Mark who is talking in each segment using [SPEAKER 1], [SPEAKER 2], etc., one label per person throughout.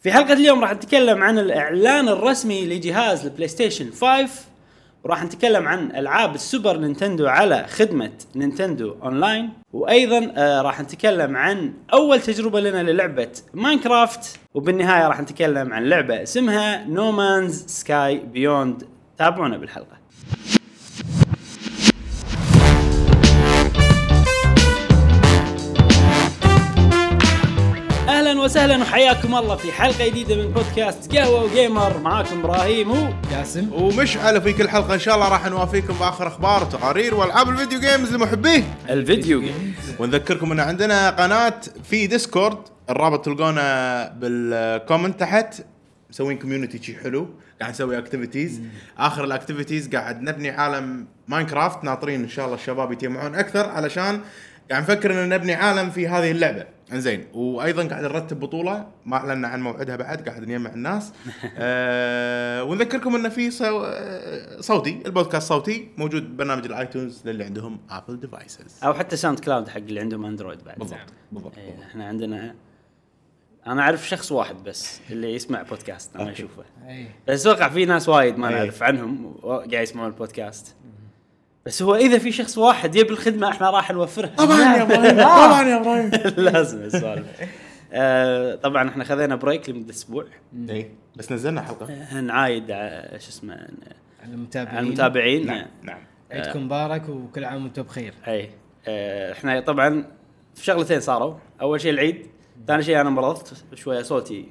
[SPEAKER 1] في حلقة اليوم راح نتكلم عن الإعلان الرسمي لجهاز البلاي ستيشن 5 وراح نتكلم عن ألعاب السوبر نينتندو على خدمة نينتندو أونلاين وأيضا آه، راح نتكلم عن أول تجربة لنا للعبة ماينكرافت وبالنهاية راح نتكلم عن لعبة اسمها نومانز سكاي بيوند تابعونا بالحلقة اهلا وسهلا وحياكم الله في حلقه جديده من بودكاست قهوه وجيمر معاكم ابراهيم و
[SPEAKER 2] جاسم
[SPEAKER 3] ومشعل في كل حلقه ان شاء الله راح نوافيكم باخر اخبار وتقارير والعاب الفيديو جيمز لمحبيه
[SPEAKER 1] الفيديو جيم.
[SPEAKER 3] ونذكركم ان عندنا قناه في ديسكورد الرابط تلقونه بالكومنت تحت مسوين كوميونتي شي حلو قاعد نسوي اكتيفيتيز اخر الاكتيفيتيز قاعد نبني عالم ماينكرافت ناطرين ان شاء الله الشباب يتجمعون اكثر علشان قاعد نفكر ان نبني عالم في هذه اللعبه انزين وايضا قاعد نرتب بطوله ما اعلنا عن موعدها بعد قاعد نجمع الناس آه ونذكركم ان في صو... آه، صوتي البودكاست صوتي موجود برنامج الايتونز للي عندهم ابل ديفايسز
[SPEAKER 1] او حتى ساوند كلاود حق اللي عندهم اندرويد بعد
[SPEAKER 3] بالضبط بالضبط
[SPEAKER 1] إيه، احنا عندنا انا اعرف شخص واحد بس اللي يسمع بودكاست انا
[SPEAKER 3] أوكي.
[SPEAKER 1] اشوفه
[SPEAKER 2] اي
[SPEAKER 1] بس اتوقع في ناس وايد ما
[SPEAKER 3] إيه.
[SPEAKER 1] نعرف عنهم و- قاعد يسمعون البودكاست بس هو اذا في شخص واحد يبي الخدمه احنا راح نوفرها
[SPEAKER 3] طبعا يا ابراهيم طبعا يا ابراهيم
[SPEAKER 1] لازم السؤال آه، طبعا احنا خذينا بريك لمده اسبوع
[SPEAKER 3] إيه، بس نزلنا
[SPEAKER 1] إيه.
[SPEAKER 3] حلقه
[SPEAKER 1] نعايد على- شو اسمه على
[SPEAKER 2] المتابعين
[SPEAKER 1] المتابعين
[SPEAKER 3] نعم نعم
[SPEAKER 2] عيدكم مبارك وكل عام وانتم بخير
[SPEAKER 1] اي آه، احنا طبعا في شغلتين صاروا اول شيء العيد ثاني شيء انا مرضت شويه صوتي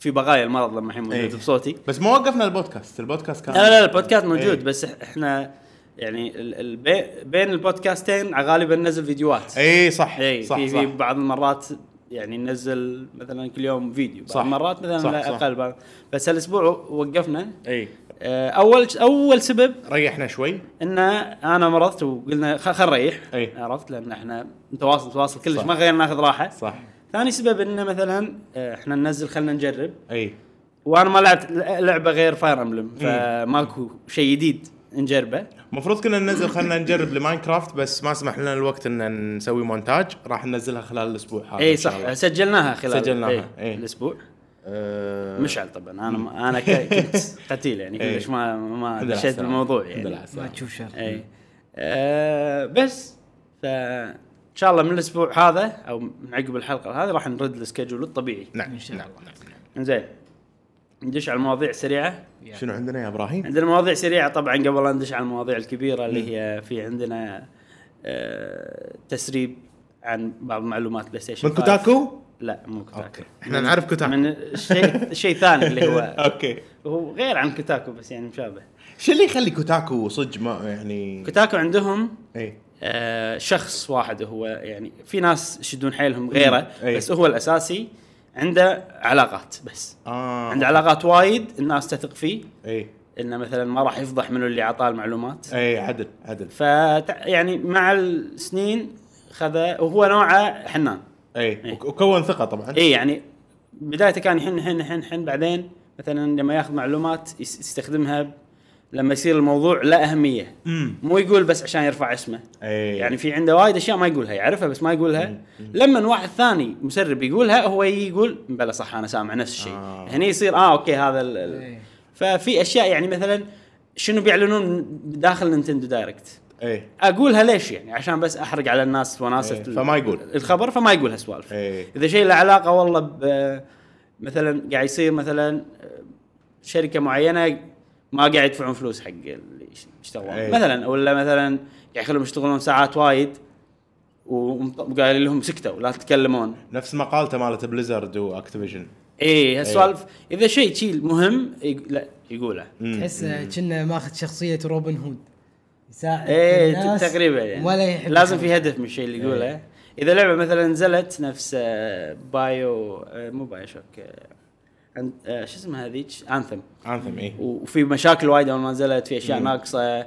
[SPEAKER 1] في بقايا المرض لما الحين موجود
[SPEAKER 3] إيه.
[SPEAKER 1] بصوتي
[SPEAKER 3] بس ما وقفنا البودكاست البودكاست كان
[SPEAKER 1] لا لا البودكاست موجود
[SPEAKER 3] إيه.
[SPEAKER 1] بس إح- احنا يعني ال- ال- بي- بين البودكاستين غالبا ننزل فيديوهات
[SPEAKER 3] اي صح
[SPEAKER 1] اي
[SPEAKER 3] إيه. صح
[SPEAKER 1] إيه، في,
[SPEAKER 3] صح
[SPEAKER 1] في بعض المرات يعني ننزل مثلا كل يوم فيديو بعض
[SPEAKER 3] صح.
[SPEAKER 1] المرات مثلا
[SPEAKER 3] صح،
[SPEAKER 1] لا
[SPEAKER 3] صح.
[SPEAKER 1] اقل بعض. بس هالاسبوع وقفنا
[SPEAKER 3] اي
[SPEAKER 1] آه، اول اول سبب
[SPEAKER 3] إيه. ريحنا شوي
[SPEAKER 1] ان انا مرضت وقلنا خل خل نريح
[SPEAKER 3] أي.
[SPEAKER 1] عرفت لان احنا متواصل متواصل كلش
[SPEAKER 3] إيه. صح.
[SPEAKER 1] ما غير ناخذ راحه
[SPEAKER 3] صح
[SPEAKER 1] ثاني سبب انه مثلا آه، احنا ننزل خلنا نجرب
[SPEAKER 3] اي
[SPEAKER 1] وانا ما لعبت ل- لعبه غير فاير امبلم فماكو شيء جديد نجربه
[SPEAKER 3] المفروض كنا ننزل خلينا نجرب لماينكرافت بس ما سمح لنا الوقت ان نسوي مونتاج راح ننزلها خلال الاسبوع هذا
[SPEAKER 1] اي
[SPEAKER 3] إن شاء
[SPEAKER 1] إيه، صح
[SPEAKER 3] الله.
[SPEAKER 1] سجلناها خلال
[SPEAKER 3] سجلناها،
[SPEAKER 1] إيه،
[SPEAKER 3] إيه.
[SPEAKER 1] الاسبوع
[SPEAKER 3] أه
[SPEAKER 1] مشعل طبعا انا ما- انا ك- كنت قتيل يعني
[SPEAKER 3] إيه.
[SPEAKER 1] كلش ما ما
[SPEAKER 3] الحمد لله
[SPEAKER 1] دشيت
[SPEAKER 3] السلامة.
[SPEAKER 1] بالموضوع
[SPEAKER 3] الحمد
[SPEAKER 1] يعني
[SPEAKER 3] لله
[SPEAKER 2] ما
[SPEAKER 3] السلامة.
[SPEAKER 2] تشوف شر
[SPEAKER 1] اي آه، بس ف ان شاء الله من الاسبوع هذا او من عقب الحلقه هذه راح نرد السكجول الطبيعي
[SPEAKER 3] نعم
[SPEAKER 2] إن شاء
[SPEAKER 3] نعم
[SPEAKER 2] الله.
[SPEAKER 3] نعم.
[SPEAKER 1] زين ندش على المواضيع سريعه
[SPEAKER 2] يا.
[SPEAKER 3] شنو عندنا يا ابراهيم؟
[SPEAKER 1] عندنا مواضيع سريعه طبعا قبل لا ندش على المواضيع الكبيره اللي هي في عندنا آه، تسريب عن بعض معلومات بلاي ستيشن
[SPEAKER 3] من
[SPEAKER 1] 5.
[SPEAKER 3] كوتاكو؟
[SPEAKER 1] لا مو كوتاكو
[SPEAKER 3] اوكي احنا نعرف كوتاكو
[SPEAKER 1] من شيء شيء ثاني اللي هو
[SPEAKER 3] اوكي
[SPEAKER 1] هو غير عن كوتاكو بس يعني مشابه
[SPEAKER 3] شو اللي يخلي كوتاكو صدق ما يعني إيه؟
[SPEAKER 1] كوتاكو عندهم
[SPEAKER 3] اي
[SPEAKER 1] آه، شخص واحد هو يعني في ناس يشدون حيلهم غيره
[SPEAKER 3] مم. أي.
[SPEAKER 1] بس هو الاساسي عنده علاقات بس
[SPEAKER 3] اه
[SPEAKER 1] عنده علاقات وايد الناس تثق فيه
[SPEAKER 3] اي
[SPEAKER 1] انه مثلا ما راح يفضح منو اللي اعطاه المعلومات
[SPEAKER 3] اي عدل عدل
[SPEAKER 1] ف يعني مع السنين خذ وهو نوعه حنان
[SPEAKER 3] اي
[SPEAKER 1] إيه.
[SPEAKER 3] وك- وكون ثقه طبعا
[SPEAKER 1] اي يعني بدايته كان يحن حن حن حن بعدين مثلا لما ياخذ معلومات يس- يستخدمها ب- لما يصير الموضوع لا اهميه
[SPEAKER 3] امم
[SPEAKER 1] مو يقول بس عشان يرفع اسمه
[SPEAKER 3] اي
[SPEAKER 1] يعني في عنده وايد اشياء ما يقولها يعرفها بس ما يقولها لما واحد ثاني مسرب يقولها هو يجي يقول بلا صح انا سامع نفس الشيء
[SPEAKER 3] آه.
[SPEAKER 1] هني يصير اه اوكي هذا ال- ال...
[SPEAKER 2] إيه.
[SPEAKER 1] ففي اشياء يعني مثلا شنو بيعلنون داخل نينتندو دايركت
[SPEAKER 3] اي
[SPEAKER 1] اقولها ليش يعني عشان بس احرق على الناس وناسه
[SPEAKER 3] إيه،
[SPEAKER 1] ال-
[SPEAKER 3] فما يقول.
[SPEAKER 1] الخبر فما يقول هالسوالف
[SPEAKER 3] إيه.
[SPEAKER 1] اذا شيء له علاقه والله ب مثلا قاعد يصير مثلا شركه معينه ما قاعد يدفعون فلوس حق اللي يشتغلون
[SPEAKER 3] إيه.
[SPEAKER 1] مثلا ولا مثلا قاعد يخليهم يشتغلون ساعات وايد وقال لهم سكتوا لا تتكلمون
[SPEAKER 3] نفس مقالته مالت بليزرد واكتيفيجن
[SPEAKER 1] اي إيه، هالسوالف
[SPEAKER 3] إيه.
[SPEAKER 1] اذا شيء شيء مهم يق- لا يقوله
[SPEAKER 2] تحس كنا ماخذ شخصيه روبن هود يساعد
[SPEAKER 1] ايه
[SPEAKER 2] الناس
[SPEAKER 1] تقريبا يعني
[SPEAKER 2] ولا إيه. يحب
[SPEAKER 1] لازم
[SPEAKER 2] يساعد.
[SPEAKER 1] في هدف من الشيء اللي يقوله اذا لعبه مثلا نزلت نفس آه، بايو آه، مو بايو شوك آه، عند- آه، شو اسمها هذيك انثم
[SPEAKER 3] انثم اي
[SPEAKER 1] وفي مشاكل وايد اول ما نزلت في
[SPEAKER 2] إيه.
[SPEAKER 1] اشياء ناقصه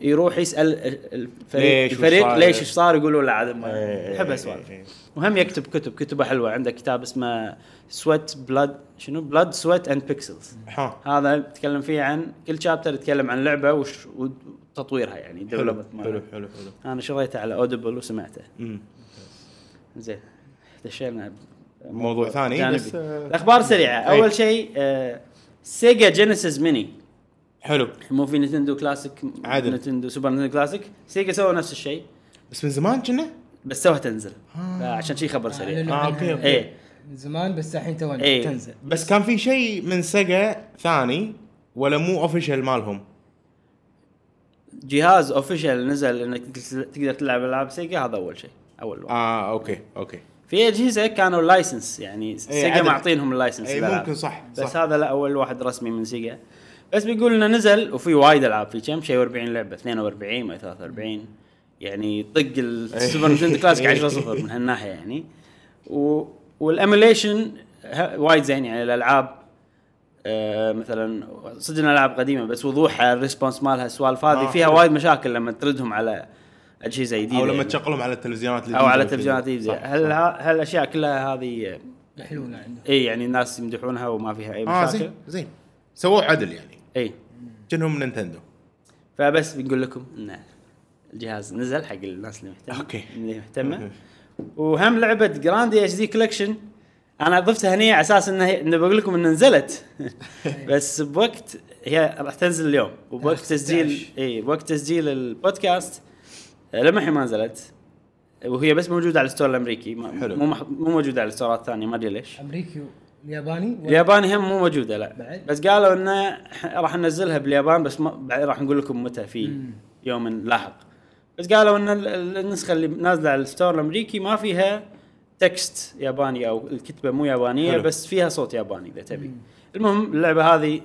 [SPEAKER 1] يروح يسال ال- الفريق
[SPEAKER 3] ليش وش
[SPEAKER 1] الفريق
[SPEAKER 3] صار؟
[SPEAKER 1] ليش ايش صار يقولوا له عدم
[SPEAKER 3] إيه،
[SPEAKER 1] يحب
[SPEAKER 3] إيه،
[SPEAKER 1] اسوالف
[SPEAKER 3] إيه.
[SPEAKER 1] وهم يكتب كتب كتبه حلوه عنده كتاب اسمه سويت بلاد شنو بلاد سويت اند بيكسلز
[SPEAKER 3] ها
[SPEAKER 1] هذا يتكلم فيه عن كل شابتر يتكلم عن لعبه وش وتطويرها يعني
[SPEAKER 3] حلو
[SPEAKER 1] development مالها.
[SPEAKER 3] حلو حلو حلو
[SPEAKER 1] انا شريته على اودبل وسمعته
[SPEAKER 3] أمم.
[SPEAKER 1] زين دشينا
[SPEAKER 3] موضوع ثاني
[SPEAKER 1] جانبي.
[SPEAKER 3] بس، آه،
[SPEAKER 1] الاخبار سريعه
[SPEAKER 3] أي.
[SPEAKER 1] اول شيء آه، سيجا جينيسيس ميني
[SPEAKER 3] حلو
[SPEAKER 1] مو في نتندو كلاسيك
[SPEAKER 3] عدل.
[SPEAKER 1] نتندو سوبر نتندو كلاسيك سيجا سووا نفس الشيء
[SPEAKER 3] بس من زمان كنا
[SPEAKER 1] بس توها تنزل عشان شي خبر سريع
[SPEAKER 3] آه، أوكي، أوكي.
[SPEAKER 1] ايه
[SPEAKER 2] من زمان بس الحين تو
[SPEAKER 1] يعني. إيه.
[SPEAKER 2] تنزل
[SPEAKER 3] بس كان في شيء من سيجا ثاني ولا مو اوفيشال مالهم
[SPEAKER 1] جهاز اوفيشال نزل انك تقدر تلعب العاب سيجا هذا اول شيء اول واحد
[SPEAKER 3] اه اوكي اوكي
[SPEAKER 1] في اجهزه كانوا لايسنس يعني سيجا
[SPEAKER 3] إيه، عدل.
[SPEAKER 1] معطينهم اللايسنس
[SPEAKER 3] اي
[SPEAKER 1] للألعاب.
[SPEAKER 3] ممكن صح
[SPEAKER 1] بس
[SPEAKER 3] صح
[SPEAKER 1] هذا لا اول واحد رسمي من سيجا بس بيقول انه نزل وفي وايد العاب في كم شيء 40 لعبه 42 ما 43 يعني طق
[SPEAKER 3] إيه.
[SPEAKER 1] السوبر نتندو كلاسيك 10 0 من هالناحيه يعني و... والاميليشن ه- وايد زين يعني الالعاب آه مثلا صدقنا العاب قديمه بس وضوحها الريسبونس مالها السوالف هذه
[SPEAKER 3] آه،
[SPEAKER 1] فيها
[SPEAKER 3] حلو.
[SPEAKER 1] وايد مشاكل لما تردهم على اجهزه جديده
[SPEAKER 3] او لما
[SPEAKER 1] يعني.
[SPEAKER 3] تشغلهم على التلفزيونات
[SPEAKER 1] او على إيه،
[SPEAKER 3] الجديدة
[SPEAKER 1] تلفزيونات
[SPEAKER 3] وكذا.
[SPEAKER 1] جديده
[SPEAKER 3] صح.
[SPEAKER 1] هل هالاشياء كلها هذه
[SPEAKER 2] حلوه عندهم
[SPEAKER 1] اي يعني الناس يمدحونها وما فيها اي
[SPEAKER 3] اه
[SPEAKER 1] مشاكل
[SPEAKER 3] زين زين سووه عدل يعني
[SPEAKER 1] اي
[SPEAKER 3] كأنهم نينتندو
[SPEAKER 1] فبس بنقول لكم ان الجهاز نزل حق الناس اللي مهتمه
[SPEAKER 3] أوكي.
[SPEAKER 1] اللي مهتمه وهم لعبه جراندي اتش دي كولكشن انا ضفتها هنا على اساس انها هي- انه بقول لكم ان نزلت بس بوقت هي راح تنزل اليوم وبوقت
[SPEAKER 2] تاريخ
[SPEAKER 1] تسجيل
[SPEAKER 2] 16.
[SPEAKER 1] اي بوقت تسجيل البودكاست آه، لما الحين ما نزلت وهي بس موجوده على الستور الامريكي ما-
[SPEAKER 3] حلو.
[SPEAKER 1] مو مح- مو موجوده على الستورات الثانيه ما ادري ليش
[SPEAKER 2] امريكي والياباني ولا-
[SPEAKER 1] الياباني هم مو موجوده لا
[SPEAKER 2] بعد؟
[SPEAKER 1] بس قالوا انه ح- راح ننزلها باليابان بس ما بعد راح نقول لكم متى في يوم لاحق بس قالوا ان ال- ال- النسخه اللي نازله على الستور الامريكي ما فيها تكست ياباني او الكتبه مو يابانيه
[SPEAKER 3] حلو.
[SPEAKER 1] بس فيها صوت ياباني اذا تبي المهم اللعبه هذه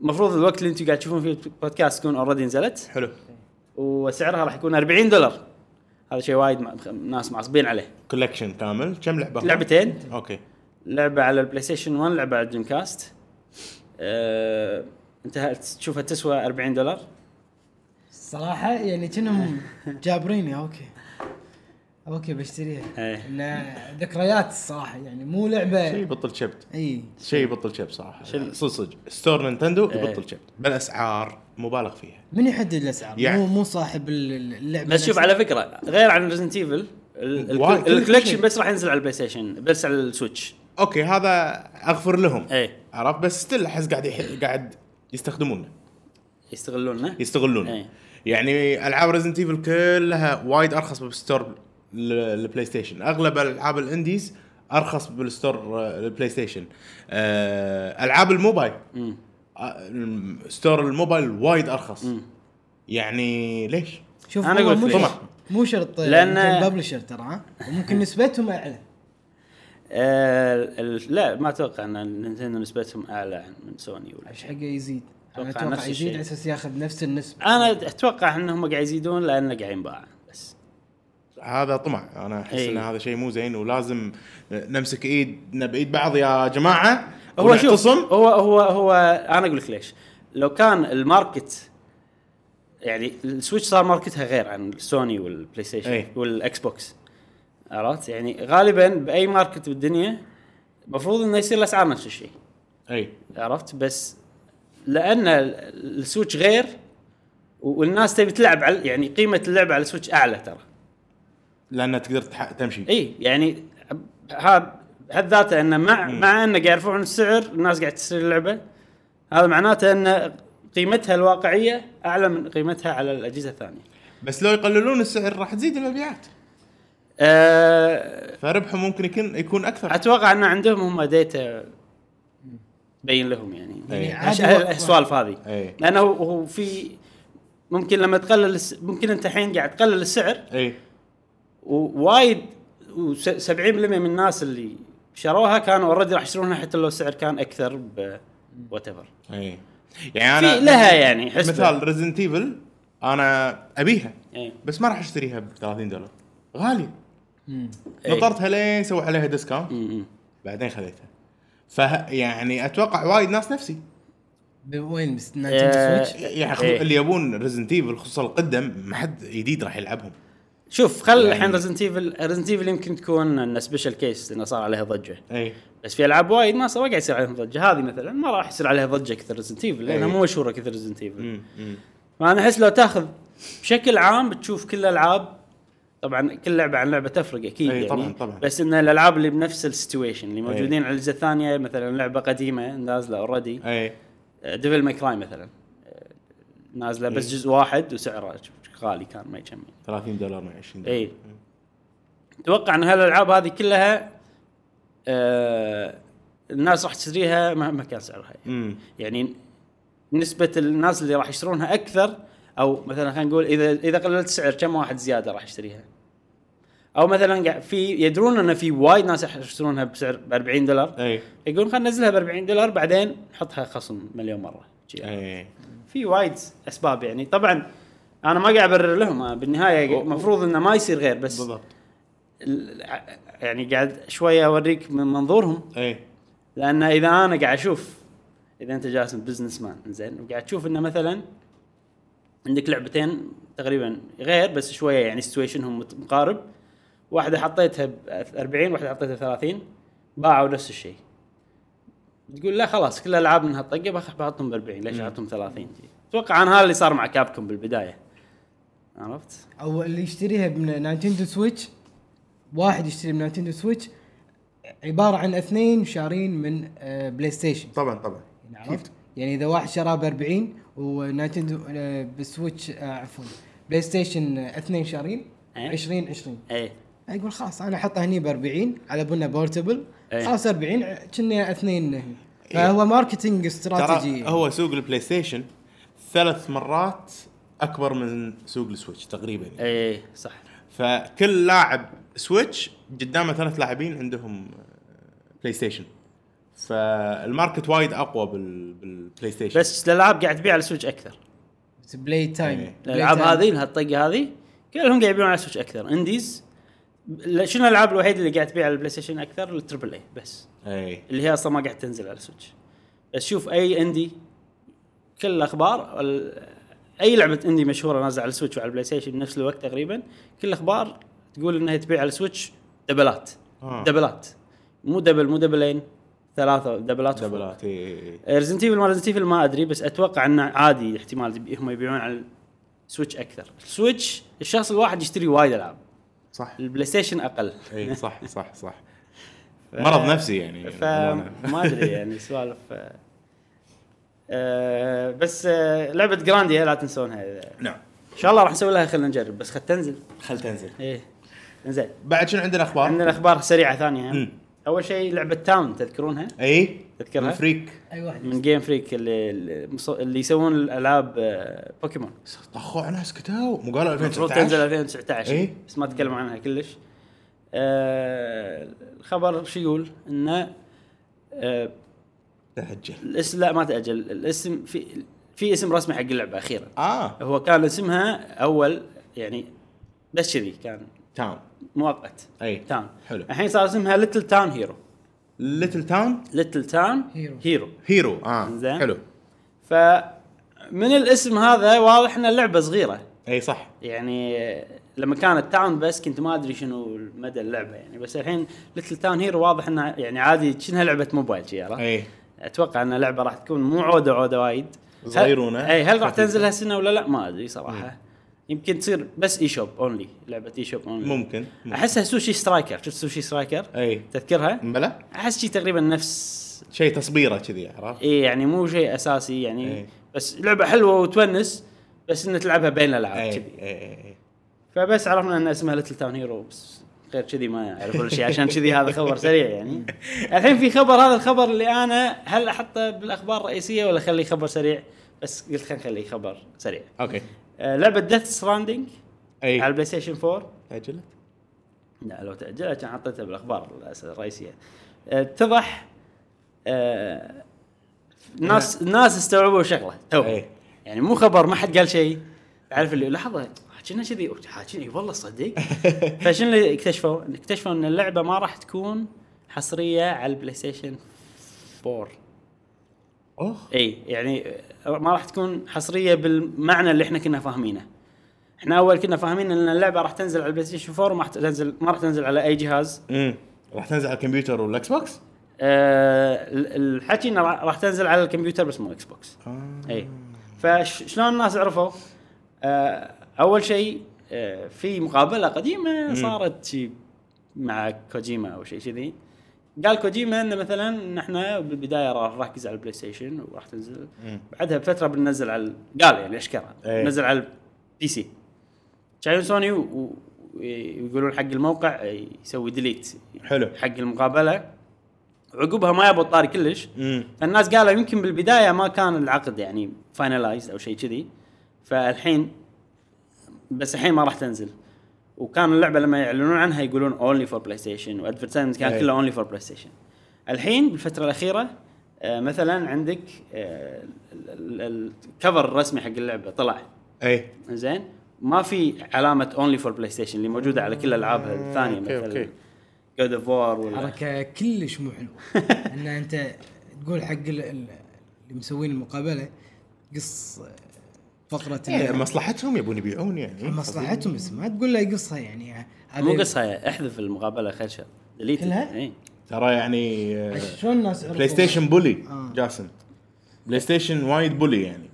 [SPEAKER 1] المفروض الوقت اللي انتم قاعد تشوفون فيه البودكاست تكون اوريدي نزلت
[SPEAKER 3] حلو
[SPEAKER 1] وسعرها راح يكون 40 دولار هذا شيء وايد مع- ناس معصبين عليه
[SPEAKER 3] كولكشن كامل كم لعبه؟
[SPEAKER 1] لعبتين
[SPEAKER 3] اوكي
[SPEAKER 1] لعبه على البلاي ستيشن 1 لعبه على الدريم كاست أه انت تشوفها تسوى 40 دولار
[SPEAKER 2] صراحه يعني كأنهم
[SPEAKER 1] إيه.
[SPEAKER 2] جابريني آه، اوكي اوكي بشتريها
[SPEAKER 1] إيه.
[SPEAKER 2] إنه ذكريات الصراحه يعني مو إيه. لعبه
[SPEAKER 3] شيء يبطل شبت
[SPEAKER 2] اي
[SPEAKER 3] شيء يبطل شبت صراحه
[SPEAKER 1] شنو؟
[SPEAKER 3] صدق صدق ستور نينتندو
[SPEAKER 1] إيه.
[SPEAKER 3] يبطل شبت بالاسعار مبالغ فيها
[SPEAKER 2] من يحدد الاسعار؟
[SPEAKER 3] يعني.
[SPEAKER 2] مو مو صاحب ال- ال- اللعبه
[SPEAKER 1] بس شوف
[SPEAKER 2] نفسها.
[SPEAKER 1] على فكره غير عن ريزنت ايفل
[SPEAKER 3] وايد، كل
[SPEAKER 1] الكوليكشن
[SPEAKER 3] شيء.
[SPEAKER 1] بس راح ينزل على البلاي ستيشن بس على السويتش
[SPEAKER 3] اوكي هذا اغفر لهم
[SPEAKER 1] ايه
[SPEAKER 3] عرفت بس ستيل احس قاعد يح- قاعد يستخدمونه
[SPEAKER 1] يستغلونه
[SPEAKER 3] يستغلونه
[SPEAKER 1] إيه.
[SPEAKER 3] يعني العاب ريزنت ايفل كلها وايد ارخص بالستور ل- البلاي ستيشن اغلب العاب الانديز ارخص بالستور آه، البلاي ستيشن آه، العاب الموبايل
[SPEAKER 1] مم.
[SPEAKER 3] آه، الم- ستور الموبايل وايد ارخص
[SPEAKER 1] مم.
[SPEAKER 3] يعني ليش؟
[SPEAKER 2] شوف
[SPEAKER 1] أنا
[SPEAKER 2] هو
[SPEAKER 1] قلت
[SPEAKER 2] مو
[SPEAKER 1] لك.
[SPEAKER 2] شرط- مو شرط
[SPEAKER 1] لأن-
[SPEAKER 2] لان ببلشر ترى ها؟ وممكن نسبتهم اعلى
[SPEAKER 1] آه ال- لا ما اتوقع ان نينتندو نسبتهم اعلى عن- من سوني ولا
[SPEAKER 2] ايش حقه يزيد
[SPEAKER 1] أتوقع
[SPEAKER 2] انا اتوقع
[SPEAKER 1] نفس
[SPEAKER 2] يزيد
[SPEAKER 1] الشيء.
[SPEAKER 2] على اساس ياخذ نفس النسبه
[SPEAKER 1] انا اتوقع انهم قاعد يزيدون لانه قاعد ينباع بس
[SPEAKER 3] هذا طمع انا احس
[SPEAKER 1] إيه.
[SPEAKER 3] ان هذا شيء مو زين ولازم نمسك ايدنا بايد بعض يا جماعه
[SPEAKER 1] هو شوف
[SPEAKER 3] ونعتصم.
[SPEAKER 1] هو هو هو انا اقول لك ليش لو كان الماركت يعني السويتش صار ماركتها غير عن السوني والبلاي ستيشن
[SPEAKER 3] أي.
[SPEAKER 1] والاكس بوكس عرفت يعني غالبا باي ماركت بالدنيا المفروض انه يصير الاسعار نفس الشيء إيه.
[SPEAKER 3] اي
[SPEAKER 1] عرفت بس لان ال- السويتش غير و- والناس تبي تلعب على يعني قيمه اللعبه على السويتش اعلى ترى
[SPEAKER 3] لان تقدر تح- تمشي
[SPEAKER 1] اي يعني ها بحد ذاته انه مع مع انه قاعد يرفعون السعر الناس قاعد تشتري اللعبه هذا معناته ان قيمتها الواقعيه اعلى من قيمتها على الاجهزه الثانيه.
[SPEAKER 3] بس لو يقللون السعر راح تزيد المبيعات
[SPEAKER 1] أه
[SPEAKER 3] فربحه ممكن يكون يكون اكثر
[SPEAKER 1] اتوقع ان عندهم هم ديتا بين لهم يعني
[SPEAKER 3] إي.
[SPEAKER 1] يعني هالش- هال- السوالف هذه
[SPEAKER 3] إي.
[SPEAKER 1] لانه هو- هو في ممكن لما تقلل الس- ممكن انت الحين قاعد تقلل السعر
[SPEAKER 3] اي
[SPEAKER 1] ووايد و70% من الناس اللي شروها كانوا اوريدي راح يشترونها حتى لو السعر كان اكثر ب وات ايفر
[SPEAKER 3] اي يعني
[SPEAKER 1] في لها يعني حسبة. إيه.
[SPEAKER 3] مثال ريزنت ايفل انا ابيها
[SPEAKER 1] إي.
[SPEAKER 3] بس ما راح اشتريها ب 30 دولار غالي
[SPEAKER 2] مم.
[SPEAKER 1] إي.
[SPEAKER 3] نطرتها لين سووا عليها ديسكاونت بعدين خذيتها فه يعني اتوقع وايد ناس نفسي
[SPEAKER 2] ب- وين بس
[SPEAKER 1] آه،
[SPEAKER 2] نينتندو سويتش؟
[SPEAKER 3] يعني خ-
[SPEAKER 1] إيه.
[SPEAKER 3] اللي يبون ريزنت ايفل خصوصا القدم ما حد جديد راح يلعبهم
[SPEAKER 1] شوف خل
[SPEAKER 3] يعني-
[SPEAKER 1] الحين ريزنت ايفل ريزنت ايفل يمكن تكون انه سبيشل كيس لانه صار عليها ضجه
[SPEAKER 3] اي
[SPEAKER 1] بس في العاب وايد ما صار ما قاعد يصير عليهم ضجه هذه مثلا ما راح يصير عليها ضجه كثر ريزنت ايفل لانها
[SPEAKER 3] إي.
[SPEAKER 1] مو مشهوره كثر ريزنت ايفل فانا احس لو تاخذ بشكل عام بتشوف كل الالعاب طبعا كل لعبه عن لعبه تفرق اكيد
[SPEAKER 3] أي،
[SPEAKER 1] يعني
[SPEAKER 3] طبعاً- طبعاً.
[SPEAKER 1] بس ان الالعاب اللي بنفس السيتويشن اللي موجودين على الجزء الثانيه مثلا لعبه قديمه نازله اوريدي
[SPEAKER 3] اي
[SPEAKER 1] ديفل ماي كراي مثلا آه، نازله بس جزء واحد وسعره غالي كان ما يكمل
[SPEAKER 3] 30 دولار ما 20 دولار
[SPEAKER 1] اي اتوقع ان هالالعاب هذه كلها آه الناس راح تشتريها مهما كان سعرها يعني.
[SPEAKER 3] امم
[SPEAKER 1] يعني نسبة الناس اللي راح يشترونها أكثر أو مثلا خلينا نقول إذا إذا قللت السعر كم واحد زيادة راح يشتريها؟ أو مثلا قاع- في يدرون أن في وايد ناس راح يشترونها بسعر ب 40 دولار
[SPEAKER 3] اي
[SPEAKER 1] يقولون خلينا ننزلها ب 40 دولار بعدين نحطها خصم مليون مرة جي.
[SPEAKER 3] اي
[SPEAKER 1] في وايد أسباب يعني طبعا أنا ما قاعد أبرر لهم أنا بالنهاية المفروض أنه ما يصير غير بس
[SPEAKER 3] بالضبط
[SPEAKER 1] ال- ع- يعني قاعد شوية أوريك من منظورهم
[SPEAKER 3] اي
[SPEAKER 1] لان اذا انا قاعد اشوف اذا انت جالس بزنس مان زين وقاعد تشوف انه مثلا عندك لعبتين تقريبا غير بس شويه يعني سيتويشنهم مت- مقارب واحده حطيتها ب 40 واحده حطيتها 30 باعوا نفس الشيء تقول لا خلاص كل الالعاب من هالطقه بخ- بحطهم ب 40 ليش احطهم 30 جي؟ اتوقع انا هذا اللي صار مع كابكم بالبدايه عرفت؟
[SPEAKER 2] او اللي يشتريها من نينتندو سويتش واحد يشتري من نينتندو سويتش عباره عن اثنين شارين من آه، بلاي ستيشن
[SPEAKER 3] طبعا طبعا
[SPEAKER 2] يعني عرفت؟ يعني اذا واحد شراه ب 40 ونينتندو آه، بالسويتش آه، عفوا بلاي ستيشن آه، اثنين شارين
[SPEAKER 1] إيه.
[SPEAKER 2] 20 20
[SPEAKER 1] اي
[SPEAKER 2] يقول خلاص انا احطها هني ب 40 على بنا بورتبل
[SPEAKER 1] إيه.
[SPEAKER 2] خلاص 40 ع- كنا اثنين هني
[SPEAKER 3] إيه.
[SPEAKER 2] فهو ماركتنج استراتيجي
[SPEAKER 3] ترى هو سوق البلاي ستيشن ثلاث مرات اكبر من سوق السويتش تقريبا يعني.
[SPEAKER 1] اي إيه، صح
[SPEAKER 3] فكل لاعب سويتش قدامه ثلاث لاعبين عندهم آه، بلاي ستيشن فالماركت وايد اقوى بال... بالبلاي ستيشن
[SPEAKER 1] بس الالعاب قاعد تبيع على السويتش اكثر
[SPEAKER 2] بلاي تايم
[SPEAKER 3] إيه.
[SPEAKER 2] بلاي
[SPEAKER 1] الالعاب
[SPEAKER 2] تايم.
[SPEAKER 1] يعني هذه هالطقه هذه كلهم قاعد يبيعون على سويتش اكثر انديز لا- شنو الالعاب الوحيده اللي قاعد تبيع على البلاي ستيشن اكثر التربل اي بس
[SPEAKER 3] اي
[SPEAKER 1] اللي هي اصلا ما قاعد تنزل على سويتش بس شوف اي اندي كل الاخبار ال- اي لعبه اندي مشهوره نازله على السويتش وعلى البلاي ستيشن بنفس الوقت تقريبا كل الاخبار تقول انها تبيع على السويتش دبلات
[SPEAKER 3] آه.
[SPEAKER 1] دبلات مو دبل مو دبلين ثلاثه دبلات وفوق.
[SPEAKER 3] دبلات اي اي اي
[SPEAKER 1] ريزنت ايفل آه، ما ريزنت ايفل ما ادري بس اتوقع انه عادي احتمال يبي- هم يبيعون على السويتش اكثر السويتش الشخص الواحد يشتري وايد العاب
[SPEAKER 3] صح
[SPEAKER 1] البلاي ستيشن اقل
[SPEAKER 3] اي إيه، صح صح صح مرض نفسي يعني أنا-
[SPEAKER 1] فما ادري يعني سوالف آه، آه بس آه لعبه جرانديا لا تنسونها ان
[SPEAKER 3] نعم
[SPEAKER 1] شاء الله راح نسوي لها خلينا نجرب بس خل تنزل
[SPEAKER 3] خل تنزل
[SPEAKER 1] ايه انزين
[SPEAKER 3] بعد شنو عندنا اخبار؟
[SPEAKER 1] عندنا اخبار سريعه ثانيه
[SPEAKER 3] مم.
[SPEAKER 1] اول شيء لعبه تاون تذكرونها
[SPEAKER 3] اي
[SPEAKER 1] تذكرها؟
[SPEAKER 3] من فريك
[SPEAKER 2] اي واحد
[SPEAKER 1] من جيم فريك اللي, اللي يسوون الالعاب آه، بوكيمون
[SPEAKER 3] طخوا ناس كتاو مو قالوا
[SPEAKER 1] المفروض تنزل
[SPEAKER 3] 2019
[SPEAKER 1] 2019
[SPEAKER 3] إيه.
[SPEAKER 1] بس ما تكلم عنها كلش آه الخبر شو يقول انه آه
[SPEAKER 3] تاجل
[SPEAKER 1] الاسم لا ما تاجل الاسم في في اسم رسمي حق اللعبه اخيرا
[SPEAKER 3] اه
[SPEAKER 1] هو كان اسمها اول يعني بس كذي كان
[SPEAKER 3] تاون
[SPEAKER 1] مؤقت
[SPEAKER 3] اي
[SPEAKER 1] تاون
[SPEAKER 3] حلو.
[SPEAKER 1] الحين صار اسمها ليتل تاون هيرو
[SPEAKER 3] ليتل تاون
[SPEAKER 1] ليتل تاون
[SPEAKER 2] هيرو.
[SPEAKER 1] هيرو
[SPEAKER 3] هيرو اه
[SPEAKER 1] زين.
[SPEAKER 3] حلو
[SPEAKER 1] فمن الاسم هذا واضح ان اللعبه صغيره
[SPEAKER 3] اي صح
[SPEAKER 1] يعني لما كانت تاون بس كنت ما ادري شنو مدى اللعبه يعني بس الحين ليتل تاون هيرو واضح انها يعني عادي شنها لعبه موبايل شي عرفت؟
[SPEAKER 3] اي
[SPEAKER 1] اتوقع ان اللعبه راح تكون مو عوده عوده وايد هل-
[SPEAKER 3] صغيرونة.
[SPEAKER 1] اي هل راح
[SPEAKER 3] خفيفة.
[SPEAKER 1] تنزل هالسنه ولا لا ما ادري صراحه يمكن تصير بس اي شوب اونلي لعبه اي شوب اونلي
[SPEAKER 3] ممكن ممكن.
[SPEAKER 1] احسها سوشي سترايكر شفت سوشي سترايكر
[SPEAKER 3] اي
[SPEAKER 1] تذكرها؟
[SPEAKER 3] بلا
[SPEAKER 1] احس شي تقريبا نفس
[SPEAKER 3] شيء تصبيره كذي عرفت؟
[SPEAKER 1] اي يعني مو شيء اساسي يعني
[SPEAKER 3] إي.
[SPEAKER 1] بس لعبه حلوه وتونس بس ان تلعبها بين
[SPEAKER 3] اي
[SPEAKER 1] الالعاب آه، كذي
[SPEAKER 3] اي اي
[SPEAKER 1] فبس عرفنا ان اسمها ليتل تاون هيرو بس غير كذي ما يعرفون الشيء عشان كذي هذا خبر سريع يعني الحين في خبر هذا الخبر اللي انا هل احطه بالاخبار الرئيسيه ولا اخليه خبر سريع بس قلت خلينا نخليه خبر سريع
[SPEAKER 3] اوكي
[SPEAKER 1] آه لعبه ديث ستراندنج على
[SPEAKER 3] اي
[SPEAKER 1] البلاي ستيشن 4
[SPEAKER 3] تاجلت
[SPEAKER 1] لا لو تاجلت كان حطيتها بالاخبار الأس- الرئيسيه آه اتضح آه ناس ناس استوعبوا شغله تو
[SPEAKER 3] إيه.
[SPEAKER 1] يعني مو خبر ما حد قال شيء تعرف اللي لحظه حكينا كذي حاكينا إي والله صدق فشنو اللي اكتشفوا؟ اكتشفوا ان اللعبه ما راح تكون حصريه على البلاي ستيشن 4
[SPEAKER 3] اوه
[SPEAKER 1] اي يعني ما راح تكون حصريه بالمعنى اللي احنا كنا فاهمينه. احنا اول كنا فاهمين ان اللعبه راح تنزل على البلاي ستيشن 4 وما راح تنزل ما راح تنزل على اي جهاز.
[SPEAKER 3] امم راح تنزل على الكمبيوتر والاكس بوكس؟
[SPEAKER 1] أه ال- الحكي انه راح راح تنزل على الكمبيوتر بس مو اكس بوكس.
[SPEAKER 3] آه.
[SPEAKER 1] اي فشلون الناس عرفوا؟ أه اول آه، شيء آه، في مقابله قديمه صارت شي مع كوجيما او شيء كذي قال كوجيما انه مثلا نحن بالبدايه راح نركز على البلاي ستيشن وراح تنزل بعدها بفتره بننزل على ال- قال يعني اشكره
[SPEAKER 3] إيه.
[SPEAKER 1] بننزل على البي سي شايفين سوني و- و- ويقولون حق الموقع آه، يسوي ديليت
[SPEAKER 3] حلو
[SPEAKER 1] حق المقابله عقبها ما يبوا الطاري كلش
[SPEAKER 3] امم
[SPEAKER 1] فالناس قالوا يمكن بالبدايه ما كان العقد يعني فاينلايز او شيء كذي فالحين بس الحين ما راح تنزل وكان اللعبه لما يعلنون عنها يقولون اونلي فور بلاي ستيشن وادفرتايزمنت كان
[SPEAKER 3] أي.
[SPEAKER 1] كله اونلي فور بلاي ستيشن الحين بالفتره الاخيره آه، مثلا عندك آه، ال- ال- ال- الكفر الرسمي حق اللعبه طلع
[SPEAKER 3] اي
[SPEAKER 1] زين ما في علامه اونلي فور بلاي ستيشن اللي موجوده على كل الالعاب الثانيه
[SPEAKER 3] إيه، أوكي،
[SPEAKER 1] مثلا
[SPEAKER 3] أوكي.
[SPEAKER 1] جود اوف وار ولا
[SPEAKER 2] حركه كلش مو حلوه ان انت تقول حق ال- ال- اللي مسوين المقابله قص آه، فقره
[SPEAKER 3] إيه،
[SPEAKER 2] اللعبة.
[SPEAKER 3] مصلحتهم يبون يبيعون يعني
[SPEAKER 2] مصلحتهم بس ما تقول له يقصها يعني هذا
[SPEAKER 1] مو قصها احذف المقابله خل شر إيه. ديليت
[SPEAKER 2] كلها؟
[SPEAKER 1] اي
[SPEAKER 3] ترى يعني آه،
[SPEAKER 2] شلون الناس عرفوا؟
[SPEAKER 3] بلاي ستيشن بولي
[SPEAKER 2] آه.
[SPEAKER 3] جاسم بلاي ستيشن وايد بولي يعني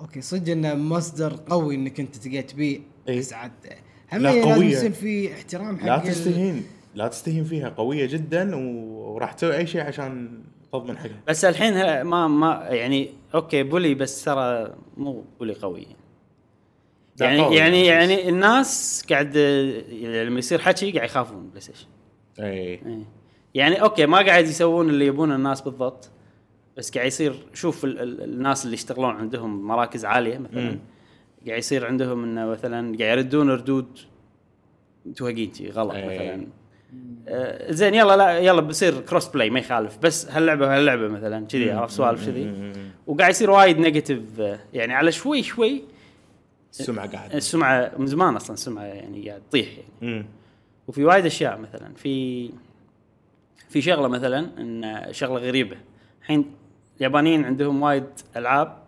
[SPEAKER 2] اوكي صدق انه مصدر قوي انك انت تقعد تبيع
[SPEAKER 3] إيه.
[SPEAKER 2] بس عاد هم يعني
[SPEAKER 3] لا،
[SPEAKER 2] لازم
[SPEAKER 3] قوية.
[SPEAKER 2] يصير في احترام حق
[SPEAKER 3] لا
[SPEAKER 2] ال-
[SPEAKER 3] تستهين لا تستهين فيها قويه جدا و- وراح تسوي اي شيء عشان تضمن حقها
[SPEAKER 1] بس الحين ه- ما ما يعني اوكي بولي بس ترى مو بولي قوي
[SPEAKER 3] لا،
[SPEAKER 1] يعني
[SPEAKER 3] قوي.
[SPEAKER 1] يعني يعني الناس قاعد يعني لما يصير حكي قاعد يخافون من بلاي ستيشن
[SPEAKER 3] اي
[SPEAKER 1] إيه. يعني اوكي ما قاعد يسوون اللي يبونه الناس بالضبط بس قاعد يصير شوف ال ال الناس اللي يشتغلون عندهم مراكز عاليه مثلا
[SPEAKER 3] مم.
[SPEAKER 1] قاعد يصير عندهم انه مثلا قاعد يردون ردود توهقين شي غلط
[SPEAKER 3] إيه.
[SPEAKER 1] مثلا آه زين يلا لا يلا بصير كروس بلاي ما يخالف بس هاللعبه وهاللعبه مثلا كذي عرفت سوالف كذي وقاعد يصير وايد نيجاتيف آه، يعني على شوي شوي
[SPEAKER 3] السمعه قاعد
[SPEAKER 1] السمعه من زمان اصلا السمعه يعني قاعد تطيح يعني
[SPEAKER 3] مم.
[SPEAKER 1] وفي وايد اشياء مثلا في في شغله مثلا ان شغله غريبه الحين اليابانيين عندهم وايد العاب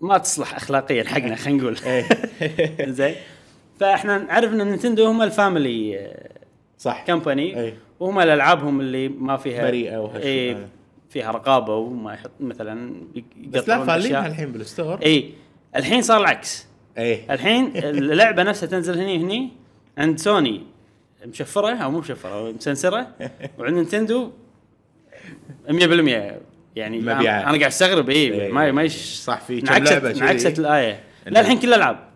[SPEAKER 1] ما تصلح اخلاقيا حقنا خلينا نقول
[SPEAKER 3] إيه.
[SPEAKER 1] زين فاحنا نعرف ان نينتندو هم الفاميلي
[SPEAKER 3] صح
[SPEAKER 1] كمباني
[SPEAKER 3] أي.
[SPEAKER 1] وهم الالعابهم اللي ما فيها
[SPEAKER 3] إيه. بريئة وهالشيء
[SPEAKER 1] إيه،
[SPEAKER 3] هذا.
[SPEAKER 1] فيها رقابه وما يحط مثلا
[SPEAKER 3] بس لا
[SPEAKER 1] يقطعون إيه.
[SPEAKER 3] فالينها
[SPEAKER 1] أشياء.
[SPEAKER 3] الحين بالستور إيه.
[SPEAKER 1] اي الحين صار العكس
[SPEAKER 3] اي
[SPEAKER 1] الحين اللعبه نفسها تنزل هني هني عند سوني مشفره او مو مشفره مسنسره وعند نينتندو 100% يعني أنا-
[SPEAKER 3] مبيعات.
[SPEAKER 1] انا قاعد استغرب اي
[SPEAKER 3] إيه.
[SPEAKER 1] ما ما يش
[SPEAKER 3] صح، في كم
[SPEAKER 1] انعكست-
[SPEAKER 3] لعبة كذي.
[SPEAKER 1] انعكست الايه
[SPEAKER 3] إنه-
[SPEAKER 1] لا الحين كل الالعاب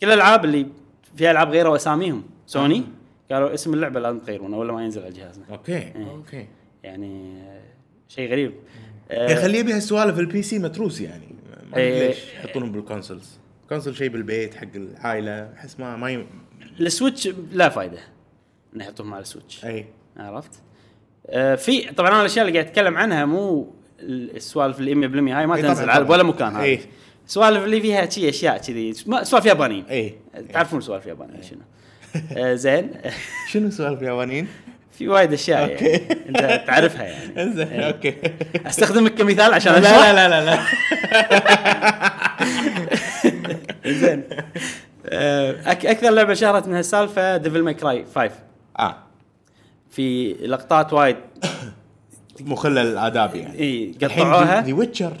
[SPEAKER 1] كل الالعاب اللي فيها العاب غيروا اساميهم سوني قالوا اسم اللعبه لازم تغيرونه ولا ما ينزل على جهازنا
[SPEAKER 3] اوكي
[SPEAKER 1] إيه.
[SPEAKER 3] اوكي
[SPEAKER 1] يعني آه، شيء غريب آه،
[SPEAKER 3] يخليه بها سوالف البي سي متروس يعني ما أدري
[SPEAKER 1] إيه.
[SPEAKER 3] ليش يحطونهم بالكونسولز كونسول شيء بالبيت حق العائله احس ما ما ي...
[SPEAKER 1] السويتش لا فايده انه يحطوهم على السويتش
[SPEAKER 3] اي
[SPEAKER 1] عرفت؟ آه في طبعا انا الاشياء اللي قاعد اتكلم عنها مو السوالف اللي 100% هاي ما
[SPEAKER 3] إي
[SPEAKER 1] تنزل
[SPEAKER 3] إيه، طبعاً
[SPEAKER 1] على
[SPEAKER 3] طبعاً.
[SPEAKER 1] ولا
[SPEAKER 3] إيه.
[SPEAKER 1] مكان هذا
[SPEAKER 3] إي.
[SPEAKER 1] السوالف اللي فيها شي اشياء كذي ما- سوالف يابانيين
[SPEAKER 3] اي
[SPEAKER 1] تعرفون سوالف يابانيين
[SPEAKER 3] إيه.
[SPEAKER 1] شنو آه زين
[SPEAKER 3] شنو سوالف اليابانيين؟
[SPEAKER 1] في وايد اشياء
[SPEAKER 3] أوكي.
[SPEAKER 1] يعني انت تعرفها يعني
[SPEAKER 3] انزين
[SPEAKER 1] إي.
[SPEAKER 3] اوكي
[SPEAKER 1] استخدمك كمثال عشان
[SPEAKER 3] لا
[SPEAKER 1] أشرح؟
[SPEAKER 3] لا لا لا لا
[SPEAKER 1] زين آه أك- اكثر لعبه شهرت من هالسالفه ديفل ماي كراي 5
[SPEAKER 3] اه
[SPEAKER 1] في لقطات وايد
[SPEAKER 3] مخلل الاداب يعني
[SPEAKER 1] اي
[SPEAKER 3] الحين
[SPEAKER 1] إيه، قطعوها
[SPEAKER 3] ذا ويتشر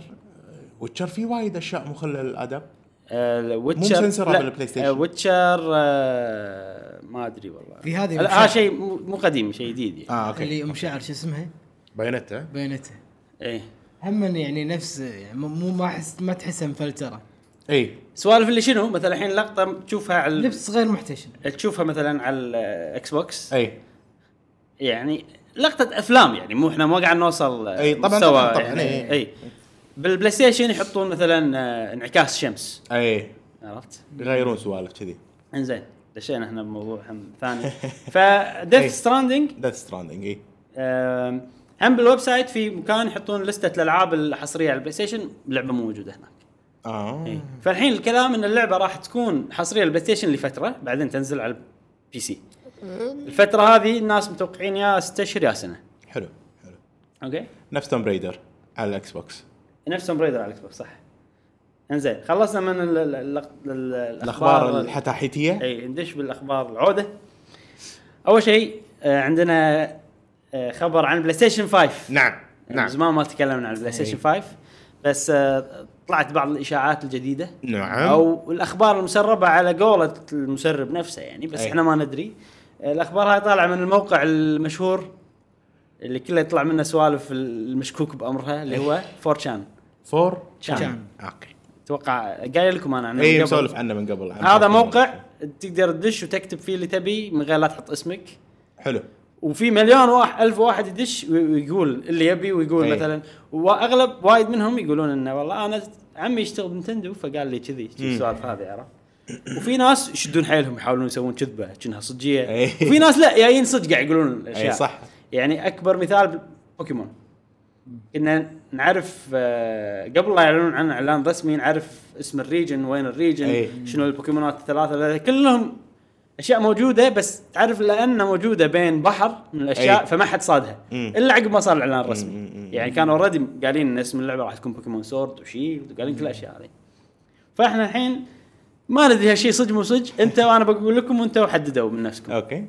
[SPEAKER 3] ويتشر في وايد اشياء مخلل الاداب
[SPEAKER 1] آه، ويتشر
[SPEAKER 3] مسنسرة بالبلاي ستيشن.
[SPEAKER 1] ويتشر آه، ما ادري والله
[SPEAKER 2] في هذه آه.
[SPEAKER 1] لا، هذا
[SPEAKER 2] وشر.
[SPEAKER 1] شيء مو مو قديم شيء جديد يعني.
[SPEAKER 3] اه اوكي
[SPEAKER 2] اللي ام شعر شو اسمها؟
[SPEAKER 3] بايونيتا
[SPEAKER 2] بينته
[SPEAKER 1] ايه
[SPEAKER 2] هم يعني نفس يعني مو- مو ما احس ما تحسها مفلتره
[SPEAKER 3] اي
[SPEAKER 1] سوالف اللي شنو مثلا الحين لقطه تشوفها على ال-
[SPEAKER 2] لبس غير محتشم
[SPEAKER 1] تشوفها مثلا على الاكس بوكس
[SPEAKER 3] اي
[SPEAKER 1] يعني لقطه افلام يعني مو احنا ما قاعد نوصل آه،
[SPEAKER 3] إي، طبعاً،
[SPEAKER 1] مستوى
[SPEAKER 3] طبعاً، طبعاً،
[SPEAKER 1] يعني
[SPEAKER 3] إي.
[SPEAKER 1] اي بالبلاي ستيشن يحطون مثلا آه، انعكاس شمس
[SPEAKER 3] اي
[SPEAKER 1] عرفت؟
[SPEAKER 3] إيه. يغيرون سوالف كذي
[SPEAKER 1] انزين دشينا احنا بموضوع هم ثاني فديث ستراندنج
[SPEAKER 3] ديث ستراندنج اي
[SPEAKER 1] أم، هم بالويب سايت في مكان يحطون لستة الالعاب الحصريه على البلاي ستيشن لعبه مو موجوده هناك إي.
[SPEAKER 3] اه
[SPEAKER 1] فالحين الكلام ان اللعبه راح تكون حصريه على البلاي ستيشن لفتره بعدين تنزل على البي سي الفتره هذه الناس متوقعين يا ستة اشهر يا سنه
[SPEAKER 3] حلو حلو
[SPEAKER 1] اوكي
[SPEAKER 3] نفس توم بريدر على الاكس بوكس
[SPEAKER 1] نفس توم بريدر على الاكس بوكس صح انزين خلصنا من ال ال ال ال
[SPEAKER 3] الاخبار
[SPEAKER 1] الحتى
[SPEAKER 3] الحتاحيتيه
[SPEAKER 1] اي ندش بالاخبار العوده اول شيء آه، عندنا آه، خبر عن بلاي ستيشن 5
[SPEAKER 3] نعم
[SPEAKER 1] نعم
[SPEAKER 3] نعم إيه.
[SPEAKER 1] زمان ما تكلمنا عن البلاي ستيشن 5 بس آه، طلعت بعض الاشاعات الجديده
[SPEAKER 3] نعم
[SPEAKER 1] او الاخبار المسربه على قولة المسرب نفسه يعني بس
[SPEAKER 3] أي.
[SPEAKER 1] احنا ما ندري الاخبار هاي طالعه من الموقع المشهور اللي كله يطلع منه سوالف المشكوك بامرها
[SPEAKER 3] إيه.
[SPEAKER 1] اللي هو 4
[SPEAKER 3] فور
[SPEAKER 1] شان
[SPEAKER 2] شان.
[SPEAKER 3] اوكي
[SPEAKER 1] اتوقع قايل لكم انا عنه من
[SPEAKER 3] اي
[SPEAKER 1] قبل.
[SPEAKER 3] إيه، مسولف عنه من قبل عن
[SPEAKER 1] هذا
[SPEAKER 3] شكل
[SPEAKER 1] موقع
[SPEAKER 3] الموقع.
[SPEAKER 1] تقدر تدش وتكتب فيه اللي تبي من غير لا تحط اسمك
[SPEAKER 3] حلو إيه،
[SPEAKER 1] وفي مليون واحد ألف واحد يدش وي- ويقول اللي يبي ويقول
[SPEAKER 3] أي.
[SPEAKER 1] أي. مثلا واغلب وايد منهم يقولون انه والله انا عمي يشتغل بنتندو فقال لي كذي شي السوالف هذه عرفت وفي ناس يشدون حيلهم يحاولون يسوون كذبه كأنها صجيه
[SPEAKER 3] أي.
[SPEAKER 1] وفي ناس لا جايين صدق قاعد يقولون الاشياء
[SPEAKER 3] أي، صح.
[SPEAKER 1] يعني اكبر مثال بوكيمون كنا نعرف آه، قبل لا يعلنون عن اعلان رسمي نعرف اسم الريجن وين الريجن
[SPEAKER 3] أي.
[SPEAKER 1] شنو البوكيمونات الثلاثه كلهم اشياء موجوده بس تعرف لانها موجوده بين بحر من الاشياء
[SPEAKER 3] أي.
[SPEAKER 1] فما حد صادها
[SPEAKER 3] مم.
[SPEAKER 1] الا عقب ما صار الاعلان
[SPEAKER 3] مم، مم،
[SPEAKER 1] الرسمي
[SPEAKER 3] مم.
[SPEAKER 1] يعني كانوا اوريدي قايلين ان اسم اللعبه راح تكون بوكيمون سورد وشيلد وقايلين كل الاشياء هذه فاحنا الحين ما ندري هالشيء صدق مو صدق انت وانا بقول لكم وانتوا حددوا من نفسكم
[SPEAKER 3] اوكي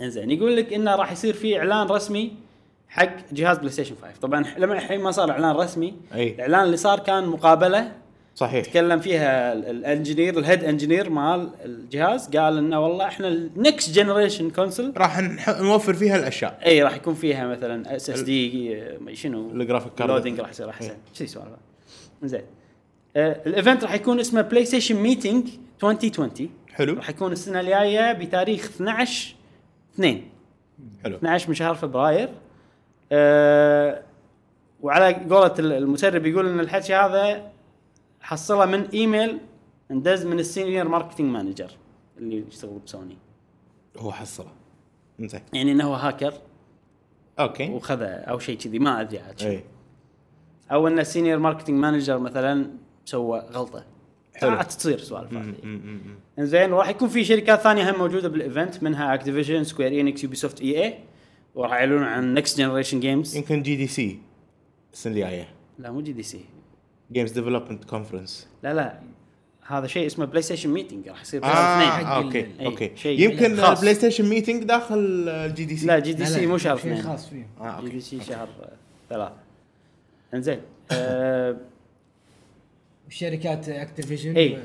[SPEAKER 1] انزين يقول لك انه راح يصير في اعلان رسمي حق جهاز بلاي ستيشن 5 طبعا لما الحين ما صار اعلان رسمي
[SPEAKER 3] أي.
[SPEAKER 1] الاعلان اللي صار كان مقابله
[SPEAKER 3] صحيح
[SPEAKER 1] تكلم فيها ال- الانجينير الهيد انجينير مال الجهاز قال انه والله احنا النكست جنريشن كونسل
[SPEAKER 3] راح نح- نوفر فيها الاشياء
[SPEAKER 1] اي راح يكون فيها مثلا اس اس دي شنو
[SPEAKER 3] الجرافيك كارد.
[SPEAKER 1] لودنج راح يصير احسن شي سوالف زين آه، الايفنت راح يكون اسمه بلاي ستيشن ميتنج 2020
[SPEAKER 3] حلو
[SPEAKER 1] راح يكون السنه الجايه بتاريخ 12 2
[SPEAKER 3] حلو
[SPEAKER 1] 12 من شهر فبراير أه وعلى قولة ال- المسرب يقول ان الحكي هذا حصله من ايميل اندز من السينيور ماركتينج مانجر اللي يشتغل بسوني
[SPEAKER 3] هو حصله زين
[SPEAKER 1] يعني انه هو هاكر
[SPEAKER 3] اوكي
[SPEAKER 1] وخذ او شيء كذي ما ادري عاد شنو.
[SPEAKER 3] اي
[SPEAKER 1] او ان السينيور ماركتينج مانجر مثلا سوى غلطه
[SPEAKER 3] حلو.
[SPEAKER 1] ساعات تصير سوالف هذه.
[SPEAKER 3] م- م- م-
[SPEAKER 1] انزين وراح يكون في شركات ثانيه هم موجوده بالايفنت منها اكتيفيشن سكوير انكس يوبي سوفت اي اي E وراح يعلنون عن نكست جنريشن جيمز
[SPEAKER 3] يمكن جي دي سي السنه الجايه
[SPEAKER 1] لا مو جي دي سي
[SPEAKER 3] جيمز ديفلوبمنت كونفرنس
[SPEAKER 1] لا لا هذا شيء اسمه بلاي ستيشن ميتنج راح يصير بين الاثنين
[SPEAKER 3] اه
[SPEAKER 2] حق ال-
[SPEAKER 3] اوكي
[SPEAKER 1] أي،
[SPEAKER 3] اوكي
[SPEAKER 1] شيء
[SPEAKER 3] يمكن
[SPEAKER 1] خاص.
[SPEAKER 3] البلاي ستيشن ميتنج داخل الجي دي سي
[SPEAKER 1] لا جي دي
[SPEAKER 2] لا،
[SPEAKER 1] سي
[SPEAKER 2] لا،
[SPEAKER 1] مو نعم. شهر
[SPEAKER 2] شيء
[SPEAKER 1] اثنين
[SPEAKER 2] خاص فيه
[SPEAKER 1] جي
[SPEAKER 3] اه
[SPEAKER 1] دي
[SPEAKER 3] اوكي
[SPEAKER 1] سي شهر آه، ثلاثة انزين آه،
[SPEAKER 2] الشركات اكتيفيجن
[SPEAKER 1] إي.
[SPEAKER 2] و-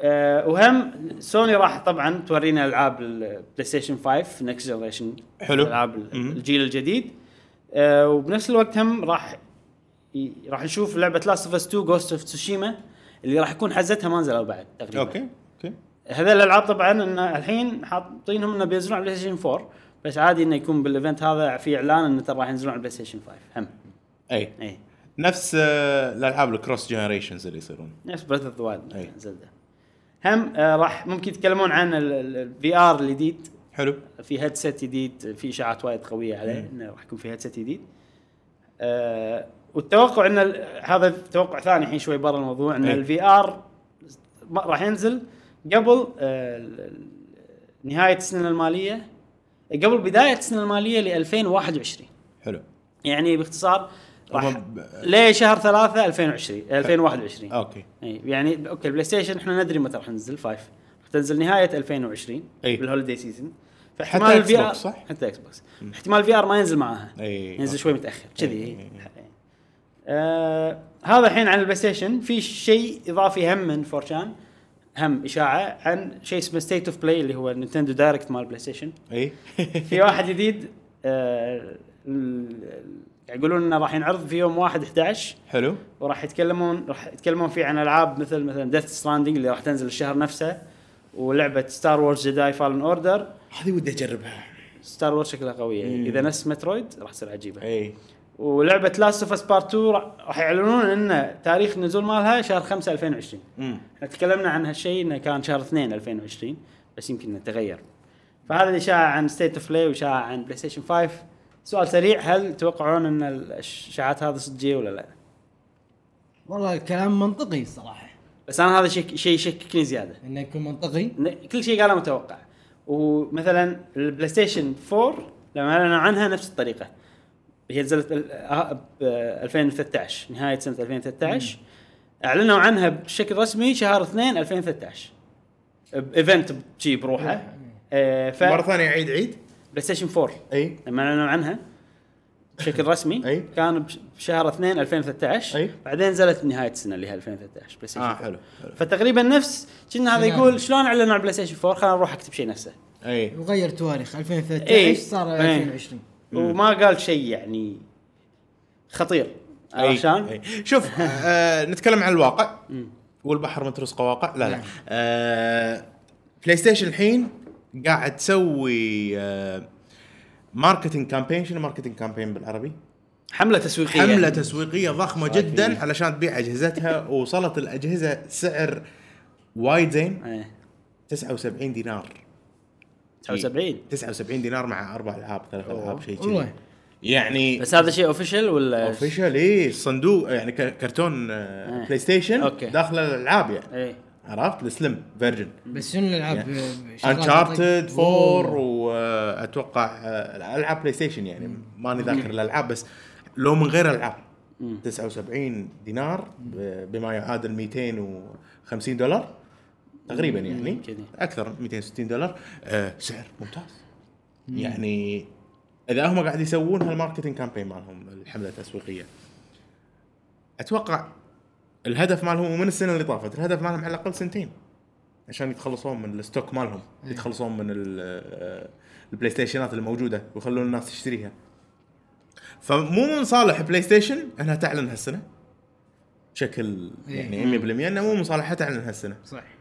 [SPEAKER 1] آه، وهم سوني راح طبعا تورينا العاب البلاي ستيشن 5 نكست جنريشن
[SPEAKER 3] حلو.
[SPEAKER 1] العاب
[SPEAKER 3] مم.
[SPEAKER 1] الجيل الجديد آه، وبنفس الوقت هم راح ي- راح نشوف لعبه لاست اوف اس 2 جوست اوف تسوشيما اللي راح يكون حزتها ما نزلوا بعد تقريبا
[SPEAKER 3] اوكي اوكي
[SPEAKER 1] هذول الالعاب طبعا ان الحين حاطينهم انه بينزلون على بلاي ستيشن 4 بس عادي انه يكون بالايفنت هذا في اعلان انه ترى راح ينزلون على بلاي ستيشن 5 هم إيه.
[SPEAKER 3] اي
[SPEAKER 1] اي
[SPEAKER 3] إيه. نفس آه، الالعاب الكروس جنريشنز اللي يصيرون
[SPEAKER 1] نفس بريث اوف ذا
[SPEAKER 3] أي.
[SPEAKER 1] وايلد زلده هم آه راح ممكن يتكلمون عن الفي ار الجديد
[SPEAKER 3] حلو
[SPEAKER 1] في هيدسيت جديد في اشاعات وايد قويه عليه انه راح يكون في هيدسيت جديد آه والتوقع ان ال- هذا توقع ثاني الحين شوي برا الموضوع ان
[SPEAKER 3] أي.
[SPEAKER 1] الفي ار راح ينزل قبل آه ال- ال- نهايه السنه الماليه قبل بدايه السنه الماليه ل 2021
[SPEAKER 3] حلو
[SPEAKER 1] يعني باختصار راح
[SPEAKER 3] هم ب-
[SPEAKER 1] لشهر 3 2020 2021
[SPEAKER 3] اوكي
[SPEAKER 1] اي يعني اوكي البلاي ستيشن احنا ندري متى راح تنزل 5 راح تنزل نهايه 2020
[SPEAKER 3] أي.
[SPEAKER 1] بالهوليدي سيزون
[SPEAKER 3] حتى
[SPEAKER 1] فاحتمال
[SPEAKER 3] Xbox،
[SPEAKER 1] الفي ار
[SPEAKER 3] صح؟
[SPEAKER 1] حتى اكس بوكس احتمال الفي ار ما ينزل معاها
[SPEAKER 3] أي،
[SPEAKER 1] ينزل
[SPEAKER 3] أوكي.
[SPEAKER 1] شوي متاخر
[SPEAKER 3] أي،
[SPEAKER 1] كذي
[SPEAKER 3] أي، أي.
[SPEAKER 1] آه هذا الحين عن البلاي ستيشن في شيء اضافي هم من فورشان هم اشاعه عن شيء اسمه ستيت اوف بلاي اللي هو النينتندو دايركت مال بلاي ستيشن
[SPEAKER 3] اي
[SPEAKER 1] في واحد جديد آه ال- يقولون انه راح ينعرض في يوم 1 11
[SPEAKER 3] حلو
[SPEAKER 1] وراح يتكلمون راح يتكلمون فيه عن العاب مثل مثلا ديث ستراندنج اللي راح تنزل الشهر نفسه ولعبه ستار وورز جداي فالن اوردر
[SPEAKER 3] هذه ودي اجربها
[SPEAKER 1] ستار وورز شكلها قويه
[SPEAKER 3] مم.
[SPEAKER 1] اذا نفس مترويد راح تصير عجيبه
[SPEAKER 3] اي
[SPEAKER 1] ولعبه لاست اوف اس بارت 2 راح- راح يعلنون ان تاريخ نزول مالها شهر 5 2020
[SPEAKER 3] امم
[SPEAKER 1] احنا تكلمنا عن هالشيء انه كان شهر 2 2020 بس يمكن انه تغير فهذا الاشاعه عن ستيت اوف بلاي واشاعه عن بلاي ستيشن 5 سؤال سريع هل توقعون ان الاشاعات هذه صجيه ولا لا؟
[SPEAKER 2] والله الكلام منطقي الصراحه
[SPEAKER 1] بس انا هذا شيء شيء يشككني زياده
[SPEAKER 2] انه يكون منطقي
[SPEAKER 1] ن- كل شيء قاله متوقع ومثلا البلاي ستيشن 4 لما اعلنوا عنها نفس الطريقه هي نزلت بال- آه، ب 2013 نهايه سنه 2013 اعلنوا عنها بشكل رسمي شهر 2 2013 بايفنت شي بروحه آه، ف
[SPEAKER 3] مره ثانيه عيد إيه. عيد
[SPEAKER 1] بلاي ستيشن 4
[SPEAKER 3] اي
[SPEAKER 1] لما اعلنوا عنها بشكل رسمي
[SPEAKER 3] أي.
[SPEAKER 1] كان بش- بشهر 2 2013
[SPEAKER 3] أي.
[SPEAKER 1] بعدين نزلت بنهايه السنه اللي هي 2013 بلاي ستيشن
[SPEAKER 3] اه
[SPEAKER 1] 4.
[SPEAKER 3] حلو حلو
[SPEAKER 1] فتقريبا نفس كنا هذا
[SPEAKER 2] نعم.
[SPEAKER 1] يقول شلون اعلنوا عن بلاي ستيشن 4 خلينا نروح اكتب شيء نفسه
[SPEAKER 3] اي
[SPEAKER 2] وغير تواريخ 2013
[SPEAKER 1] إيه.
[SPEAKER 2] صار
[SPEAKER 1] إيه.
[SPEAKER 2] 2020
[SPEAKER 1] وما قال شيء يعني خطير
[SPEAKER 3] أي.
[SPEAKER 1] عشان
[SPEAKER 3] إيه. شوف آه نتكلم عن الواقع والبحر متروس قواقع لا لا آه بلاي ستيشن الحين قاعد تسوي آه ماركتنج كامبين شنو ماركتنج كامبين بالعربي؟
[SPEAKER 1] حمله تسويقيه
[SPEAKER 3] حمله تسويقيه ضخمه
[SPEAKER 1] إيه. صحيح.
[SPEAKER 3] جدا علشان تبيع اجهزتها ووصلت الاجهزه سعر وايد زين
[SPEAKER 1] إيه.
[SPEAKER 3] 79 دينار
[SPEAKER 1] 79
[SPEAKER 3] 79 إيه. دينار مع اربع العاب ثلاث العاب شيء كذي
[SPEAKER 2] والله
[SPEAKER 3] يعني
[SPEAKER 1] بس هذا شيء اوفيشل ولا
[SPEAKER 3] اوفيشال اي صندوق يعني ك- كرتون آه،
[SPEAKER 1] إيه.
[SPEAKER 3] بلاي ستيشن
[SPEAKER 1] أوكي.
[SPEAKER 3] داخله الالعاب يعني
[SPEAKER 1] ايه
[SPEAKER 3] عرفت السلم فيرجن
[SPEAKER 2] بس شنو الالعاب
[SPEAKER 3] يعني
[SPEAKER 2] شغالة؟
[SPEAKER 3] انشارتد
[SPEAKER 2] طيب.
[SPEAKER 3] 4
[SPEAKER 2] أوه.
[SPEAKER 3] واتوقع العاب بلاي ستيشن يعني ماني ذاكر الالعاب بس لو من غير العاب 79 دينار ب- بما يعادل 250 دولار تقريبا يعني
[SPEAKER 1] كذي.
[SPEAKER 3] اكثر 260 دولار آه، سعر ممتاز يعني اذا هم قاعد يسوون هالماركتنج كامبين مالهم الحمله التسويقيه اتوقع الهدف مالهم ومن السنه اللي طافت الهدف مالهم على الاقل سنتين عشان يتخلصون من الستوك مالهم
[SPEAKER 2] إيه.
[SPEAKER 3] يتخلصون من ال- آه، البلاي ستيشنات الموجوده ويخلون الناس تشتريها فمو من صالح بلاي ستيشن انها تعلن هالسنه بشكل
[SPEAKER 2] إيه.
[SPEAKER 3] يعني 100% انه مو من صالحها تعلن هالسنه
[SPEAKER 2] صح إيه.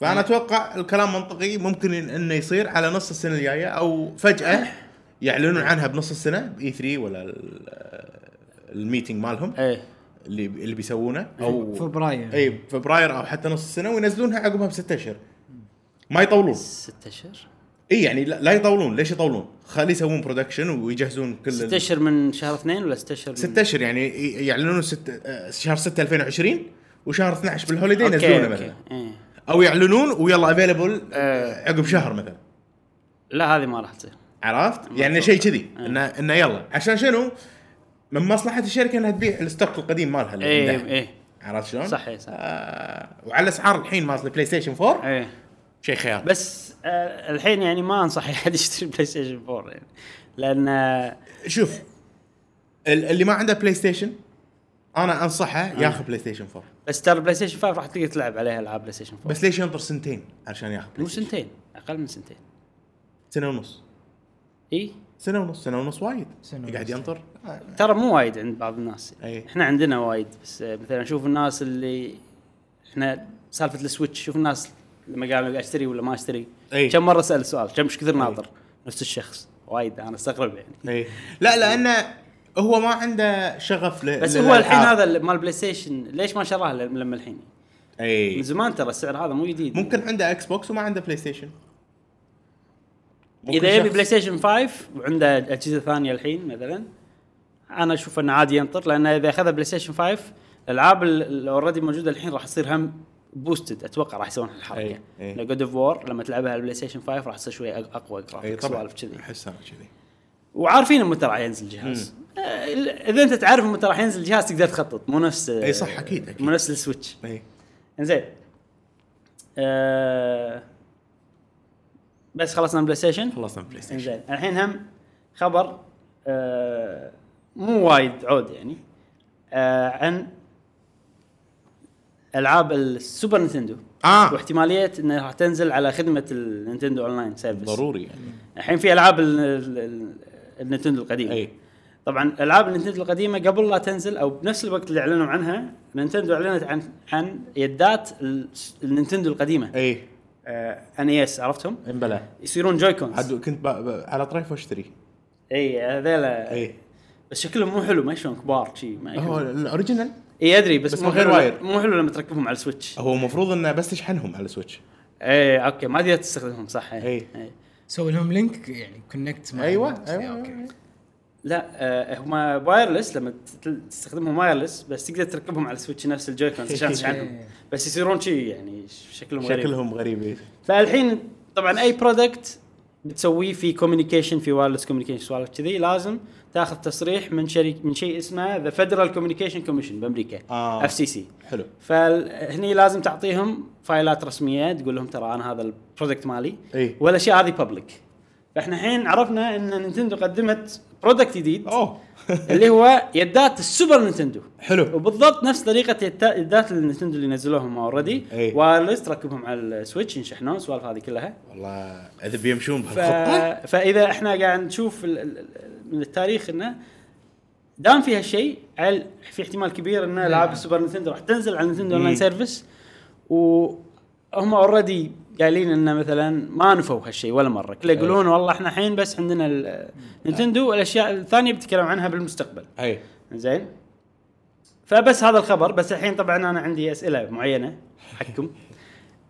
[SPEAKER 3] فانا اتوقع الكلام منطقي ممكن إن- انه يصير على نص السنه الجايه او فجاه يعلنون عنها بنص السنه باي 3 ولا ال- آه، الميتنج مالهم
[SPEAKER 1] ايه
[SPEAKER 3] اللي اللي بيسوونه او
[SPEAKER 2] فبراير
[SPEAKER 3] اي فبراير او حتى نص السنه وينزلونها عقبها بست اشهر ما يطولون
[SPEAKER 1] ست اشهر
[SPEAKER 3] اي يعني لا لا يطولون ليش يطولون؟ خلي يسوون برودكشن ويجهزون كل
[SPEAKER 1] ست
[SPEAKER 3] ال-
[SPEAKER 1] اشهر من شهر اثنين ولا ست اشهر من-
[SPEAKER 3] ست اشهر يعني ي- يعلنون ست آه، شهر 6 2020 وشهر 12 بالهوليدي
[SPEAKER 1] اوكي
[SPEAKER 3] ينزلونه
[SPEAKER 1] اوكي
[SPEAKER 3] مثلا
[SPEAKER 1] ايه
[SPEAKER 3] او يعلنون ويلا افيلبل
[SPEAKER 1] آه.
[SPEAKER 3] عقب شهر مثلا
[SPEAKER 1] لا هذه ما راح تصير
[SPEAKER 3] عرفت؟ يعني شيء كذي
[SPEAKER 1] آه.
[SPEAKER 3] انه انه يلا عشان شنو؟ من مصلحه الشركه انها تبيع الستوك القديم مالها اللي
[SPEAKER 1] ايه
[SPEAKER 3] عندها.
[SPEAKER 1] ايه
[SPEAKER 3] عرفت شلون؟
[SPEAKER 1] صحيح، صح.
[SPEAKER 3] إيه، آه وعلى اسعار الحين مالت البلاي ستيشن 4
[SPEAKER 1] ايه
[SPEAKER 3] شيء خيال
[SPEAKER 1] بس آه الحين يعني ما انصح اي حد يشتري بلاي ستيشن 4 يعني لان آه
[SPEAKER 3] شوف ال- اللي ما عنده بلاي ستيشن انا انصحه ياخذ بلاي ستيشن 4
[SPEAKER 1] بس ترى بلاي ستيشن 5 راح تقدر تلعب عليها العاب بلاي ستيشن 4
[SPEAKER 3] بس ليش ينطر سنتين عشان ياخذ بلاي
[SPEAKER 1] مو
[SPEAKER 3] ستيشن؟
[SPEAKER 1] سنتين اقل من سنتين
[SPEAKER 3] سنه ونص
[SPEAKER 1] اي
[SPEAKER 3] سنه ونص سنه ونص وايد
[SPEAKER 2] سنة
[SPEAKER 3] قاعد
[SPEAKER 2] ونص.
[SPEAKER 3] ينطر
[SPEAKER 1] ترى مو وايد عند بعض الناس
[SPEAKER 3] أي.
[SPEAKER 1] احنا عندنا وايد بس آه، مثلا اشوف الناس اللي احنا سالفه السويتش شوف الناس لما قالوا اشتري ولا ما اشتري
[SPEAKER 3] أي.
[SPEAKER 1] كم مره سال السؤال كم ايش كثر ناظر نفس الشخص وايد انا استغرب يعني
[SPEAKER 3] اي إيه. لا لانه هو ما عنده شغف ل
[SPEAKER 1] بس هو الحين
[SPEAKER 3] آه.
[SPEAKER 1] هذا اللي مال بلاي ستيشن ليش ما شراه ل- لما الحين؟ من
[SPEAKER 3] اي
[SPEAKER 1] زمان ترى السعر هذا مو جديد
[SPEAKER 3] إيه. ممكن عنده اكس بوكس وما عنده بلاي ستيشن ممكن
[SPEAKER 1] اذا يبي
[SPEAKER 3] شخص-
[SPEAKER 1] بلاي ستيشن 5 وعنده اجهزه ثانيه الحين مثلا انا اشوف انه عادي ينطر لان اذا اخذ بلاي ستيشن 5 الالعاب اللي اوريدي موجوده الحين راح تصير هم بوستد اتوقع راح يسوون الحركه
[SPEAKER 3] أي، أي.
[SPEAKER 1] جود اوف وور لما تلعبها على البلاي ستيشن 5 راح تصير شوي أق- اقوى
[SPEAKER 3] اي
[SPEAKER 1] جرافيكس
[SPEAKER 3] طبعا
[SPEAKER 1] سوالف كذي
[SPEAKER 3] احس انا كذي
[SPEAKER 1] وعارفين متى راح ينزل الجهاز آه، ال- اذا انت تعرف متى راح ينزل الجهاز تقدر تخطط مو نفس
[SPEAKER 3] أي إيه، صح، أكيد، أكيد.
[SPEAKER 1] مو نفس السويتش
[SPEAKER 3] اي
[SPEAKER 1] انزين آه بس خلصنا من بلاي ستيشن
[SPEAKER 3] خلصنا من بلاي ستيشن
[SPEAKER 1] انزين الحين هم خبر آه مو وايد عود يعني آه عن العاب السوبر نينتندو
[SPEAKER 3] اه
[SPEAKER 1] واحتماليه انها راح تنزل على خدمه النينتندو اونلاين سيرفيس
[SPEAKER 3] ضروري يعني
[SPEAKER 1] الحين في العاب ال- ال- ال- النينتندو القديمه
[SPEAKER 3] اي
[SPEAKER 1] طبعا العاب نينتندو القديمه قبل لا تنزل او بنفس الوقت اللي اعلنوا عنها نينتندو اعلنت عن عن يدات ال- آه، النينتندو القديمه
[SPEAKER 3] اي
[SPEAKER 1] ان اس E عرفتهم
[SPEAKER 3] امبلا
[SPEAKER 1] يصيرون جويكونز
[SPEAKER 3] عاد كنت ب... ب... على طريف واشتري
[SPEAKER 1] اي هذيلا
[SPEAKER 3] اي
[SPEAKER 1] بس شكلهم مو حلو ما شلون كبار شي ما
[SPEAKER 3] هو
[SPEAKER 1] يكون-
[SPEAKER 3] الاوريجينال
[SPEAKER 1] اي ادري بس,
[SPEAKER 3] بس
[SPEAKER 1] مو
[SPEAKER 3] من غير آه.
[SPEAKER 1] حلو
[SPEAKER 3] واير.
[SPEAKER 1] مو حلو لما تركبهم على السويتش
[SPEAKER 3] هو المفروض انه بس تشحنهم على سويتش
[SPEAKER 1] اي اوكي ما تقدر تستخدمهم صح
[SPEAKER 3] إي.
[SPEAKER 1] إي.
[SPEAKER 2] سوي لهم لينك يعني كونكت مع
[SPEAKER 3] ايوه
[SPEAKER 2] إيه،
[SPEAKER 3] ايوه
[SPEAKER 2] اوكي
[SPEAKER 1] لا آه هما وايرلس لما تت- تستخدمهم وايرلس بس تقدر تركبهم على السويتش نفس الجويكونز عشان تشحنهم
[SPEAKER 2] إيه.
[SPEAKER 1] بس يصيرون شي يعني ش- شكلهم غريب
[SPEAKER 3] شكلهم غريب إيه.
[SPEAKER 1] فالحين طبعا اي برودكت بتسويه في كوميونيكيشن في وايرلس كوميونيكيشن سوالف كذي لازم تاخذ تصريح من شريك من شيء اسمه ذا فيدرال كوميونيكيشن كوميشن بامريكا
[SPEAKER 3] آه.
[SPEAKER 1] اف سي سي
[SPEAKER 3] حلو
[SPEAKER 1] فهني لازم تعطيهم فايلات رسميه تقول لهم ترى انا هذا البرودكت مالي
[SPEAKER 3] إي.
[SPEAKER 1] والاشياء هذه بابليك فاحنا الحين عرفنا ان نينتندو قدمت برودكت جديد
[SPEAKER 3] اوه
[SPEAKER 1] اللي هو يدات السوبر نينتندو
[SPEAKER 3] حلو
[SPEAKER 1] وبالضبط نفس طريقه يتا- يدات النينتندو اللي نزلوهم اوريدي
[SPEAKER 3] إي.
[SPEAKER 1] وايرلس ركبهم على السويتش ينشحنون السوالف هذه كلها
[SPEAKER 3] والله اذا بيمشون
[SPEAKER 1] ف...
[SPEAKER 3] بهالخطه
[SPEAKER 1] فاذا احنا قاعد نشوف ال... ال- ال- من التاريخ انه دام في هالشيء عل- في احتمال كبير ان العاب السوبر نينتندو راح تنزل على نينتندو اونلاين سيرفيس وهم اوريدي قايلين انه مثلا ما نفوا هالشيء ولا مره كله يقولون والله احنا الحين بس عندنا ال- نينتندو والاشياء الثانيه بيتكلم عنها بالمستقبل
[SPEAKER 3] اي
[SPEAKER 1] زين فبس هذا الخبر بس الحين طبعا انا عندي اسئله معينه حقكم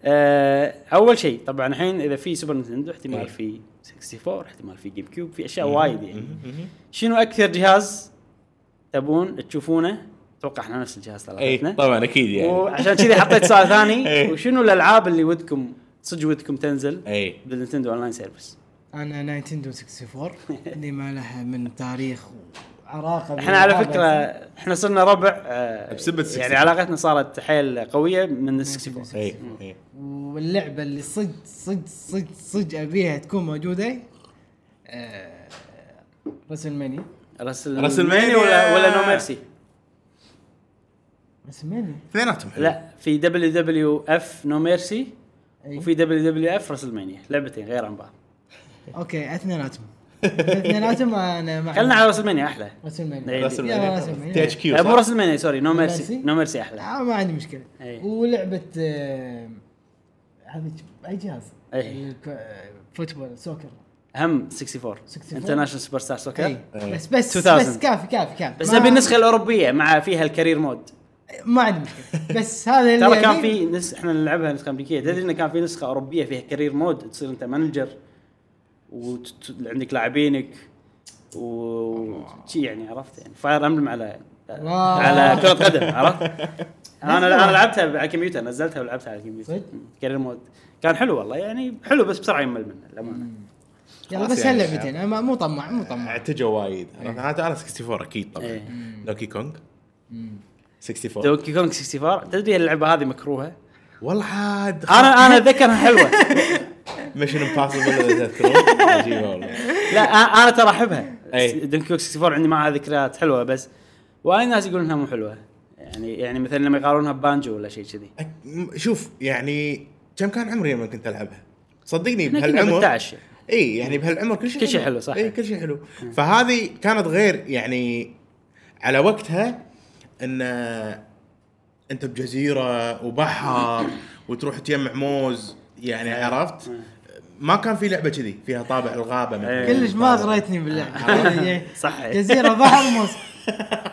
[SPEAKER 1] آه، اول شيء طبعا الحين اذا في سوبر نتندو
[SPEAKER 3] إيه.
[SPEAKER 1] احتمال في 64 احتمال في جيم كيوب في اشياء وايد يعني شنو اكثر جهاز تبون تشوفونه اتوقع احنا نفس الجهاز
[SPEAKER 3] اي
[SPEAKER 1] طلعتنا
[SPEAKER 3] طبعا اكيد إيه، يعني
[SPEAKER 1] وعشان كذي حطيت سؤال ثاني
[SPEAKER 3] إيه.
[SPEAKER 1] وشنو الالعاب اللي ودكم صدق ودكم تنزل
[SPEAKER 3] اي
[SPEAKER 1] بالنتندو اونلاين سيرفيس
[SPEAKER 2] انا ناينتندو 64 اللي ما لها من تاريخ وعراقه
[SPEAKER 1] احنا على
[SPEAKER 2] بالألعاب
[SPEAKER 1] فكره احنا صرنا ربع آه،
[SPEAKER 3] بسبة 64.
[SPEAKER 1] يعني علاقتنا صارت حيل قويه من ال 64
[SPEAKER 3] اي اي
[SPEAKER 2] واللعبه اللي صدق صدق صدق صدق ابيها تكون آه، موجوده رسل ماني
[SPEAKER 1] رسل
[SPEAKER 3] رسل
[SPEAKER 1] ماني
[SPEAKER 3] مانيا.
[SPEAKER 1] ولا ولا نو ميرسي
[SPEAKER 2] رسل ماني
[SPEAKER 3] اثنيناتهم حلو.
[SPEAKER 1] لا في دبليو دبليو اف نو ميرسي
[SPEAKER 2] أي.
[SPEAKER 1] وفي دبليو دبليو اف رسل مانيا لعبتين غير عن بعض
[SPEAKER 2] اوكي اثنيناتهم اثنيناتهم انا مع
[SPEAKER 1] خلينا على رسل مانيا احلى
[SPEAKER 2] رسل ماني
[SPEAKER 1] إيه.
[SPEAKER 3] رسل
[SPEAKER 2] يا رسل
[SPEAKER 3] ماني.
[SPEAKER 2] ماني.
[SPEAKER 3] يعني تي اتش كيو
[SPEAKER 1] آه، مو
[SPEAKER 3] أيوة، صح؟
[SPEAKER 1] رسل مانيا سوري نو ميرسي
[SPEAKER 2] ميرسي؟
[SPEAKER 1] نو ميرسي احلى
[SPEAKER 2] آه ما عندي مشكله
[SPEAKER 1] أي.
[SPEAKER 2] ولعبه آه، هذه اي جهاز
[SPEAKER 1] أي.
[SPEAKER 2] الك- آه، فوتبول سوكر
[SPEAKER 1] هم 64
[SPEAKER 2] 64.
[SPEAKER 1] انترناشونال سوبر ستار سوكر
[SPEAKER 2] أي.
[SPEAKER 3] أي.
[SPEAKER 2] إيه. بس بس
[SPEAKER 1] 2000.
[SPEAKER 2] بس كافي كافي كافي
[SPEAKER 1] بس
[SPEAKER 2] ما-
[SPEAKER 1] نبي النسخه الاوروبيه مع فيها الكارير مود
[SPEAKER 2] ما عندي مشكله بس هذا اللي
[SPEAKER 1] ترى كان
[SPEAKER 2] يعني-
[SPEAKER 1] في نس... احنا نلعبها نسخه امريكيه تدري انه كان في نسخه اوروبيه فيها كارير مود تصير انت مانجر وعندك لاعبينك و شي يعني عرفت يعني فاير امبلم على
[SPEAKER 2] واو.
[SPEAKER 1] على كره قدم عرفت؟ انا
[SPEAKER 2] نزلوها.
[SPEAKER 1] انا لعبتها على الكمبيوتر نزلتها ولعبتها على الكمبيوتر
[SPEAKER 2] صدق؟
[SPEAKER 1] مم. كارير مود كان حلو والله يعني حلو بس بسرعه يمل منه للامانه
[SPEAKER 2] يلا
[SPEAKER 3] خلاص
[SPEAKER 2] بس
[SPEAKER 3] يعني.
[SPEAKER 2] هاللعبتين انا ما- مو طماع مو طماع
[SPEAKER 3] اعتجوا وايد انا انا 64 اكيد طبعا
[SPEAKER 1] إيه.
[SPEAKER 3] دوكي كونغ 64
[SPEAKER 1] دوكي كونغ 64 تدري اللعبه هذه مكروهه
[SPEAKER 3] والله عاد
[SPEAKER 1] انا انا اتذكرها حلوه
[SPEAKER 3] ميشن امبوسيبل تذكرون عجيبه والله
[SPEAKER 1] لا أ- انا ترى احبها
[SPEAKER 3] أي.
[SPEAKER 1] دونكي كونغ 64 عندي معها ذكريات حلوه بس وايد ناس يقولون انها مو حلوه يعني يعني مثلا لما يقارنونها ببانجو ولا شيء كذي
[SPEAKER 3] أك- م- شوف يعني كم كان عمري لما كنت العبها صدقني
[SPEAKER 1] احنا كنا
[SPEAKER 3] بهالعمر
[SPEAKER 1] 13
[SPEAKER 3] اي يعني بهالعمر كل شيء
[SPEAKER 1] كل شيء حلو، صح. إيه.
[SPEAKER 3] اي كل شيء حلو فهذه كانت غير يعني على وقتها ان انت بجزيره وبحر وتروح تجمع موز يعني عرفت
[SPEAKER 1] إيه.
[SPEAKER 3] ما كان في لعبه كذي فيها طابع الغابه مثلاً.
[SPEAKER 2] كلش ما غريتني
[SPEAKER 3] آه.
[SPEAKER 2] يعني باللعبه
[SPEAKER 1] صح.
[SPEAKER 2] جزيره بحر موس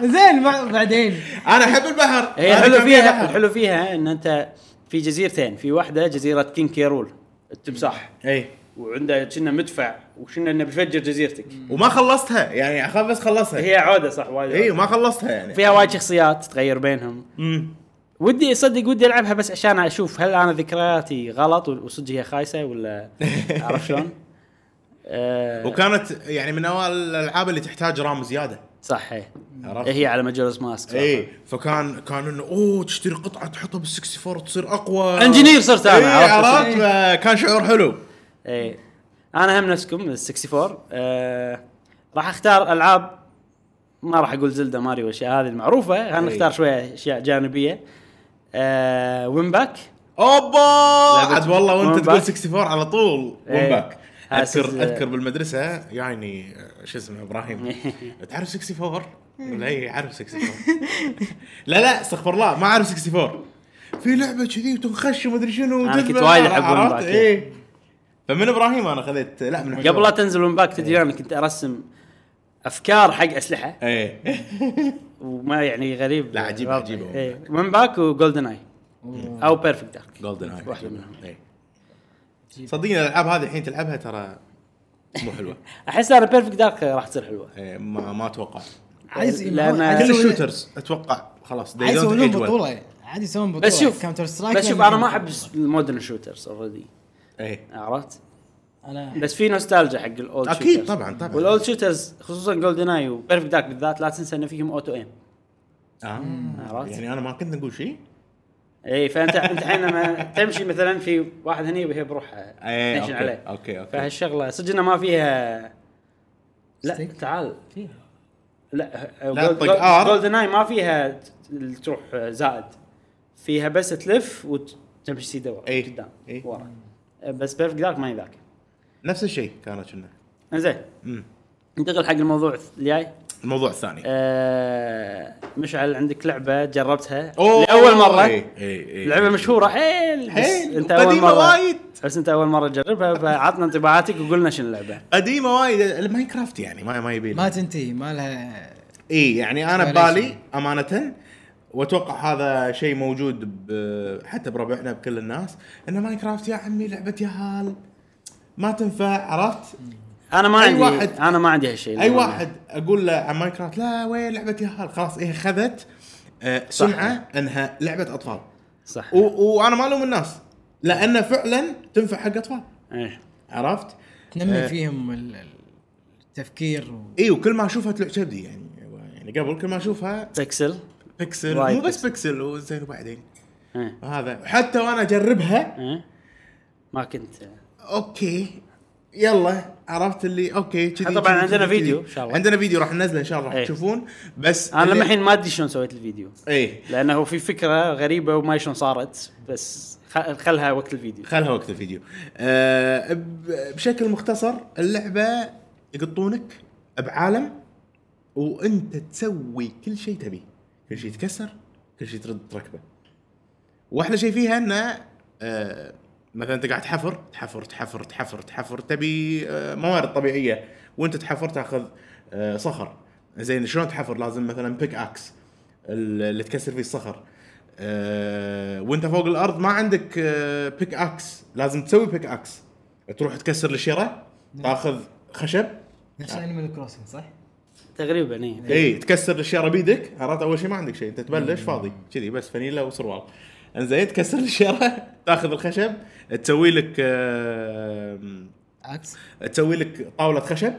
[SPEAKER 2] زين ما- بعدين
[SPEAKER 3] انا احب البحر
[SPEAKER 1] هي
[SPEAKER 3] أنا
[SPEAKER 1] الحلو
[SPEAKER 3] كان
[SPEAKER 1] إيه، فيها
[SPEAKER 3] بحر.
[SPEAKER 1] الحلو فيها ان انت في جزيرتين في واحده جزيره كينج كيرول التمساح
[SPEAKER 3] اي
[SPEAKER 1] وعنده كنا مدفع وكنا انه بيفجر جزيرتك
[SPEAKER 3] وما خلصتها يعني اخاف بس خلصها
[SPEAKER 1] هي عوده صح وايد
[SPEAKER 3] اي
[SPEAKER 1] عودة.
[SPEAKER 3] وما خلصتها يعني
[SPEAKER 1] فيها وايد شخصيات تغير بينهم
[SPEAKER 3] امم
[SPEAKER 1] ودي صدق ودي العبها بس عشان اشوف هل انا ذكرياتي غلط وصدق هي خايسه ولا عرفت شلون؟ آه،
[SPEAKER 3] وكانت يعني من اوائل الالعاب اللي تحتاج رام زياده
[SPEAKER 1] صح هي
[SPEAKER 3] عرفت؟
[SPEAKER 1] إيه، هي على ماجورز ماسك
[SPEAKER 3] اي فكان كان انه اوه تشتري قطعه تحطها بال 64 تصير اقوى
[SPEAKER 1] انجينير صرت أنا،
[SPEAKER 3] إيه،
[SPEAKER 1] عرفت؟
[SPEAKER 3] عرفت كان شعور حلو
[SPEAKER 1] اي انا إيه. هم نفسكم ال 64 آه راح اختار العاب ما راح اقول زلدا ماريو والاشياء هذه المعروفه خلينا
[SPEAKER 3] إي.
[SPEAKER 1] نختار شويه اشياء جانبيه آه وين باك
[SPEAKER 3] اوبا
[SPEAKER 1] لعبة
[SPEAKER 3] عاد والله
[SPEAKER 1] وين
[SPEAKER 3] وانت
[SPEAKER 1] باك؟
[SPEAKER 3] تقول 64 على طول
[SPEAKER 1] إيه.
[SPEAKER 3] وين باك
[SPEAKER 1] حاسس-
[SPEAKER 3] اذكر اذكر بالمدرسه يعني شو اسمه ابراهيم تعرف 64 ولا اي عارف 64 لا لا استغفر الله ما اعرف 64 في لعبه كذي وتنخش ومدري شنو
[SPEAKER 1] أنا
[SPEAKER 3] وتذبح،
[SPEAKER 1] كنت وايد ألعب وين
[SPEAKER 3] عرفت؟
[SPEAKER 1] باك، إيه.
[SPEAKER 3] ايه فمن ابراهيم انا خذيت لا من
[SPEAKER 1] قبل لا تنزل وين باك تدري انا كنت ارسم افكار حق اسلحه
[SPEAKER 3] ايه
[SPEAKER 1] وما يعني غريب
[SPEAKER 3] لا، عجيبة،
[SPEAKER 1] واضح.
[SPEAKER 3] عجيبة.
[SPEAKER 1] إيه. وين باك وجولدن اي او بيرفكت دارك
[SPEAKER 3] جولدن اي
[SPEAKER 1] واحدة منهم.
[SPEAKER 3] اي إيه. صدقني الالعاب هذه الحين تلعبها ترى مو حلوه
[SPEAKER 1] احس انا بيرفكت دارك راح تصير حلوه
[SPEAKER 3] إيه، ما ما اتوقع
[SPEAKER 2] عايز
[SPEAKER 1] لأن-
[SPEAKER 2] عايز
[SPEAKER 3] كل
[SPEAKER 2] يسوي-
[SPEAKER 3] الشوترز اتوقع خلاص they
[SPEAKER 2] عايز
[SPEAKER 3] don't
[SPEAKER 2] يسوون
[SPEAKER 3] age well.
[SPEAKER 2] بطوله عادي يسوون بطوله
[SPEAKER 1] بس شوف
[SPEAKER 2] كاونتر سترايك
[SPEAKER 1] بس شوف انا ما احب المودرن شوترز اوريدي
[SPEAKER 3] ايه
[SPEAKER 1] عرفت
[SPEAKER 2] انا
[SPEAKER 1] بس في نوستالجيا حق الاولد
[SPEAKER 3] اكيد طبعا طبعا
[SPEAKER 1] والاولد شوترز خصوصا جولدن اي وبيرفكت دارك بالذات لا تنسى ان فيهم اوتو ايم
[SPEAKER 3] آه.
[SPEAKER 1] عرفت؟
[SPEAKER 3] يعني انا ما كنت اقول شيء
[SPEAKER 1] اي فانت انت الحين لما تمشي مثلا في واحد هني وهي بروحها
[SPEAKER 3] اي
[SPEAKER 1] تنشن
[SPEAKER 3] اوكي
[SPEAKER 1] عليه
[SPEAKER 3] اوكي اوكي
[SPEAKER 1] فهالشغله صدق انه ما فيها لا
[SPEAKER 2] Stick؟
[SPEAKER 1] تعال
[SPEAKER 2] فيها
[SPEAKER 1] لا
[SPEAKER 3] لا تطق R.
[SPEAKER 1] جولدن اي ما فيها ت- تروح آه، زائد فيها بس تلف وتمشي سيده ورا
[SPEAKER 3] إي.
[SPEAKER 1] قدام
[SPEAKER 3] إي.
[SPEAKER 1] ورا بس بيرفكت دارك ما يذاك
[SPEAKER 3] نفس الشيء كانت كنا
[SPEAKER 1] انزين
[SPEAKER 3] مم.
[SPEAKER 1] ننتقل حق الموضوع الجاي
[SPEAKER 3] الموضوع
[SPEAKER 1] إيه.
[SPEAKER 3] الثاني
[SPEAKER 1] آه مشعل عندك لعبه جربتها
[SPEAKER 3] أوه. إيه،
[SPEAKER 1] لاول مره
[SPEAKER 3] إي، إي، إي.
[SPEAKER 1] لعبه مشهوره حيل إيه، بس
[SPEAKER 3] حيل،
[SPEAKER 1] انت اول
[SPEAKER 3] قديمة
[SPEAKER 1] مره
[SPEAKER 3] وايد.
[SPEAKER 1] بس انت اول مره تجربها فعطنا انطباعاتك وقلنا شنو اللعبه
[SPEAKER 3] قديمه وايد الماينكرافت يعني ما ما يبي
[SPEAKER 2] ما تنتهي ما لها
[SPEAKER 3] اي يعني انا
[SPEAKER 2] ولا
[SPEAKER 3] ببالي
[SPEAKER 2] شيء.
[SPEAKER 3] امانه واتوقع هذا شيء موجود ب- حتى بربعنا بكل الناس ان ماينكرافت يا عمي لعبه ياهال ما تنفع عرفت؟
[SPEAKER 1] انا ما
[SPEAKER 3] أي
[SPEAKER 1] عندي
[SPEAKER 3] واحد-
[SPEAKER 1] انا ما عندي هالشيء
[SPEAKER 3] اي واحد اقول له عن ماينكرافت لا وين لعبه ياهال خلاص هي خذت آه، سمعه انها لعبه اطفال
[SPEAKER 1] صح
[SPEAKER 3] و- وانا ما الوم الناس لان فعلا تنفع حق اطفال
[SPEAKER 1] إيه.
[SPEAKER 3] عرفت؟
[SPEAKER 2] تنمي
[SPEAKER 3] آه.
[SPEAKER 2] فيهم ال- ال- التفكير و...
[SPEAKER 3] اي وكل ما اشوفها تلعب كبدي يعني يعني قبل كل ما اشوفها
[SPEAKER 1] بيكسل
[SPEAKER 3] بيكسل
[SPEAKER 1] وايد
[SPEAKER 3] مو بس بيكسل وزين وبعدين
[SPEAKER 1] إيه.
[SPEAKER 3] هذا حتى وانا اجربها
[SPEAKER 1] إيه. ما كنت
[SPEAKER 3] اوكي يلا عرفت اللي اوكي كذي
[SPEAKER 1] طبعاً
[SPEAKER 3] كذي،
[SPEAKER 1] عندنا
[SPEAKER 3] كذي،
[SPEAKER 1] فيديو،
[SPEAKER 3] كذي.
[SPEAKER 1] إن شاء الله.
[SPEAKER 3] عندنا فيديو راح ننزله ان شاء الله راح
[SPEAKER 1] إيه.
[SPEAKER 3] تشوفون بس
[SPEAKER 1] انا
[SPEAKER 3] اللي-
[SPEAKER 1] للحين ما ادري شلون سويت الفيديو
[SPEAKER 3] ايه
[SPEAKER 1] لانه في فكره غريبه وما شلون صارت بس خ- خلها وقت الفيديو
[SPEAKER 3] خلها وقت الفيديو آه ب- بشكل مختصر اللعبه يقطونك بعالم وانت تسوي كل شيء تبيه كل شيء يتكسر كل شيء ترد تركبه واحلى شيء فيها انه آه مثلا انت قاعد تحفر تحفر تحفر تحفر تحفر تبي آه موارد طبيعيه وانت تحفر تاخذ آه صخر زين شلون تحفر لازم مثلا بيك اكس اللي تكسر فيه الصخر آه وانت فوق الارض ما عندك آه بيك اكس لازم تسوي بيك اكس تروح تكسر الشيره تاخذ خشب
[SPEAKER 2] نفس انيمال كروسنج صح؟
[SPEAKER 1] تقريبا اي
[SPEAKER 3] اي إيه، تكسر الشيره بيدك عرفت اول شيء ما عندك شيء انت تبلش فاضي كذي بس فانيلا وسروال انزين تكسر الشيره تاخذ الخشب تسوي لك آه،
[SPEAKER 2] عكس
[SPEAKER 3] تسوي لك طاوله خشب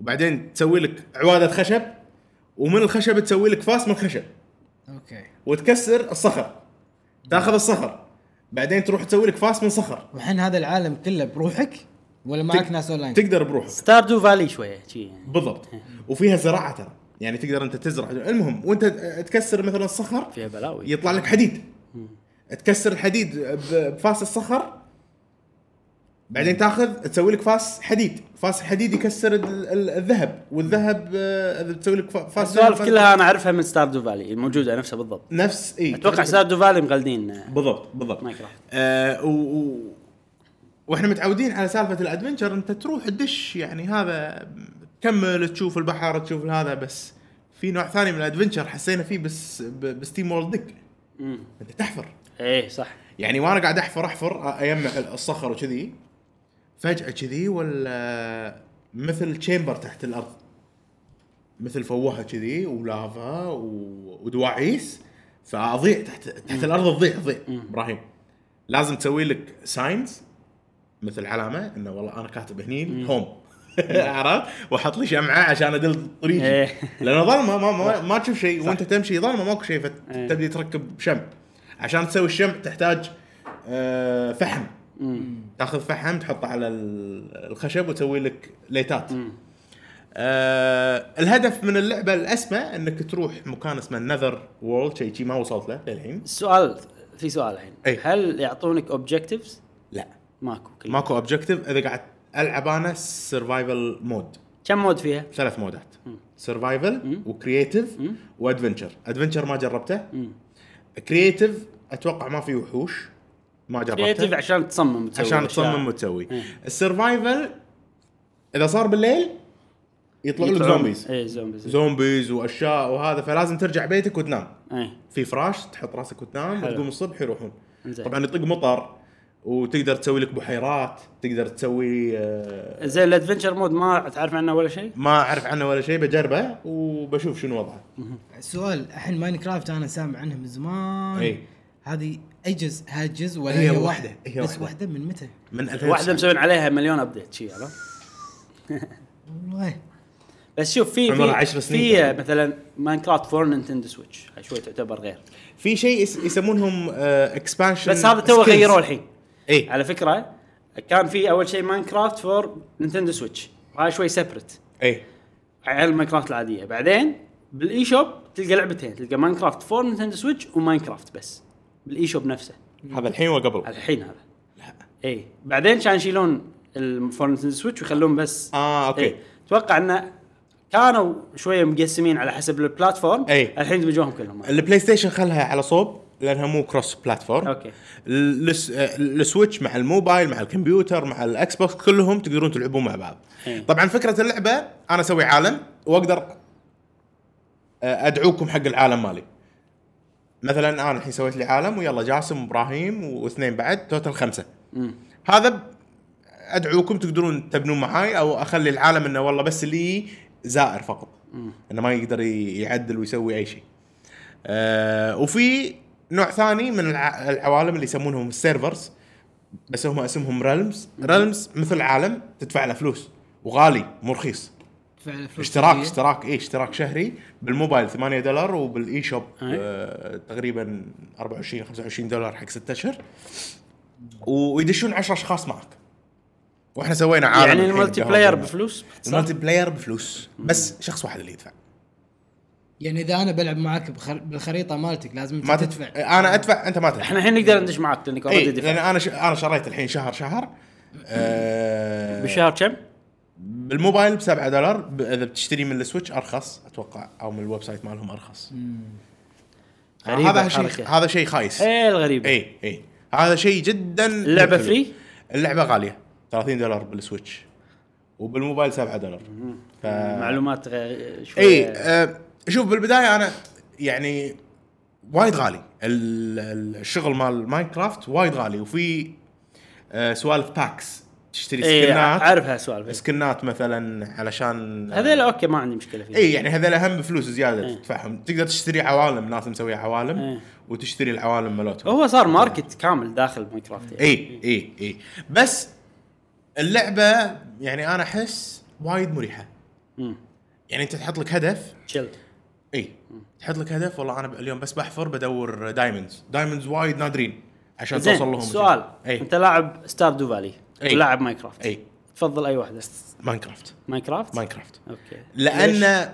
[SPEAKER 3] وبعدين تسوي لك عواده خشب ومن الخشب تسوي لك فاس من الخشب
[SPEAKER 2] اوكي
[SPEAKER 3] وتكسر الصخر تاخذ
[SPEAKER 1] نعم.
[SPEAKER 3] الصخر بعدين تروح تسوي لك فاس من صخر
[SPEAKER 2] وحين هذا العالم كله بروحك ولا معك ناس اونلاين؟
[SPEAKER 3] تقدر بروحك
[SPEAKER 1] ستاردو فالي شويه شي يعني
[SPEAKER 3] بالضبط وفيها زراعه ترى يعني تقدر انت تزرع المهم وانت تكسر مثلا الصخر
[SPEAKER 1] فيها بلاوي
[SPEAKER 3] يطلع لك حديد تكسر الحديد ب- بفاس الصخر بعدين تاخذ تسوي لك فاس حديد فاس الحديد يكسر ال- ال- الذهب والذهب آه، تسوي لك فا- فاس
[SPEAKER 1] السوالف
[SPEAKER 3] ذهب.
[SPEAKER 1] كلها انا اعرفها من ستاردو فالي الموجوده نفسها بالضبط
[SPEAKER 3] نفس اي
[SPEAKER 1] اتوقع ستاردو فالي مغلدين
[SPEAKER 3] بالضبط بالضبط
[SPEAKER 1] ماينكرافت.
[SPEAKER 3] آه و... و... واحنا متعودين على سالفه الادفنشر انت تروح تدش يعني هذا تكمل تشوف البحر تشوف هذا بس في نوع ثاني من الادفنشر حسينا فيه بس ب... بستيم وورلد دق
[SPEAKER 1] مم.
[SPEAKER 3] انت تحفر
[SPEAKER 1] ايه صح
[SPEAKER 3] يعني وانا قاعد احفر احفر اجمع الصخر وكذي فجاه كذي ولا مثل تشامبر تحت الارض مثل فوهه كذي ولافا و- ودواعيس فاضيع تحت تحت الارض تضيع تضيع ابراهيم لازم تسوي لك ساينز مثل علامه انه والله انا كاتب هني هوم عرفت؟ واحط لي شمعه عشان ادل
[SPEAKER 1] إيه.
[SPEAKER 3] طريقي لانه ظلمه ما ما, ما تشوف شيء وانت تمشي ظلمه ماكو شيء
[SPEAKER 1] إيه.
[SPEAKER 3] فتبدي تركب شمع عشان تسوي الشمع تحتاج آه، فحم تاخذ فحم تحطه على ال- الخشب وتسوي لك ليتات آه الهدف من اللعبه الاسمى انك تروح مكان اسمه النذر وورلد شيء شي ما وصلت له للحين
[SPEAKER 1] السؤال في سؤال الحين
[SPEAKER 3] إي.
[SPEAKER 1] هل يعطونك اوبجكتيفز؟
[SPEAKER 3] لا
[SPEAKER 1] ماكو كل
[SPEAKER 3] إيه. ماكو اوبجكتيف اذا قاعد العب انا سرفايفل مود
[SPEAKER 1] كم مود فيها؟
[SPEAKER 3] ثلاث مودات سرفايفل وكرييتيف وادفنشر ادفنشر ما جربته
[SPEAKER 1] مم.
[SPEAKER 3] كرييتيف اتوقع ما في وحوش ما
[SPEAKER 1] كريتيف
[SPEAKER 3] جربته
[SPEAKER 1] عشان تصمم تسوي
[SPEAKER 3] عشان
[SPEAKER 1] أشياء.
[SPEAKER 3] تصمم وتسوي
[SPEAKER 1] إيه.
[SPEAKER 3] السرفايفل اذا صار بالليل يطلعوا لك
[SPEAKER 1] يطلعون-
[SPEAKER 3] زومبيز
[SPEAKER 1] ايه زومبيز
[SPEAKER 3] زومبيز واشياء وهذا فلازم ترجع بيتك وتنام
[SPEAKER 1] ايه
[SPEAKER 3] في فراش تحط راسك وتنام
[SPEAKER 1] حلو.
[SPEAKER 3] وتقوم الصبح يروحون
[SPEAKER 1] إنزين.
[SPEAKER 3] طبعا يطق مطر وتقدر تسوي لك بحيرات تقدر تسوي آه،
[SPEAKER 1] زين الادفنشر مود ما تعرف عنه ولا شيء؟
[SPEAKER 3] ما اعرف عنه ولا شيء بجربه وبشوف شنو وضعه
[SPEAKER 2] السؤال الحين ماين كرافت انا سامع عنها من زمان
[SPEAKER 3] إي.
[SPEAKER 2] هذه اي جزء هاي جزء ولا
[SPEAKER 3] هي
[SPEAKER 2] هي,
[SPEAKER 3] واحدة،
[SPEAKER 2] واحده
[SPEAKER 3] هي
[SPEAKER 2] بس
[SPEAKER 3] واحدة.
[SPEAKER 2] واحده من متى؟
[SPEAKER 3] من 2009
[SPEAKER 1] واحده مسوين عليها مليون ابديت شي عرفت؟
[SPEAKER 2] والله
[SPEAKER 1] بس شوف في
[SPEAKER 3] عمرها
[SPEAKER 1] في-
[SPEAKER 3] عشر سنين
[SPEAKER 1] في
[SPEAKER 3] تقريباً.
[SPEAKER 1] مثلا ماينكرافت فور نينتندو سويتش هاي شوي تعتبر غير
[SPEAKER 3] في شيء يس- يسمونهم آه، اكسبانشن
[SPEAKER 1] بس هذا تو غيروه الحين
[SPEAKER 3] اي
[SPEAKER 1] على فكره كان في اول شيء ماينكرافت فور نينتندو سويتش هاي شوي سيبرت
[SPEAKER 3] اي
[SPEAKER 1] على الماينكرافت العاديه بعدين بالاي شوب تلقى لعبتين تلقى ماينكرافت فور نينتندو سويتش وماينكرافت بس بالاي شوب نفسه
[SPEAKER 3] هذا الحين وقبل
[SPEAKER 1] الحين هذا لا اي بعدين كان يشيلون الفور نينتندو سويتش ويخلون بس
[SPEAKER 3] اه اوكي
[SPEAKER 1] إيه. اتوقع انه كانوا شويه مقسمين على حسب البلاتفورم
[SPEAKER 3] إيه.
[SPEAKER 1] الحين دمجوهم كلهم يعني
[SPEAKER 3] البلاي ستيشن خلها على صوب لانها مو كروس بلاتفورم
[SPEAKER 1] أوكي.
[SPEAKER 3] الس- آه، السويتش مع الموبايل مع الكمبيوتر مع الاكس بوكس كلهم تقدرون تلعبون مع بعض
[SPEAKER 1] إيه.
[SPEAKER 3] طبعا فكره اللعبه انا اسوي عالم واقدر آه، ادعوكم حق العالم مالي مثلا انا الحين سويت لي عالم ويلا جاسم وابراهيم واثنين بعد توتال خمسه هذا ب- ادعوكم تقدرون تبنون معاي او اخلي العالم انه والله بس اللي زائر فقط انه ما يقدر ي- يعدل ويسوي اي شيء آه وفي نوع ثاني من الع- العوالم اللي يسمونهم السيرفرز بس هم اسمهم ريلمز ريلمز مثل عالم تدفع له فلوس وغالي مو رخيص
[SPEAKER 2] فعلا فلوس
[SPEAKER 3] اشتراك
[SPEAKER 2] كبيرة.
[SPEAKER 3] اشتراك اي اشتراك شهري بالموبايل 8 دولار وبالاي شوب
[SPEAKER 1] أي.
[SPEAKER 3] آه تقريبا 24 25 دولار حق 6 اشهر ويدشون 10 اشخاص معك واحنا سوينا عالم
[SPEAKER 1] يعني
[SPEAKER 3] الحين
[SPEAKER 1] الملتي
[SPEAKER 3] قهوة
[SPEAKER 1] بلاير
[SPEAKER 3] بالنار.
[SPEAKER 1] بفلوس
[SPEAKER 3] الملتي بلاير بفلوس بس شخص واحد اللي يدفع
[SPEAKER 2] يعني اذا انا بلعب معك بخر... بالخريطه مالتك لازم انت
[SPEAKER 3] ما
[SPEAKER 2] تدفع
[SPEAKER 3] تدفع انا ادفع انت ما تدفع
[SPEAKER 1] احنا الحين نقدر ندش معاك لانك
[SPEAKER 3] اي
[SPEAKER 1] اوريدي
[SPEAKER 3] لان
[SPEAKER 1] دفعت
[SPEAKER 3] انا إيه، ش... انا شريت الحين شهر شهر آه
[SPEAKER 1] بشهر كم؟
[SPEAKER 3] بالموبايل ب 7 دولار ب... اذا بتشتري من السويتش ارخص اتوقع او من الويب سايت مالهم ارخص
[SPEAKER 1] غريبة
[SPEAKER 3] هذا شيء
[SPEAKER 1] الحركة.
[SPEAKER 3] هذا شيء خايس
[SPEAKER 1] ايه الغريبه
[SPEAKER 3] اي اي هذا شيء جدا
[SPEAKER 1] اللعبة
[SPEAKER 3] حلو.
[SPEAKER 1] فري؟
[SPEAKER 3] اللعبه غاليه 30 دولار بالسويتش وبالموبايل 7 دولار ف...
[SPEAKER 1] معلومات غ- شويه
[SPEAKER 3] اي آه شوف بالبدايه انا يعني وايد غالي ال- ال- الشغل مال ماينكرافت وايد غالي وفي آه سوالف باكس تشتري
[SPEAKER 1] اي
[SPEAKER 3] سكنات
[SPEAKER 1] اعرف هالسوالف
[SPEAKER 3] سكنات مثلا علشان
[SPEAKER 1] هذول اوكي ما عندي مشكله فيهم
[SPEAKER 3] اي يعني هذول اهم فلوس زياده تدفعهم تقدر تشتري عوالم ناس مسويه عوالم
[SPEAKER 1] إيه.
[SPEAKER 3] وتشتري العوالم مالتهم
[SPEAKER 1] هو صار ماركت كامل داخل ماينكرافت يعني.
[SPEAKER 3] اي اي اي إيه. بس اللعبه يعني انا احس وايد مريحه
[SPEAKER 1] مم.
[SPEAKER 3] يعني انت تحط لك هدف
[SPEAKER 1] تشيل
[SPEAKER 3] اي تحط لك هدف والله انا ب- اليوم بس بحفر بدور دايموندز دايموندز وايد نادرين عشان
[SPEAKER 1] زين
[SPEAKER 3] توصل لهم إيه.
[SPEAKER 1] سؤال
[SPEAKER 3] اي
[SPEAKER 1] انت لاعب ستار دو فالي
[SPEAKER 3] إي.
[SPEAKER 1] ولاعب ماينكرافت
[SPEAKER 3] اي
[SPEAKER 1] تفضل اي واحده
[SPEAKER 3] ماينكرافت
[SPEAKER 1] ماينكرافت
[SPEAKER 3] ماينكرافت
[SPEAKER 1] اوكي ليش؟
[SPEAKER 3] لان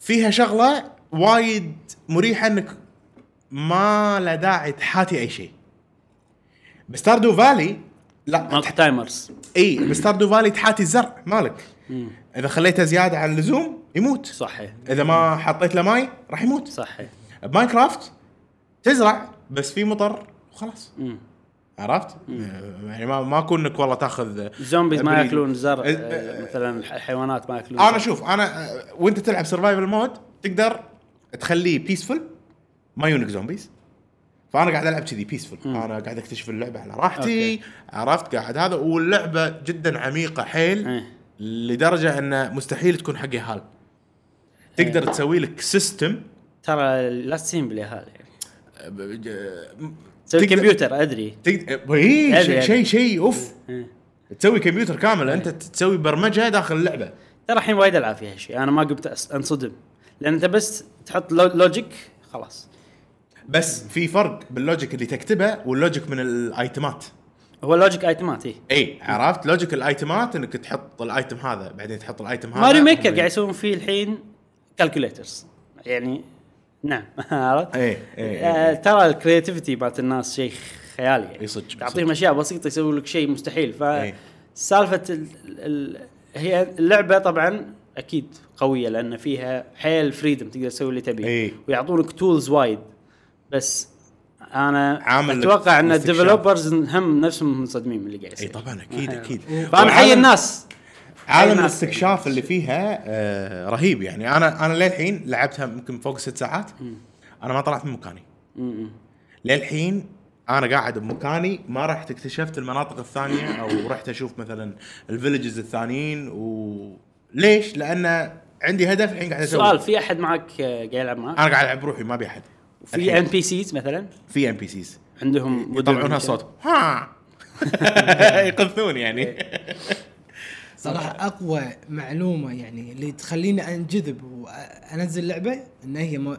[SPEAKER 3] فيها شغله وايد مريحه انك ما لا داعي تحاتي اي شيء بستاردو فالي لا
[SPEAKER 1] مالتي تايمرز
[SPEAKER 3] اي بستاردو فالي تحاتي الزرع مالك اذا خليته زياده عن اللزوم يموت
[SPEAKER 1] صحيح
[SPEAKER 3] اذا ما حطيت له ماي راح يموت
[SPEAKER 1] صحيح
[SPEAKER 3] بماينكرافت تزرع بس في مطر وخلاص
[SPEAKER 1] مم.
[SPEAKER 3] عرفت؟ آه، يعني ما ما اكون انك والله تاخذ
[SPEAKER 1] الزومبيز ما
[SPEAKER 3] أبريد.
[SPEAKER 1] ياكلون زرع
[SPEAKER 3] أه،
[SPEAKER 1] آه، مثلا الح- الحيوانات ما ياكلون
[SPEAKER 3] انا
[SPEAKER 1] زرع.
[SPEAKER 3] شوف انا آه، وانت تلعب سرفايفل مود تقدر تخليه بيسفل ما يونك زومبيز فانا قاعد العب كذي بيسفل انا قاعد اكتشف اللعبه على راحتي
[SPEAKER 1] أوكي.
[SPEAKER 3] عرفت قاعد هذا واللعبه جدا عميقه حيل
[SPEAKER 1] إيه.
[SPEAKER 3] لدرجه انه مستحيل تكون حقي هال تقدر تسوي لك سيستم
[SPEAKER 1] ترى لا تسين باليهال يعني تسوي
[SPEAKER 3] تقدر- إيه،
[SPEAKER 1] كمبيوتر ادري
[SPEAKER 3] تقدر اي
[SPEAKER 1] أدري،
[SPEAKER 3] شيء
[SPEAKER 1] أدري.
[SPEAKER 3] شيء شيء اوف
[SPEAKER 1] إيه.
[SPEAKER 3] تسوي كمبيوتر كامل انت تسوي برمجه داخل اللعبه
[SPEAKER 1] ترى الحين وايد العاب فيها شيء انا ما قمت أس- انصدم لان انت بس تحط لو- لوجيك خلاص
[SPEAKER 3] بس في فرق باللوجيك اللي تكتبه واللوجيك من الايتمات
[SPEAKER 1] هو لوجيك ايتمات اي
[SPEAKER 3] اي عرفت لوجيك الايتمات انك تحط الايتم هذا بعدين تحط الايتم هذا
[SPEAKER 1] ماريو ميكر قاعد يسوون فيه الحين كالكوليترز يعني نعم عرفت؟
[SPEAKER 3] إيه، إيه، إيه،
[SPEAKER 1] آه، ترى الكرياتيفيتي مالت الناس شيء خيالي يعني
[SPEAKER 3] إي، صدق،
[SPEAKER 1] تعطيهم اشياء بسيطه يسوي لك شيء مستحيل ف
[SPEAKER 3] إيه.
[SPEAKER 1] سالفه ال... ال... هي اللعبه طبعا اكيد قويه لان فيها حيل فريدم تقدر تسوي اللي تبيه
[SPEAKER 3] إيه.
[SPEAKER 1] ويعطونك تولز وايد بس انا
[SPEAKER 3] عامل لك
[SPEAKER 1] اتوقع ان
[SPEAKER 3] استكشاف.
[SPEAKER 1] الديفلوبرز هم نفسهم منصدمين من اللي قاعد
[SPEAKER 3] اي
[SPEAKER 1] يصير
[SPEAKER 3] طبعا اكيد اكيد
[SPEAKER 1] فانا آه. حي
[SPEAKER 3] وعالم-
[SPEAKER 1] الناس
[SPEAKER 3] عالم
[SPEAKER 1] حي الناس.
[SPEAKER 3] الاستكشاف اللي فيها آه رهيب يعني انا انا للحين لعبتها يمكن فوق ست ساعات انا ما طلعت من مكاني
[SPEAKER 1] م-م.
[SPEAKER 3] للحين انا قاعد بمكاني ما رحت اكتشفت المناطق الثانيه او رحت اشوف مثلا الفيلجز الثانيين و ليش؟ لان عندي هدف الحين قاعد اسوي
[SPEAKER 1] سؤال في احد معك آه، قاعد يلعب معك؟
[SPEAKER 3] انا قاعد العب بروحي ما ابي احد
[SPEAKER 1] في ام بي سيز مثلا
[SPEAKER 3] في ام بي سيز
[SPEAKER 1] عندهم
[SPEAKER 3] يطلعونها
[SPEAKER 1] مدن-
[SPEAKER 2] إيه.
[SPEAKER 3] صوت ها يقذون يعني
[SPEAKER 2] صراحه اقوى معلومه يعني اللي تخليني انجذب وانزل لعبه ان هي مو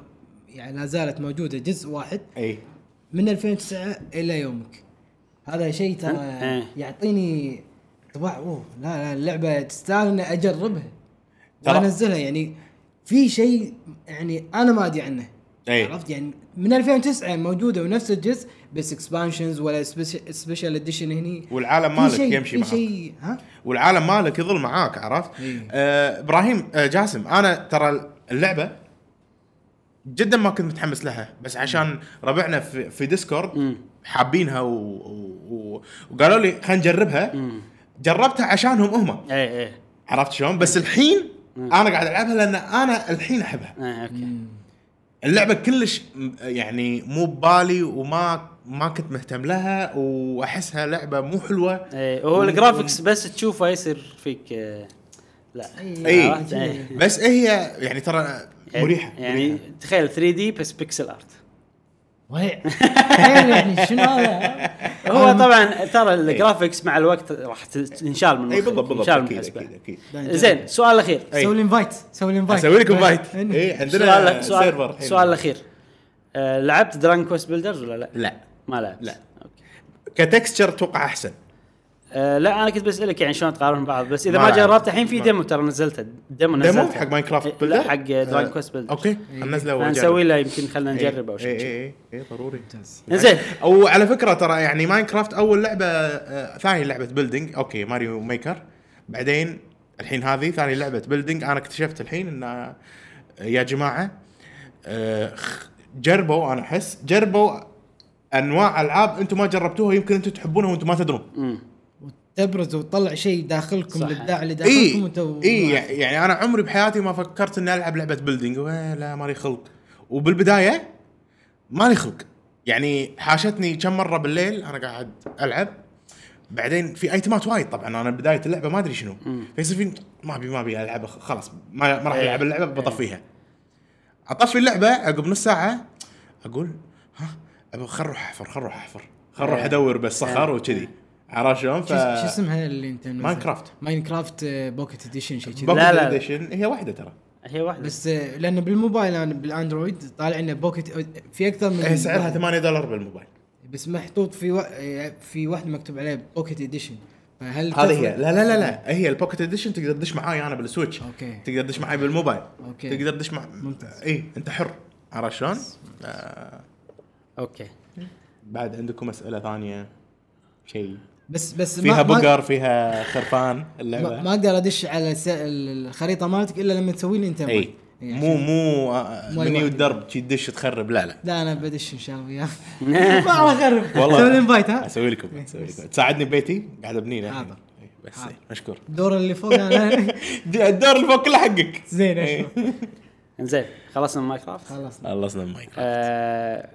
[SPEAKER 2] يعني لا زالت موجوده جزء واحد
[SPEAKER 3] اي
[SPEAKER 2] من 2009 الى يومك هذا شيء ترى
[SPEAKER 1] إيه.
[SPEAKER 2] يعطيني طبع اوه لا لا اللعبه تستاهل اني اجربها
[SPEAKER 3] ترى-
[SPEAKER 2] وانزلها يعني في شيء يعني انا ما ادري عنه
[SPEAKER 3] إيه.
[SPEAKER 2] عرفت يعني من 2009 موجوده ونفس الجزء بس اكسبانشنز ولا سبيشال اديشن هني
[SPEAKER 3] والعالم
[SPEAKER 2] في
[SPEAKER 3] مالك
[SPEAKER 2] شيء-
[SPEAKER 3] يمشي
[SPEAKER 2] في
[SPEAKER 3] معك.
[SPEAKER 2] شيء ها
[SPEAKER 3] والعالم مالك يظل معاك عرفت؟
[SPEAKER 2] إيه.
[SPEAKER 3] آه ابراهيم آه جاسم انا ترى اللعبه جدا ما كنت متحمس لها بس عشان ربعنا في, في ديسكورد حابينها و... و... وقالوا لي خلينا نجربها جربتها عشانهم هم
[SPEAKER 1] اي اي
[SPEAKER 3] عرفت شلون؟ بس الحين انا قاعد العبها لان انا الحين احبها
[SPEAKER 1] اي اوكي
[SPEAKER 3] اللعبه كلش م- يعني مو ببالي وما ما كنت مهتم لها واحسها لعبه مو حلوه
[SPEAKER 1] اي آه، هو الجرافكس بس تشوفه يصير فيك آه، لا
[SPEAKER 3] إيه.
[SPEAKER 1] عرفت؟ إيه.
[SPEAKER 3] بس هي يعني ترى مريحه
[SPEAKER 1] يعني
[SPEAKER 3] مريحة.
[SPEAKER 1] تخيل 3 دي بس بيكسل ارت
[SPEAKER 2] وهي تخيل يعني شنو هذا
[SPEAKER 1] هو طبعا ترى الجرافكس مع الوقت راح تنشال من
[SPEAKER 3] اي
[SPEAKER 1] مخك،
[SPEAKER 3] إيه، بالضبط بالضبط
[SPEAKER 1] تنشال من
[SPEAKER 3] اكيد
[SPEAKER 1] حسبة.
[SPEAKER 3] اكيد اكيد
[SPEAKER 1] زين سؤال الاخير
[SPEAKER 3] إيه.
[SPEAKER 2] سوي لي انفايت سوي إيه. لي انفايت
[SPEAKER 3] اسوي لكم فايت اي عندنا
[SPEAKER 1] سؤال
[SPEAKER 3] سيرفر
[SPEAKER 1] سؤال
[SPEAKER 3] الحين.
[SPEAKER 1] سؤال الاخير آه، لعبت دراجون كويست بيلدرز ولا لا؟
[SPEAKER 3] لا
[SPEAKER 1] ما لعبت
[SPEAKER 3] لا.
[SPEAKER 1] أوكي.
[SPEAKER 3] كتكستشر اتوقع احسن
[SPEAKER 1] آه لا انا كنت بسالك يعني شلون تقارن بعض بس اذا
[SPEAKER 3] ما
[SPEAKER 1] ما
[SPEAKER 3] لعبت.
[SPEAKER 1] جربت الحين في
[SPEAKER 3] ما-
[SPEAKER 1] ديمو ترى نزلته ديمو نزلته إيه،
[SPEAKER 3] ديمو حق آه. ماينكرافت
[SPEAKER 1] لا
[SPEAKER 3] بلدر
[SPEAKER 1] حق دراجون كويست بيلدر
[SPEAKER 3] اوكي نزله
[SPEAKER 1] نسوي له يمكن
[SPEAKER 3] إيه،
[SPEAKER 1] إيه، خلينا نجربه او
[SPEAKER 3] اي
[SPEAKER 1] شيء
[SPEAKER 3] اي اي إيه، ضروري
[SPEAKER 1] انزين
[SPEAKER 3] او يعني على فكره ترى يعني ماينكرافت اول لعبه آه، ثاني لعبه بيلدينج اوكي ماريو ميكر بعدين الحين هذه ثاني لعبه بيلدينج انا اكتشفت الحين ان آه، يا جماعه آه، خ- جربوا انا احس جربوا انواع العاب انتم ما جربتوها يمكن انتم تحبونها وانتم ما تدرون
[SPEAKER 1] مم.
[SPEAKER 2] تبرز وتطلع شيء داخلكم
[SPEAKER 1] صح.
[SPEAKER 2] الابداع اللي داخلكم
[SPEAKER 3] اي
[SPEAKER 2] وانتم
[SPEAKER 3] اي إيه، يعني انا عمري بحياتي ما فكرت اني العب لعبه بيلدينج لا مالي خلق وبالبدايه مالي خلق يعني حاشتني كم مره بالليل انا قاعد العب بعدين في ايتمات وايد طبعا انا بدايه اللعبه ما ادري شنو فيصير فيني ما ابي ما ابي العبها خلاص ما, ما راح
[SPEAKER 1] إيه.
[SPEAKER 3] العب اللعبه بطفيها اطفي اللعبه عقب نص ساعه اقول ها أبا خل اروح احفر خل اروح احفر خل اروح
[SPEAKER 1] إيه.
[SPEAKER 3] ادور بالصخر
[SPEAKER 1] إيه.
[SPEAKER 3] وكذي عرفت شلون؟ ف
[SPEAKER 2] شو شو اسمها اللي انت نزلت؟
[SPEAKER 3] ماينكرافت.
[SPEAKER 2] ماينكرافت آه، بوكيت اديشن شيء كذا
[SPEAKER 1] بوك-
[SPEAKER 3] لا
[SPEAKER 1] لا، لا.
[SPEAKER 3] لا هي واحده ترى
[SPEAKER 1] هي واحده بس
[SPEAKER 2] بس آه، لان بالموبايل انا بالاندرويد طالع انه بوكيت في اكثر من
[SPEAKER 3] هي إيه، سعرها 8 دولار بالموبايل
[SPEAKER 2] بس محطوط في و... آه، في واحد مكتوب عليه بوكيت اديشن فهل
[SPEAKER 3] هذه
[SPEAKER 2] تفرق؟
[SPEAKER 3] هي لا لا لا لا إيه، هي البوكيت اديشن تقدر تدش معاي انا بالسويتش
[SPEAKER 2] أوكي.
[SPEAKER 3] تقدر تدش معاي بالموبايل
[SPEAKER 2] أوكي.
[SPEAKER 3] تقدر تدش مع
[SPEAKER 2] ممتاز.
[SPEAKER 3] اي انت حر عرفت شلون؟ آه
[SPEAKER 1] اوكي
[SPEAKER 3] بعد عندكم اسئله ثانيه شيء
[SPEAKER 2] بس بس
[SPEAKER 3] فيها
[SPEAKER 2] ما... ما...
[SPEAKER 3] بقر فيها خرفان
[SPEAKER 2] ما...
[SPEAKER 3] اللعبه
[SPEAKER 2] ما اقدر ادش على س... الخريطه مالتك الا لما تسوي لي انت
[SPEAKER 3] اي
[SPEAKER 2] يعني
[SPEAKER 3] إيه. مو مو آه،
[SPEAKER 2] مو أي
[SPEAKER 3] منيو
[SPEAKER 2] واحد.
[SPEAKER 3] الدرب شي تدش تخرب لا لا
[SPEAKER 2] لا انا بدش ان شاء الله وياك ما راح اخرب
[SPEAKER 3] والله.
[SPEAKER 2] سوي لي انفايت ها
[SPEAKER 3] اسوي لكم اسوي لكم تساعدني ببيتي قاعد ابني له
[SPEAKER 2] حاضر.
[SPEAKER 3] إي، بس
[SPEAKER 2] حاضر.
[SPEAKER 3] إي، مشكور
[SPEAKER 2] الدور اللي فوق انا
[SPEAKER 3] الدور اللي فوق كله حقك
[SPEAKER 2] زين
[SPEAKER 3] إي.
[SPEAKER 2] أشوف.
[SPEAKER 1] انزين خلصنا من مايكرافت
[SPEAKER 2] خلصنا
[SPEAKER 3] خلصنا المايك
[SPEAKER 1] آه،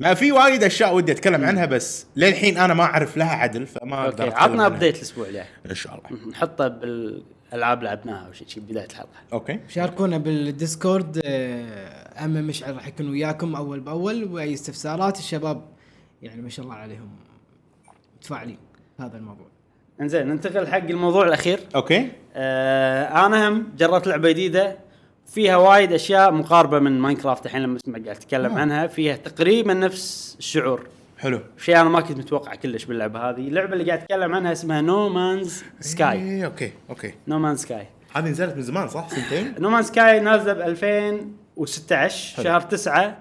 [SPEAKER 3] ما في وايد اشياء ودي اتكلم عنها بس للحين انا ما اعرف لها عدل فما اقدر
[SPEAKER 1] اوكي
[SPEAKER 3] أتكلم
[SPEAKER 1] عطنا
[SPEAKER 3] عنها.
[SPEAKER 1] ابديت الاسبوع الجاي
[SPEAKER 3] ان شاء الله
[SPEAKER 1] نحطه بالالعاب لعبناها او شيء شي بدايه الحلقه
[SPEAKER 3] اوكي
[SPEAKER 2] شاركونا بالديسكورد آه، اما مشعل راح يكون وياكم اول باول واي استفسارات الشباب يعني ما شاء الله عليهم متفاعلين هذا الموضوع
[SPEAKER 1] انزين ننتقل حق الموضوع الاخير
[SPEAKER 3] اوكي
[SPEAKER 1] آه انا هم جربت لعبه جديده فيها وايد اشياء مقاربه من ماينكرافت الحين لما اسمع قاعد اتكلم عنها فيها تقريبا نفس الشعور
[SPEAKER 3] حلو
[SPEAKER 1] شيء انا ما كنت متوقع كلش باللعبه هذه اللعبه اللي قاعد اتكلم عنها اسمها نو مانز سكاي
[SPEAKER 3] إيه، اوكي اوكي
[SPEAKER 1] نو مانز سكاي
[SPEAKER 3] هذه نزلت من زمان صح سنتين
[SPEAKER 1] نو مان سكاي نازله ب 2016
[SPEAKER 3] حلو.
[SPEAKER 1] شهر 9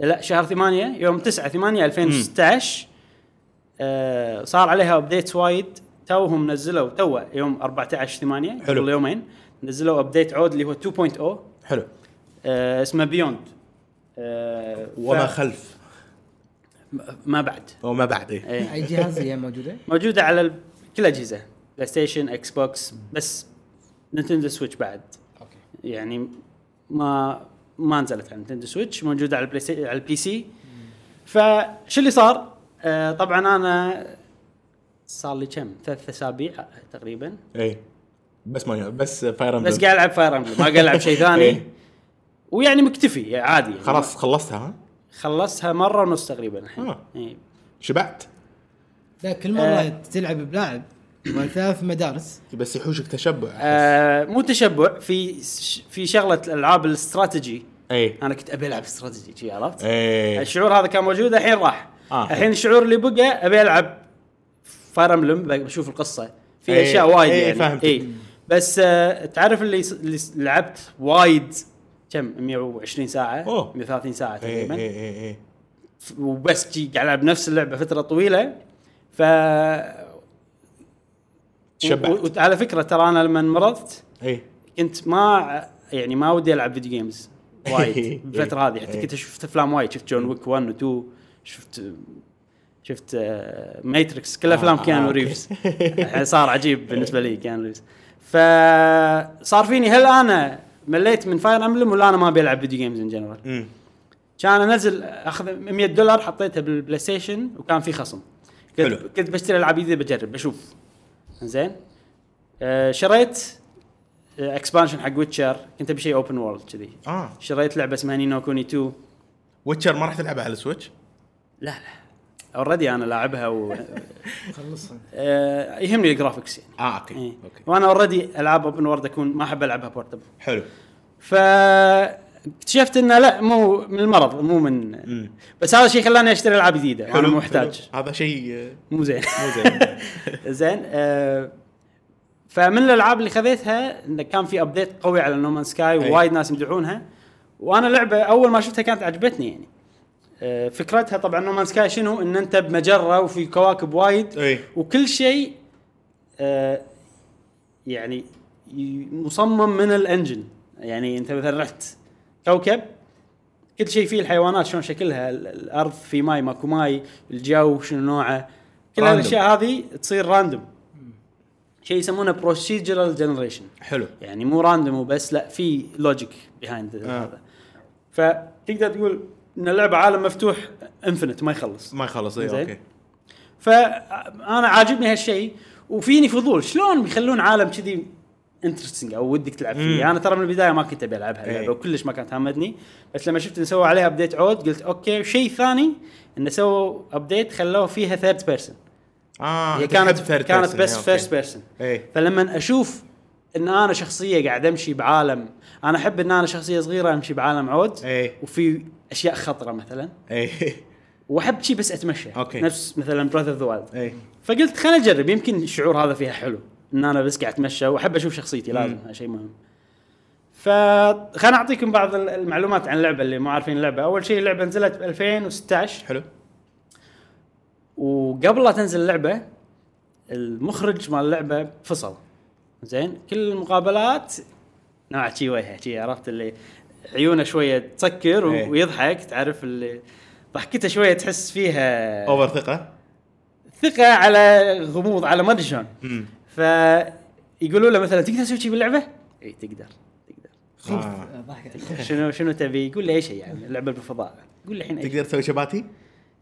[SPEAKER 1] لا شهر 8 يوم 9 8 2016 آه صار عليها ابديتس وايد توهم نزلوا تو يوم 14 8
[SPEAKER 3] حلو.
[SPEAKER 1] قبل يومين نزلوا ابديت عود اللي هو 2.0
[SPEAKER 3] حلو
[SPEAKER 1] آه اسمه بيوند آه
[SPEAKER 3] وما
[SPEAKER 1] ف-
[SPEAKER 3] خلف
[SPEAKER 1] ما بعد
[SPEAKER 3] وما بعد ايه
[SPEAKER 1] إيه.
[SPEAKER 2] اي جهاز هي موجوده؟
[SPEAKER 1] موجوده على ال- كل اجهزه بلاي ستيشن اكس بوكس بس نينتندو سويتش بعد
[SPEAKER 2] اوكي
[SPEAKER 1] يعني ما ما نزلت على نينتندو سويتش موجوده على البلاي سي على البي سي فشو اللي صار؟ آه طبعا انا صار لي كم ثلاث اسابيع تقريبا
[SPEAKER 3] ايه بس ما بس فاير
[SPEAKER 1] بس قاعد العب فاير امبلم ما قاعد العب شيء ثاني
[SPEAKER 3] إيه.
[SPEAKER 1] ويعني مكتفي عادي يعني
[SPEAKER 3] خلاص خلصتها ها
[SPEAKER 1] خلصتها مره ونص تقريبا الحين
[SPEAKER 3] آه.
[SPEAKER 1] إيه.
[SPEAKER 3] شبعت
[SPEAKER 2] لا كل مره
[SPEAKER 1] آه.
[SPEAKER 2] تلعب بلاعب وثلاث مدارس
[SPEAKER 3] بس يحوشك تشبع
[SPEAKER 1] آه مو تشبع في ش- في شغله الالعاب الاستراتيجي
[SPEAKER 3] اي
[SPEAKER 1] انا كنت ابي العب استراتيجي شي، عرفت؟
[SPEAKER 3] اي
[SPEAKER 1] الشعور هذا كان موجود الحين راح
[SPEAKER 3] إيه. آه.
[SPEAKER 1] الحين الشعور اللي بقى ابي العب فاير امبلم بشوف القصه في
[SPEAKER 3] إيه،
[SPEAKER 1] اشياء وايد
[SPEAKER 3] إيه،
[SPEAKER 1] يعني
[SPEAKER 3] فهمتك.
[SPEAKER 1] إيه. بس آه تعرف اللي, س- اللي س- لعبت وايد كم 120 ساعه
[SPEAKER 3] أوه. إيه،
[SPEAKER 1] 130 ساعه
[SPEAKER 3] اي
[SPEAKER 1] تقريبا
[SPEAKER 3] اي اي
[SPEAKER 1] ف- وبس جي قاعد العب نفس اللعبه فتره طويله ف
[SPEAKER 3] تشبعت.
[SPEAKER 1] و- و- وعلى فكره ترى انا لما مرضت
[SPEAKER 3] اي
[SPEAKER 1] كنت ما يعني ما ودي العب فيديو جيمز وايد الفتره هذه
[SPEAKER 3] إيه.
[SPEAKER 1] حتى كنت شفت افلام وايد شفت جون ويك 1 و 2 شفت شفت ماتريكس كل افلام
[SPEAKER 3] آه،
[SPEAKER 1] كيانو
[SPEAKER 3] أوكي.
[SPEAKER 1] ريفز الحين صار عجيب بالنسبه لي كيانو ريفز فصار فيني هل انا مليت من فاير امبلم ولا انا ما بلعب فيديو جيمز ان جنرال
[SPEAKER 3] أمم.
[SPEAKER 1] كان انزل اخذ 100 دولار حطيتها بالبلاي ستيشن وكان في خصم كنت
[SPEAKER 3] حلو.
[SPEAKER 1] كنت بشتري العاب جديده بجرب بشوف زين آه شريت اكسبانشن حق ويتشر كنت ابي شيء اوبن وورلد كذي
[SPEAKER 3] اه
[SPEAKER 1] شريت لعبه اسمها نينو كوني 2
[SPEAKER 3] ويتشر ما راح تلعبها على السويتش؟
[SPEAKER 1] لا لا اوريدي انا لاعبها و
[SPEAKER 2] خلصها
[SPEAKER 1] آه يهمني الجرافكس يعني
[SPEAKER 3] اه اوكي
[SPEAKER 1] إيه.
[SPEAKER 3] اوكي
[SPEAKER 1] وانا اوريدي العاب اوبن وورلد اكون ما احب العبها بورتبل
[SPEAKER 3] حلو
[SPEAKER 1] فاكتشفت انه لا مو من المرض مو من
[SPEAKER 3] مم.
[SPEAKER 1] بس هذا الشيء خلاني اشتري العاب جديده انا
[SPEAKER 3] حلو
[SPEAKER 1] محتاج
[SPEAKER 3] حلو. هذا شيء آه،
[SPEAKER 1] مو زين
[SPEAKER 3] مو زين
[SPEAKER 1] زين آه فمن الالعاب اللي خذيتها انه كان في ابديت قوي على نومان سكاي
[SPEAKER 3] أي.
[SPEAKER 1] ووايد ناس يمدحونها وانا لعبه اول ما شفتها كانت عجبتني يعني آه فكرتها طبعا نومان سكاي شنو ان انت بمجره وفي كواكب وايد
[SPEAKER 3] اي
[SPEAKER 1] وكل شيء آه يعني ي- مصمم من الانجن يعني انت مثلا رحت كوكب كل شيء فيه الحيوانات شلون شكلها ال- الارض في ماي ماكو ماي الجو شنو نوعه كل
[SPEAKER 3] Random.
[SPEAKER 1] هالاشياء هذه تصير راندوم شيء يسمونه بروسيجرال جنريشن
[SPEAKER 3] حلو
[SPEAKER 1] يعني مو راندوم وبس لا في لوجيك بيهايند
[SPEAKER 3] آه.
[SPEAKER 1] هذا فتقدر تقول ان اللعبه عالم مفتوح انفنت ما يخلص
[SPEAKER 3] ما يخلص اي
[SPEAKER 1] زين.
[SPEAKER 3] اوكي
[SPEAKER 1] فانا عاجبني هالشيء وفيني فضول شلون بيخلون عالم كذي انترستنج او ودك تلعب
[SPEAKER 3] مم.
[SPEAKER 1] فيه انا ترى من البدايه ما كنت ابي العبها اللعبه
[SPEAKER 3] إيه.
[SPEAKER 1] وكلش ما كانت هامتني بس لما شفت ان سووا عليها ابديت عود قلت اوكي شيء ثاني انه سووا ابديت خلوه فيها ثيرد بيرسون
[SPEAKER 3] اه
[SPEAKER 1] هي
[SPEAKER 3] أنت تحب
[SPEAKER 1] كانت
[SPEAKER 3] third
[SPEAKER 1] كانت
[SPEAKER 3] person.
[SPEAKER 1] بس
[SPEAKER 3] إيه، أوكي.
[SPEAKER 1] فيرست بيرسون
[SPEAKER 3] اي
[SPEAKER 1] فلما اشوف ان انا شخصيه قاعد امشي بعالم انا احب ان انا شخصيه صغيره امشي بعالم عود
[SPEAKER 3] إيه.
[SPEAKER 1] وفي اشياء خطره مثلا
[SPEAKER 3] اي
[SPEAKER 1] واحب شي بس اتمشى
[SPEAKER 3] أوكي.
[SPEAKER 1] نفس مثلا براذر اوف ذا وايلد
[SPEAKER 3] اي
[SPEAKER 1] فقلت خليني اجرب يمكن الشعور هذا فيها حلو ان انا بس قاعد اتمشى واحب اشوف شخصيتي لازم هذا شيء مهم فخلنا اعطيكم بعض ال- المعلومات عن اللعبه اللي مو عارفين اللعبه اول شيء اللعبه نزلت ب 2016
[SPEAKER 3] حلو
[SPEAKER 1] وقبل لا تنزل اللعبه المخرج مال اللعبه فصل زين كل المقابلات نوع شي وجهه شي عرفت اللي عيونه شويه تسكر
[SPEAKER 3] إيه.
[SPEAKER 1] و- ويضحك تعرف اللي ضحكته شويه تحس فيها
[SPEAKER 3] اوفر ثقه
[SPEAKER 1] ثقه على غموض على ما ادري شلون
[SPEAKER 3] امم
[SPEAKER 1] فيقولوا له مثلا تقدر تسوي شيء باللعبه؟ اي إيه، تقدر تقدر
[SPEAKER 2] خوف
[SPEAKER 3] آه.
[SPEAKER 2] ضحكه
[SPEAKER 1] شنو شنو تبي؟ يقول له اي شيء يعني اللعبه بالفضاء يقول له الحين أي شيء.
[SPEAKER 3] تقدر تسوي شباتي؟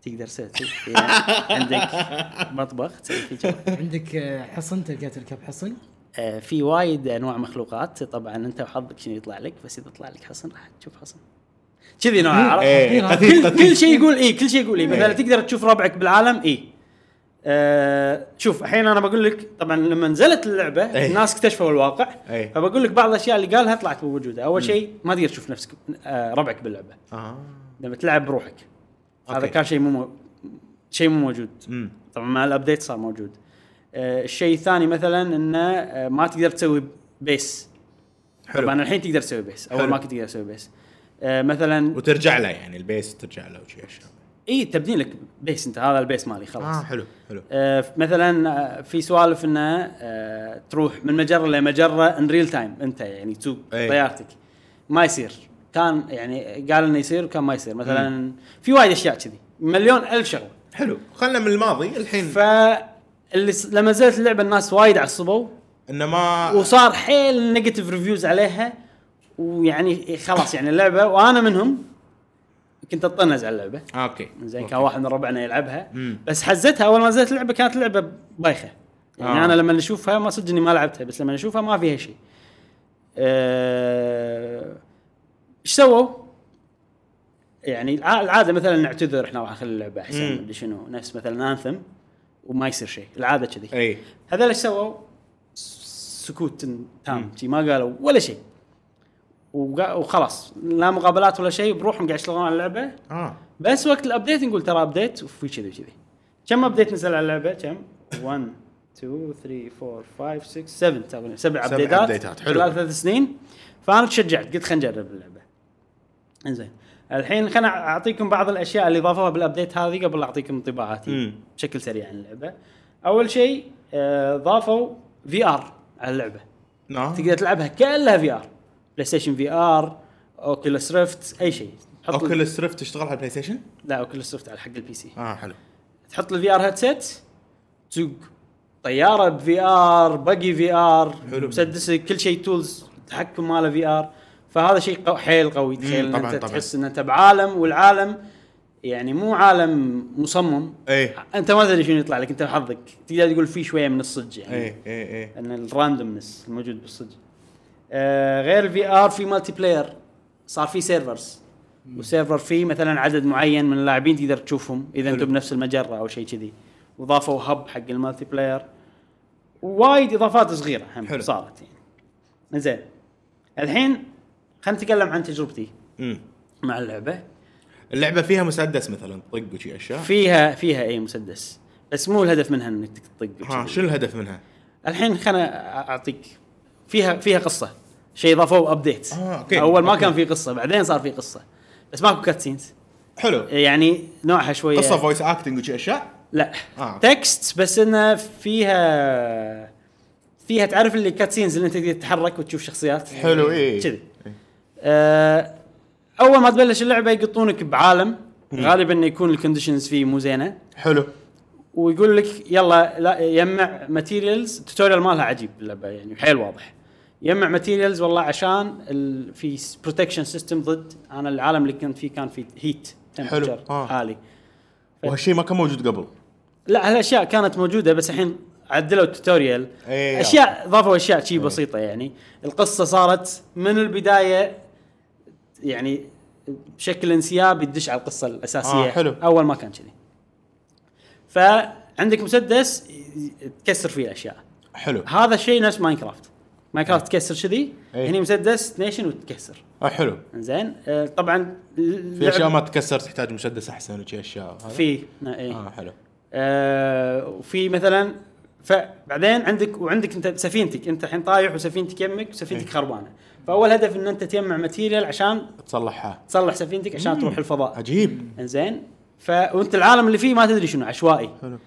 [SPEAKER 1] تقدر تسوي تسوي- يعني عندك مطبخ تسوي فيه جو.
[SPEAKER 2] عندك آه، حصن تلقى تركب حصن
[SPEAKER 1] آه، في وايد انواع مخلوقات طبعا انت وحظك شنو يطلع لك بس اذا طلع لك حصن راح تشوف حصن كذي
[SPEAKER 2] إيه،
[SPEAKER 1] نوع آه، عرفت؟ إيه،
[SPEAKER 3] اي
[SPEAKER 1] كل
[SPEAKER 3] قتيل
[SPEAKER 1] كل
[SPEAKER 3] قتيل
[SPEAKER 1] شيء يقول اي كل شيء يقول اي مثلا
[SPEAKER 3] إيه.
[SPEAKER 1] تقدر تشوف ربعك بالعالم اي آه شوف الحين انا بقول لك طبعا لما نزلت اللعبه
[SPEAKER 3] إيه.
[SPEAKER 1] الناس اكتشفوا الواقع
[SPEAKER 3] إيه.
[SPEAKER 1] فبقول لك بعض الاشياء اللي قالها طلعت موجوده اول شيء ما تقدر تشوف نفسك آه ربعك باللعبه
[SPEAKER 3] اه
[SPEAKER 1] لما تلعب بروحك هذا
[SPEAKER 3] أوكي.
[SPEAKER 1] كان شيء مو مو- شيء مو موجود
[SPEAKER 3] امم
[SPEAKER 1] طبعا مع الابديت صار موجود آه الشيء الثاني مثلا انه آه ما تقدر تسوي بيس
[SPEAKER 3] حلو.
[SPEAKER 1] طبعا الحين تقدر تسوي بيس اول
[SPEAKER 3] حلو.
[SPEAKER 1] ما كنت تقدر تسوي بيس آه مثلا
[SPEAKER 3] وترجع له يعني البيس ترجع له وشي اشياء
[SPEAKER 1] اي تبدين لك بيس انت هذا البيس مالي خلاص
[SPEAKER 3] اه
[SPEAKER 1] آه.
[SPEAKER 3] حلو حلو
[SPEAKER 1] آه مثلا آه، في سوالف انه آه تروح من مجره لمجره ان ريل تايم انت يعني تسوق
[SPEAKER 3] أي.
[SPEAKER 1] طيارتك ما يصير كان يعني قال انه يصير وكان ما يصير مثلا في وايد اشياء كذي مليون الف شغله
[SPEAKER 3] حلو خلنا من الماضي الحين ف...
[SPEAKER 1] فاللي س- لما نزلت اللعبه الناس وايد عصبوا
[SPEAKER 3] انه ما
[SPEAKER 1] وصار حيل نيجاتيف ريفيوز عليها ويعني خلاص يعني اللعبه وانا منهم كنت اتطنز على اللعبه
[SPEAKER 3] آه اوكي
[SPEAKER 1] زين
[SPEAKER 3] أوكي.
[SPEAKER 1] كان واحد من ربعنا يلعبها
[SPEAKER 3] مم.
[SPEAKER 1] بس حزتها اول ما نزلت اللعبه كانت لعبه بايخه يعني
[SPEAKER 3] آه.
[SPEAKER 1] آه. انا لما اشوفها ما صدق اني ما لعبتها بس لما اشوفها ما فيها شيء. أه، ايش سووا؟ يعني الع- العاده مثلا نعتذر احنا راح نخلي اللعبه احسن
[SPEAKER 3] مم.
[SPEAKER 1] مدري شنو نفس مثلا انثم وما يصير شيء العاده كذي
[SPEAKER 3] اي
[SPEAKER 1] هذول ايش سووا؟ س- سكوت تام شي ما قالوا ولا شيء وقا- وخلاص لا مقابلات ولا شيء بروحهم قاعد يشتغلون على اللعبه
[SPEAKER 3] اه
[SPEAKER 1] بس وقت الابديت نقول ترى ابديت وفي كذي وكذي كم ابديت نزل على اللعبه كم 1 2 3 4 5 6 7 تقريبا سبع
[SPEAKER 3] سبع
[SPEAKER 1] ابديتات
[SPEAKER 3] أبديتات، حلو.
[SPEAKER 1] خلال ثلاث سنين فانا تشجعت قلت خلينا نجرب اللعبه انزين الحين خلنا اعطيكم بعض الاشياء اللي ضافوها بالابديت هذه قبل اعطيكم انطباعاتي
[SPEAKER 3] مم.
[SPEAKER 1] بشكل سريع عن اللعبه اول شيء آه، ضافوا في ار على اللعبه
[SPEAKER 3] نعم
[SPEAKER 1] تقدر تلعبها كلها في ار بلاي ستيشن في ار اوكيلس ريفت اي شيء حط-
[SPEAKER 3] اوكيولس ريفت تشتغل على البلاي ستيشن؟
[SPEAKER 1] لا اوكيلس ريفت على حق البي سي
[SPEAKER 3] اه حلو
[SPEAKER 1] تحط الفي ار هيدسيت تسوق طياره بفي ار بقي في ار
[SPEAKER 3] حلو.
[SPEAKER 1] مسدس كل شيء تولز التحكم ماله في ار فهذا شيء قو- حيل قوي تخيل ان
[SPEAKER 3] طبعاً،
[SPEAKER 1] انت
[SPEAKER 3] طبعاً.
[SPEAKER 1] تحس ان انت بعالم والعالم يعني مو عالم مصمم
[SPEAKER 3] ايه
[SPEAKER 1] انت ما تدري شنو يطلع لك انت حظك تقدر تقول في شويه من الصج يعني
[SPEAKER 3] ايه ايه ايه
[SPEAKER 1] ان الراندومنس الموجود بالصج آه غير الفي ار في مالتي بلاير صار في سيرفرز وسيرفر فيه مثلا عدد معين من اللاعبين تقدر تشوفهم اذا انتم بنفس المجره او شيء كذي وضافوا هب حق المالتي بلاير وايد اضافات صغيره هم
[SPEAKER 3] حلو.
[SPEAKER 1] صارت يعني زين الحين خلينا نتكلم عن تجربتي
[SPEAKER 3] مم.
[SPEAKER 1] مع اللعبه
[SPEAKER 3] أه. اللعبه فيها مسدس مثلا طق وشي اشياء
[SPEAKER 1] فيها فيها اي مسدس بس مو الهدف منها انك تطق
[SPEAKER 3] ها
[SPEAKER 1] وكذي.
[SPEAKER 3] شنو الهدف منها؟
[SPEAKER 1] الحين خلنا اعطيك فيها فيها قصه شيء ضافوه ابديت
[SPEAKER 3] آه، أوكي،
[SPEAKER 1] اول ما
[SPEAKER 3] أوكي.
[SPEAKER 1] كان في قصه بعدين صار في قصه بس ماكو كاتسينز
[SPEAKER 3] حلو
[SPEAKER 1] يعني نوعها شويه
[SPEAKER 3] قصه فويس اكتنج وشي اشياء
[SPEAKER 1] لا
[SPEAKER 3] آه.
[SPEAKER 1] آه. تكست بس انها فيها فيها تعرف اللي كاتسينز اللي انت تقدر تتحرك وتشوف شخصيات
[SPEAKER 3] حلو، إيه.
[SPEAKER 1] كذي
[SPEAKER 3] إيه.
[SPEAKER 1] آه اول ما تبلش اللعبه يقطونك بعالم غالبا يكون الكونديشنز فيه مو زينه
[SPEAKER 3] حلو
[SPEAKER 1] ويقول لك يلا لا يجمع ماتيريالز التوتوريال مالها عجيب اللعبه يعني حيل واضح يجمع ماتيريالز والله عشان ال... في بروتكشن سيستم ضد انا العالم اللي كنت فيه كان في هيت
[SPEAKER 3] حلو.
[SPEAKER 1] تمبرتشر
[SPEAKER 3] آه.
[SPEAKER 1] عالي
[SPEAKER 3] وهالشيء ما كان موجود قبل
[SPEAKER 1] لا هالاشياء كانت موجوده بس الحين عدلوا التوتوريال
[SPEAKER 3] إيه.
[SPEAKER 1] اشياء ضافوا اشياء شي بسيطه يعني القصه صارت من البدايه يعني بشكل انسيابي تدش على القصه الاساسيه
[SPEAKER 3] آه، حلو.
[SPEAKER 1] اول ما كان كذي فعندك مسدس ي- تكسر فيه الاشياء
[SPEAKER 3] حلو
[SPEAKER 1] هذا الشيء نفس ماينكرافت ماينكرافت تكسر كذي
[SPEAKER 3] إيه.
[SPEAKER 1] هني مسدس تنيشن وتكسر
[SPEAKER 3] آه حلو
[SPEAKER 1] زين آه، طبعا
[SPEAKER 3] في اشياء ما تكسر تحتاج مسدس احسن وشي اشياء هذا؟
[SPEAKER 1] في ايه
[SPEAKER 3] اه حلو
[SPEAKER 1] آه، وفي مثلا فبعدين عندك وعندك انت سفينتك انت الحين طايح وسفينتك يمك وسفينتك
[SPEAKER 3] إيه.
[SPEAKER 1] خربانه فاول هدف ان انت تجمع ماتيريال عشان
[SPEAKER 3] تصلحها
[SPEAKER 1] تصلح سفينتك عشان تروح الفضاء
[SPEAKER 3] عجيب
[SPEAKER 1] انزين ف وانت العالم اللي فيه ما تدري شنو عشوائي
[SPEAKER 3] حلو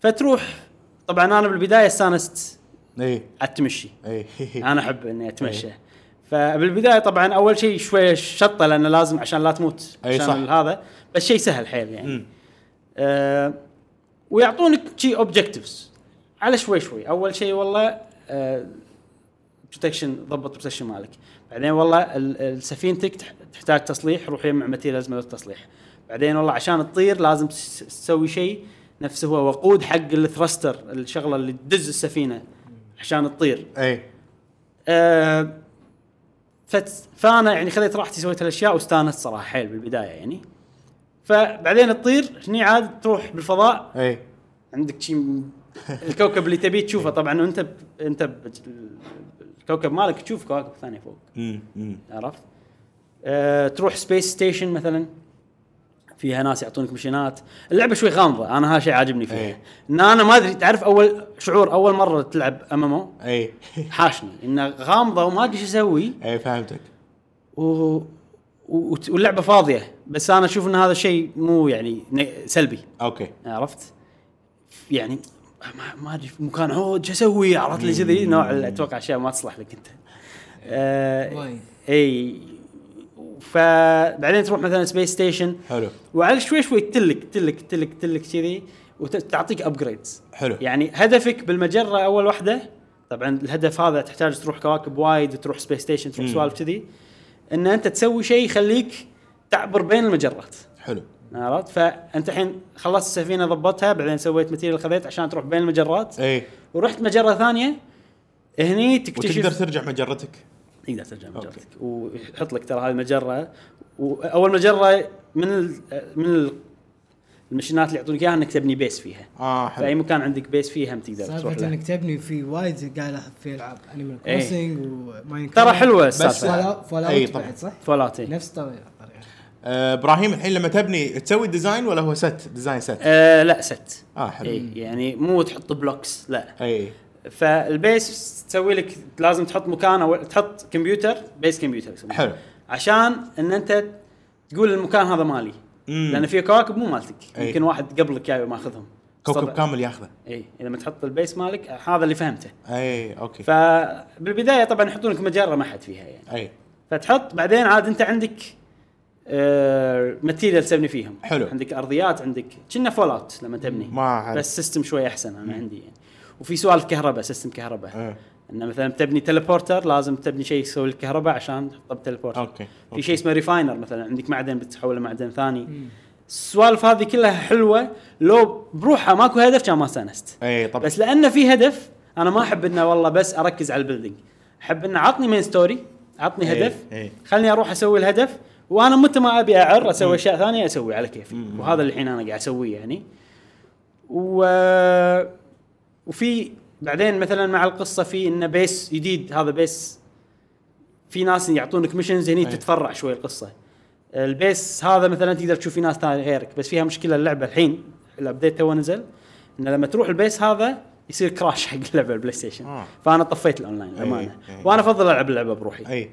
[SPEAKER 1] فتروح طبعا انا بالبدايه استانست
[SPEAKER 3] ايه
[SPEAKER 1] على التمشي
[SPEAKER 3] ايه
[SPEAKER 1] انا احب اني اتمشى
[SPEAKER 3] إيه.
[SPEAKER 1] فبالبدايه طبعا اول شيء شويه شطه لانه لازم عشان لا تموت
[SPEAKER 3] أي
[SPEAKER 1] عشان
[SPEAKER 3] إيه، صح.
[SPEAKER 1] هذا بس شيء سهل حيل يعني
[SPEAKER 3] مم.
[SPEAKER 1] آه، ويعطونك شي اوبجكتيفز على شوي شوي اول شيء والله بروتكشن ضبط بروتكشن مالك بعدين والله ال- ال- سفينتك تح- تحتاج تصليح روح يجمع ماتيريالز مال التصليح بعدين والله عشان تطير لازم تس- تسوي شيء نفسه هو وقود حق الثرستر الشغله اللي تدز السفينه عشان تطير
[SPEAKER 3] ايه
[SPEAKER 1] آه، فت- فانا يعني خذيت راحتي سويت هالاشياء واستانست صراحه حيل بالبدايه يعني فبعدين تطير هني عاد تروح بالفضاء
[SPEAKER 3] ايه
[SPEAKER 1] عندك شيء الكوكب اللي تبيه تشوفه طبعا وانت ب... انت ب... الكوكب مالك تشوف كواكب ثانيه فوق
[SPEAKER 3] مم، مم.
[SPEAKER 1] عرفت؟ أه تروح سبيس ستيشن مثلا فيها ناس يعطونك مشينات اللعبه شوي غامضه انا هذا شيء عاجبني فيها
[SPEAKER 3] إيه.
[SPEAKER 1] ان انا ما ادري تعرف اول شعور اول مره تلعب امامو
[SPEAKER 3] ايه
[SPEAKER 1] حاشني انه غامضه وما ادري ايش اسوي
[SPEAKER 3] ايه فهمتك
[SPEAKER 1] و... و... وت- واللعبه فاضيه بس انا اشوف ان هذا الشيء مو يعني ن- سلبي
[SPEAKER 3] اوكي
[SPEAKER 1] عرفت؟ يعني ما- ما ادري في مكان عود شو اسوي عرفت لي كذي نوع ال- اتوقع اشياء ما تصلح لك انت. آه
[SPEAKER 2] وايد.
[SPEAKER 1] اي فبعدين تروح مثلا سبيس ستيشن
[SPEAKER 3] حلو
[SPEAKER 1] وعلى شوي شوي تلك تلك تلك تلك كذي وتعطيك ابجريدز
[SPEAKER 3] حلو
[SPEAKER 1] يعني هدفك بالمجره اول واحده طبعا الهدف هذا تحتاج تروح كواكب وايد تروح سبيس ستيشن تروح
[SPEAKER 3] مم.
[SPEAKER 1] سوالف كذي ان انت تسوي شيء يخليك تعبر بين المجرات
[SPEAKER 3] حلو
[SPEAKER 1] عرفت فانت الحين خلصت السفينه ضبطتها بعدين سويت ماتيريال خذيت عشان تروح بين المجرات
[SPEAKER 3] ايه
[SPEAKER 1] ورحت مجره ثانيه هني
[SPEAKER 3] وتقدر
[SPEAKER 1] تكتشف
[SPEAKER 3] ترجع مجرتك
[SPEAKER 1] تقدر ترجع مجرتك ويحط لك ترى هذه المجره واول مجره من ال من ال المشينات اللي يعطونك اياها انك تبني بيس فيها
[SPEAKER 3] اه حلو
[SPEAKER 1] فاي مكان عندك بيس فيه هم تقدر تروح
[SPEAKER 2] سالفه
[SPEAKER 1] له
[SPEAKER 2] انك تبني في وايد قاعد العب في العاب انيمال
[SPEAKER 1] إيه.
[SPEAKER 2] كروسنج وماين
[SPEAKER 1] ترى حلوه
[SPEAKER 2] بس
[SPEAKER 1] السالفه
[SPEAKER 2] فول فول
[SPEAKER 3] إيه
[SPEAKER 2] اوت
[SPEAKER 3] طبعاً.
[SPEAKER 2] بعد صح؟
[SPEAKER 1] فولات إيه.
[SPEAKER 2] نفس الطريقه الطريقة.
[SPEAKER 3] آه ابراهيم الحين لما تبني تسوي ديزاين ولا هو ست ديزاين ست
[SPEAKER 1] آه لا ست
[SPEAKER 3] اه حلو إيه،
[SPEAKER 1] اي يعني مو تحط بلوكس لا
[SPEAKER 3] اي
[SPEAKER 1] فالبيس تسوي لك لازم تحط مكان او تحط كمبيوتر بيس كمبيوتر يسمونه.
[SPEAKER 3] حلو
[SPEAKER 1] عشان ان انت تقول المكان هذا مالي
[SPEAKER 3] مم.
[SPEAKER 1] لان في كواكب مو مالتك
[SPEAKER 3] أي.
[SPEAKER 1] يمكن واحد قبلك جاي ماخذهم
[SPEAKER 3] كوكب كامل إيه. ياخذه
[SPEAKER 1] اي اذا ما تحط البيس مالك هذا اللي فهمته
[SPEAKER 3] اي ايه، اوكي
[SPEAKER 1] فبالبدايه طبعا يحطون لك مجره ما حد فيها يعني
[SPEAKER 3] اي
[SPEAKER 1] فتحط بعدين عاد انت عندك آه ماتيريال تبني فيهم
[SPEAKER 3] حلو.
[SPEAKER 1] عندك ارضيات عندك كنا فول اوت لما تبني
[SPEAKER 3] ما أعرف.
[SPEAKER 1] بس سيستم شوي احسن انا عندي يعني وفي سوالف كهرباء سيستم كهرباء
[SPEAKER 3] إيه.
[SPEAKER 1] ان مثلا تبني تليبورتر لازم تبني شيء يسوي الكهرباء عشان تحطه بتليبورتر
[SPEAKER 3] أوكي.
[SPEAKER 1] في
[SPEAKER 3] أوكي.
[SPEAKER 1] شيء اسمه ريفاينر مثلا عندك معدن بتحوله معدن ثاني السوالف هذه كلها حلوه لو بروحها ماكو هدف كان ما استانست
[SPEAKER 3] اي طبعا
[SPEAKER 1] بس لانه في هدف انا ما احب انه والله بس اركز على البيلدينج احب انه عطني مين ستوري عطني
[SPEAKER 3] إيه،
[SPEAKER 1] هدف
[SPEAKER 3] إيه.
[SPEAKER 1] خلني اروح اسوي الهدف وانا متى ما ابي اعر اسوي اشياء ثانيه اسوي على كيفي وهذا اللي الحين انا قاعد اسويه يعني و وفي بعدين مثلا مع القصه في انه بيس جديد هذا بيس في ناس يعطونك ميشنز
[SPEAKER 3] إيه.
[SPEAKER 1] هني تتفرع شوي القصه البيس هذا مثلا تقدر تشوف في ناس ثانيه غيرك بس فيها مشكله اللعبه الحين الابديت تو نزل انه لما تروح البيس هذا يصير كراش حق اللعبه البلاي ستيشن
[SPEAKER 3] آه. إيه،
[SPEAKER 1] فانا طفيت الاونلاين امانه
[SPEAKER 3] أي.
[SPEAKER 1] وانا افضل العب اللعبه بروحي
[SPEAKER 3] اي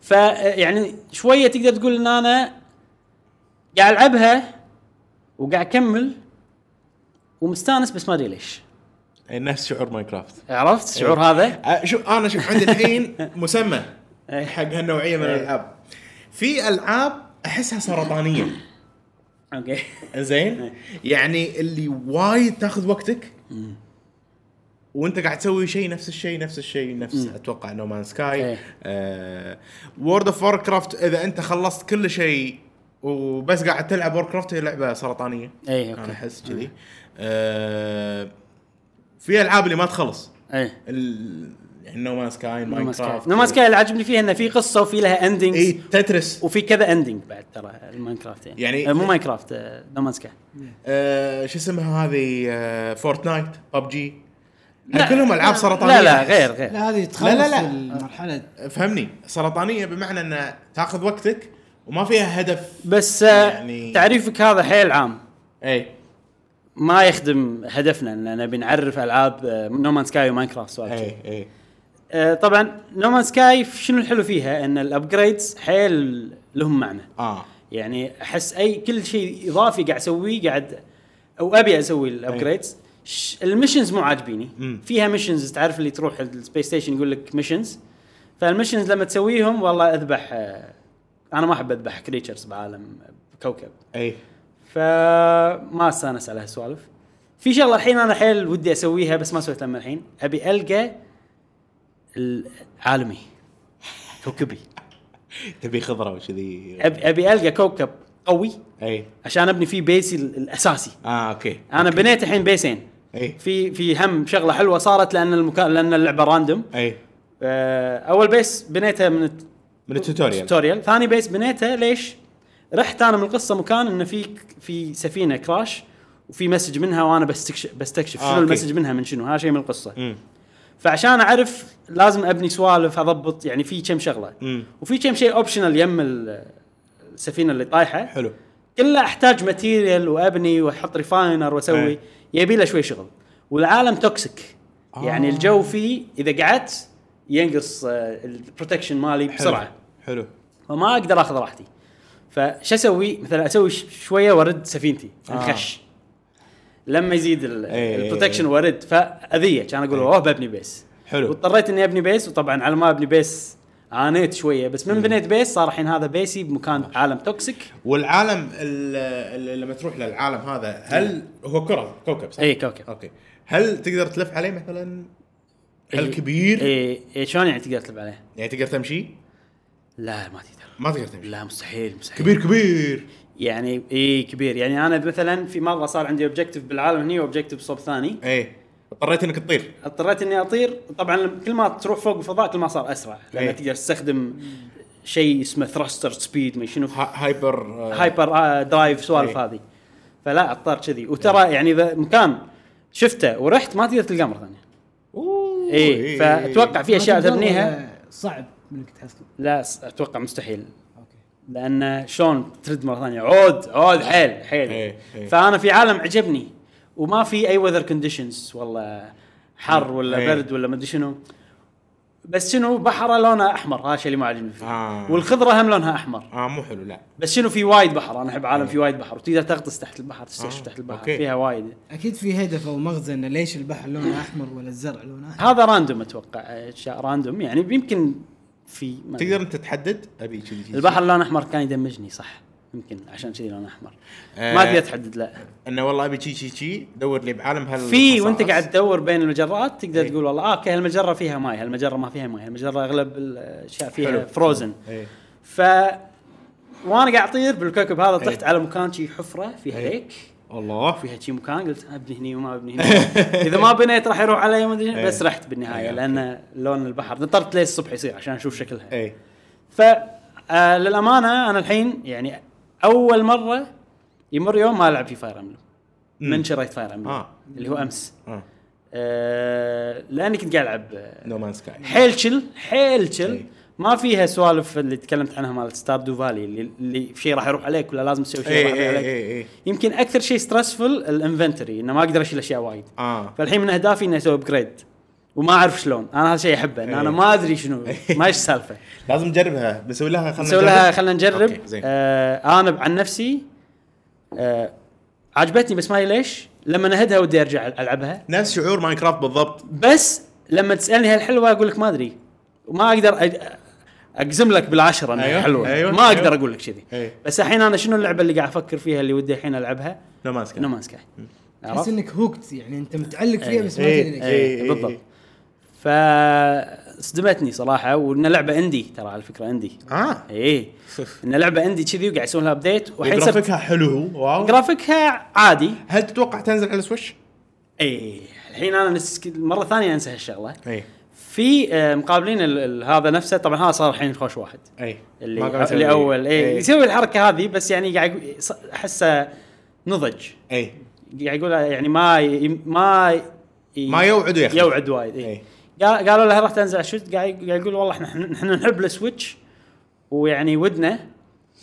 [SPEAKER 1] فيعني شويه يعني تقدر تقول ان انا قاعد العبها وقاعد اكمل ومستانس بس ما ادري ليش إيه.
[SPEAKER 3] أي، نفس ايه، شعور ماينكرافت
[SPEAKER 1] عرفت الشعور هذا
[SPEAKER 3] آه، شوف انا شوف عندي الحين مسمى
[SPEAKER 1] إيه.
[SPEAKER 3] حق هالنوعيه من
[SPEAKER 1] إيه.
[SPEAKER 3] الالعاب في العاب احسها سرطانيه
[SPEAKER 1] اوكي
[SPEAKER 3] زين يعني اللي وايد تاخذ وقتك وانت قاعد تسوي شيء نفس الشيء نفس الشيء نفس اتوقع نومان سكاي
[SPEAKER 1] إيه.
[SPEAKER 3] آه، وورد اوف وور كرافت اذا انت خلصت كل شيء وبس قاعد تلعب وور كرافت هي لعبه سرطانيه
[SPEAKER 1] اي اوكي
[SPEAKER 3] انا احس كذي آه، في العاب اللي ما تخلص
[SPEAKER 1] اي
[SPEAKER 3] إيه.
[SPEAKER 1] ال...
[SPEAKER 3] ال- يعني نومان سكاي
[SPEAKER 1] نوماس كاي
[SPEAKER 3] ماينكرافت
[SPEAKER 1] نوماس كاي اللي عجبني فيها انه في قصه وفي لها اندنجز
[SPEAKER 3] اي تترس
[SPEAKER 1] وفي كذا اندنج بعد ترى الماينكرافت يعني,
[SPEAKER 3] يعني-
[SPEAKER 1] آه، مو ماينكرافت نومانس كاي
[SPEAKER 3] آه، شو اسمها هذه آه، فورتنايت ببجي
[SPEAKER 1] لا،
[SPEAKER 3] كلهم العاب
[SPEAKER 1] لا،
[SPEAKER 3] سرطانيه
[SPEAKER 1] لا لا
[SPEAKER 3] أحس.
[SPEAKER 1] غير غير
[SPEAKER 2] لا هذه تخلص
[SPEAKER 3] إيه. لا، لا.
[SPEAKER 2] المرحله
[SPEAKER 3] فهمني سرطانيه بمعنى ان تاخذ وقتك وما فيها هدف
[SPEAKER 1] بس يعني...
[SPEAKER 3] يعني-
[SPEAKER 1] تعريفك هذا حيل عام
[SPEAKER 3] اي
[SPEAKER 1] ما يخدم هدفنا ان نبي نعرف العاب نومان سكاي وماينكرافت سوالف كذي.
[SPEAKER 3] اي اي
[SPEAKER 1] آه، طبعا نومان سكاي شنو الحلو فيها ان الابجريدز حيل لهم معنى
[SPEAKER 3] اه
[SPEAKER 1] يعني احس اي كل شيء اضافي قاعد اسويه قاعد او ابي اسوي الابجريدز المشنز مو عاجبيني
[SPEAKER 3] مم.
[SPEAKER 1] فيها مشنز تعرف اللي تروح السبيس ستيشن يقول لك مشنز فالمشنز لما تسويهم والله اذبح آه، انا ما احب اذبح كريتشرز بعالم كوكب
[SPEAKER 3] اي
[SPEAKER 1] فما استانس على هالسوالف في شغله الحين انا حيل ودي اسويها بس ما سويتها من الحين ابي القى عالمي كوكبي
[SPEAKER 3] تبي خضره وكذي إيه.
[SPEAKER 1] ابي ابي القى كوكب قوي
[SPEAKER 3] اي
[SPEAKER 1] عشان ابني فيه بيسي ال- الاساسي
[SPEAKER 3] اه اوكي
[SPEAKER 1] انا بنيت الحين بيسين
[SPEAKER 3] اي
[SPEAKER 1] في في هم شغله حلوه صارت لان المكان لان اللعبه راندوم
[SPEAKER 3] اي
[SPEAKER 1] آه، اول بيس بنيته من الت-
[SPEAKER 3] إيه. من التوتوريال
[SPEAKER 1] توتوريال ثاني بيس بنيته ليش رحت انا من القصه مكان انه في في سفينه كراش وفي مسج منها وانا بستكشف بستكشف
[SPEAKER 3] آه،
[SPEAKER 1] شنو
[SPEAKER 3] أوكي.
[SPEAKER 1] المسج منها من شنو هذا شيء من القصه
[SPEAKER 3] امم
[SPEAKER 1] فعشان اعرف لازم ابني سوالف اضبط يعني في كم شغله
[SPEAKER 3] مم.
[SPEAKER 1] وفي كم شيء اوبشنال يم ال- السفينه اللي طايحه
[SPEAKER 3] حلو
[SPEAKER 1] كله احتاج ماتيريال وابني واحط ريفاينر واسوي
[SPEAKER 3] إيه.
[SPEAKER 1] يبي له شوي شغل والعالم توكسيك
[SPEAKER 3] آه.
[SPEAKER 1] يعني الجو فيه اذا قعدت ينقص البروتكشن مالي
[SPEAKER 3] حلو.
[SPEAKER 1] بسرعه
[SPEAKER 3] حلو
[SPEAKER 1] فما اقدر اخذ راحتي فش اسوي مثلا اسوي ش- شويه وارد سفينتي
[SPEAKER 3] آه.
[SPEAKER 1] انخش لما يزيد
[SPEAKER 3] إيه.
[SPEAKER 1] البروتكشن وارد فاذيه كان اقول اوه ببني بيس
[SPEAKER 3] حلو.
[SPEAKER 1] واضطريت اني ابني بيس وطبعا على ما ابني بيس عانيت شويه بس من بنيت بيس صار الحين هذا بيسي بمكان عالم توكسيك
[SPEAKER 3] والعالم ال- ال- لما تروح للعالم هذا هل
[SPEAKER 1] إيه.
[SPEAKER 3] هو كره كوكب صح؟
[SPEAKER 1] اي كوكب
[SPEAKER 3] اوكي هل تقدر تلف عليه مثلا؟ هل
[SPEAKER 1] إيه.
[SPEAKER 3] كبير؟
[SPEAKER 1] اي إي، شلون يعني تقدر تلعب عليه؟
[SPEAKER 3] يعني تقدر تمشي؟
[SPEAKER 1] لا ما تقدر
[SPEAKER 3] ما تقدر تمشي
[SPEAKER 1] لا مستحيل مستحيل
[SPEAKER 3] كبير كبير
[SPEAKER 1] يعني اي كبير يعني انا مثلا في مره صار عندي اوبجيكتيف بالعالم هني واوبجيكتيف صوب ثاني
[SPEAKER 3] اي اضطريت انك إيه. تطير
[SPEAKER 1] اضطريت اني اطير طبعا كل ما تروح فوق الفضاء كل ما صار اسرع لان
[SPEAKER 3] إيه.
[SPEAKER 1] تقدر تستخدم شيء اسمه ثراستر سبيد ما شنو
[SPEAKER 3] ها- هايبر آه،
[SPEAKER 1] هايبر آه، درايف سوالف
[SPEAKER 3] إيه.
[SPEAKER 1] هذه فلا اضطر كذي وترى يعني اذا مكان شفته ورحت ما تقدر تلقاه مره ثانيه
[SPEAKER 3] اوه
[SPEAKER 1] اي فاتوقع في اشياء
[SPEAKER 2] ما تقدر
[SPEAKER 1] تبنيها
[SPEAKER 2] ولا صعب انك تحصل
[SPEAKER 1] لا س- اتوقع مستحيل
[SPEAKER 2] اوكي
[SPEAKER 1] لان شلون ترد مره ثانيه عود عود حيل حيل
[SPEAKER 3] إيه، إيه.
[SPEAKER 1] فانا في عالم عجبني وما في اي وذر كونديشنز والله حر ولا
[SPEAKER 3] إيه.
[SPEAKER 1] برد ولا مدري شنو بس شنو بحره لونها احمر هذا الشيء اللي ما عجبني فيه
[SPEAKER 3] آه.
[SPEAKER 1] والخضره هم لونها احمر
[SPEAKER 3] اه مو حلو لا
[SPEAKER 1] بس شنو في وايد بحر انا احب عالم في وايد بحر وتقدر تغطس تحت البحر تستكشف
[SPEAKER 3] إيه. آه،
[SPEAKER 1] تحت البحر
[SPEAKER 3] أوكي.
[SPEAKER 1] فيها وايد
[SPEAKER 2] اكيد في هدف او مغزى انه ليش البحر لونه احمر ولا الزرع لونه احمر
[SPEAKER 1] هذا راندوم اتوقع اشياء راندوم يعني يمكن في ما أدري.
[SPEAKER 3] تقدر انت تحدد ابي كذي كذي.
[SPEAKER 1] البحر لون احمر كان يدمجني صح يمكن عشان كذي لون احمر
[SPEAKER 3] آه.
[SPEAKER 1] ما اقدر اتحدد لا
[SPEAKER 3] انه والله ابي شي شي شي دور لي بعالم هال
[SPEAKER 1] في وانت
[SPEAKER 3] خصائص.
[SPEAKER 1] قاعد تدور بين المجرات تقدر
[SPEAKER 3] إيه.
[SPEAKER 1] تقول والله اه اوكي هالمجره فيها ماي هالمجره ما فيها ماي هالمجره اغلب الاشياء فيها
[SPEAKER 3] حلو.
[SPEAKER 1] فروزن
[SPEAKER 3] إيه.
[SPEAKER 1] ف وانا قاعد اطير بالكوكب هذا طحت
[SPEAKER 3] إيه.
[SPEAKER 1] على مكان شي حفره فيها
[SPEAKER 3] إيه.
[SPEAKER 1] هيك
[SPEAKER 3] الله
[SPEAKER 1] فيها شي مكان قلت ابني هني وما ابني هني اذا ما بنيت راح يروح علي ما ادري
[SPEAKER 3] إيه.
[SPEAKER 1] بس رحت بالنهايه
[SPEAKER 3] إيه، أوكي.
[SPEAKER 1] لان لون البحر نطرت ليه الصبح يصير عشان اشوف شكلها
[SPEAKER 3] اي
[SPEAKER 1] ف آه، للامانه انا الحين يعني اول مره يمر يوم ما العب في فاير امبلم من شريت فاير امبلم
[SPEAKER 3] آه.
[SPEAKER 1] اللي هو امس
[SPEAKER 3] اه
[SPEAKER 1] آه لاني كنت قاعد العب آه،
[SPEAKER 3] نو مان سكاي
[SPEAKER 1] حيل شل حيل شل
[SPEAKER 3] إي.
[SPEAKER 1] ما فيها سوالف اللي تكلمت عنها مال ستاردو فالي اللي, اللي شيء راح يروح عليك ولا لازم تسوي شيء
[SPEAKER 3] اي
[SPEAKER 1] راح يروح
[SPEAKER 3] اي
[SPEAKER 1] عليك
[SPEAKER 3] اي اي
[SPEAKER 1] يمكن اكثر شيء ستريسفل الانفنتوري انه ما اقدر اشيل اشياء وايد
[SPEAKER 3] اه
[SPEAKER 1] فالحين من اهدافي اني اسوي ابجريد وما اعرف شلون انا هذا شيء احبه ان انا
[SPEAKER 3] إيه.
[SPEAKER 1] ما ادري شنو ما ايش السالفه
[SPEAKER 3] لازم نجربها بنسوي لها خلينا
[SPEAKER 1] نسوي لها خلينا نجرب
[SPEAKER 3] أوكي، زين
[SPEAKER 1] آه انا عن نفسي آه عجبتني بس ما أدري ليش لما نهدها ودي ارجع العبها
[SPEAKER 3] نفس شعور ماينكرافت بالضبط
[SPEAKER 1] بس لما تسالني هل حلوه اقول لك ما ادري وما اقدر أج- اجزم لك بالعشره انها
[SPEAKER 3] أيوه،
[SPEAKER 1] حلوه
[SPEAKER 3] أيوه،
[SPEAKER 1] ما اقدر
[SPEAKER 3] أيوه.
[SPEAKER 1] اقول لك كذي
[SPEAKER 3] أيوه.
[SPEAKER 1] بس الحين انا شنو اللعبه اللي قاعد افكر فيها اللي ودي الحين العبها؟
[SPEAKER 3] نو مان سكاي
[SPEAKER 1] نو مان سكاي
[SPEAKER 2] تحس انك هوكت يعني انت متعلق فيها بس ما
[SPEAKER 3] إيه.
[SPEAKER 2] تدري ليش.
[SPEAKER 3] إيه.
[SPEAKER 1] بالضبط فصدمتني صراحه وان لعبه عندي ترى على فكره عندي
[SPEAKER 3] اه
[SPEAKER 1] ايه ان لعبه عندي كذي وقاعد يسوون لها ابديت وحين صرت
[SPEAKER 3] جرافيكها حلو واو
[SPEAKER 1] جرافيكها عادي
[SPEAKER 3] هل تتوقع تنزل على السويتش؟
[SPEAKER 1] اي الحين انا نس... مره ثانيه انسى هالشغله
[SPEAKER 3] اي
[SPEAKER 1] في آه، مقابلين ال... ال... هذا نفسه طبعا هذا صار الحين خوش واحد
[SPEAKER 3] اي
[SPEAKER 1] اللي اللي إيه. اول اي
[SPEAKER 3] اي
[SPEAKER 1] يسوي الحركه هذه بس يعني قاعد يقو- ص- احسه نضج
[SPEAKER 3] اي
[SPEAKER 1] قاعد يقول يعني ما ي... ما ي...
[SPEAKER 3] ما يوعد إيه. ويخلف.
[SPEAKER 1] يوعد وايد إيه.
[SPEAKER 3] إي.
[SPEAKER 1] اي قال- قالوا له راح تنزل على السويتش قاعد قاعد يقول والله احنا احنا نحب السويتش ويعني ودنا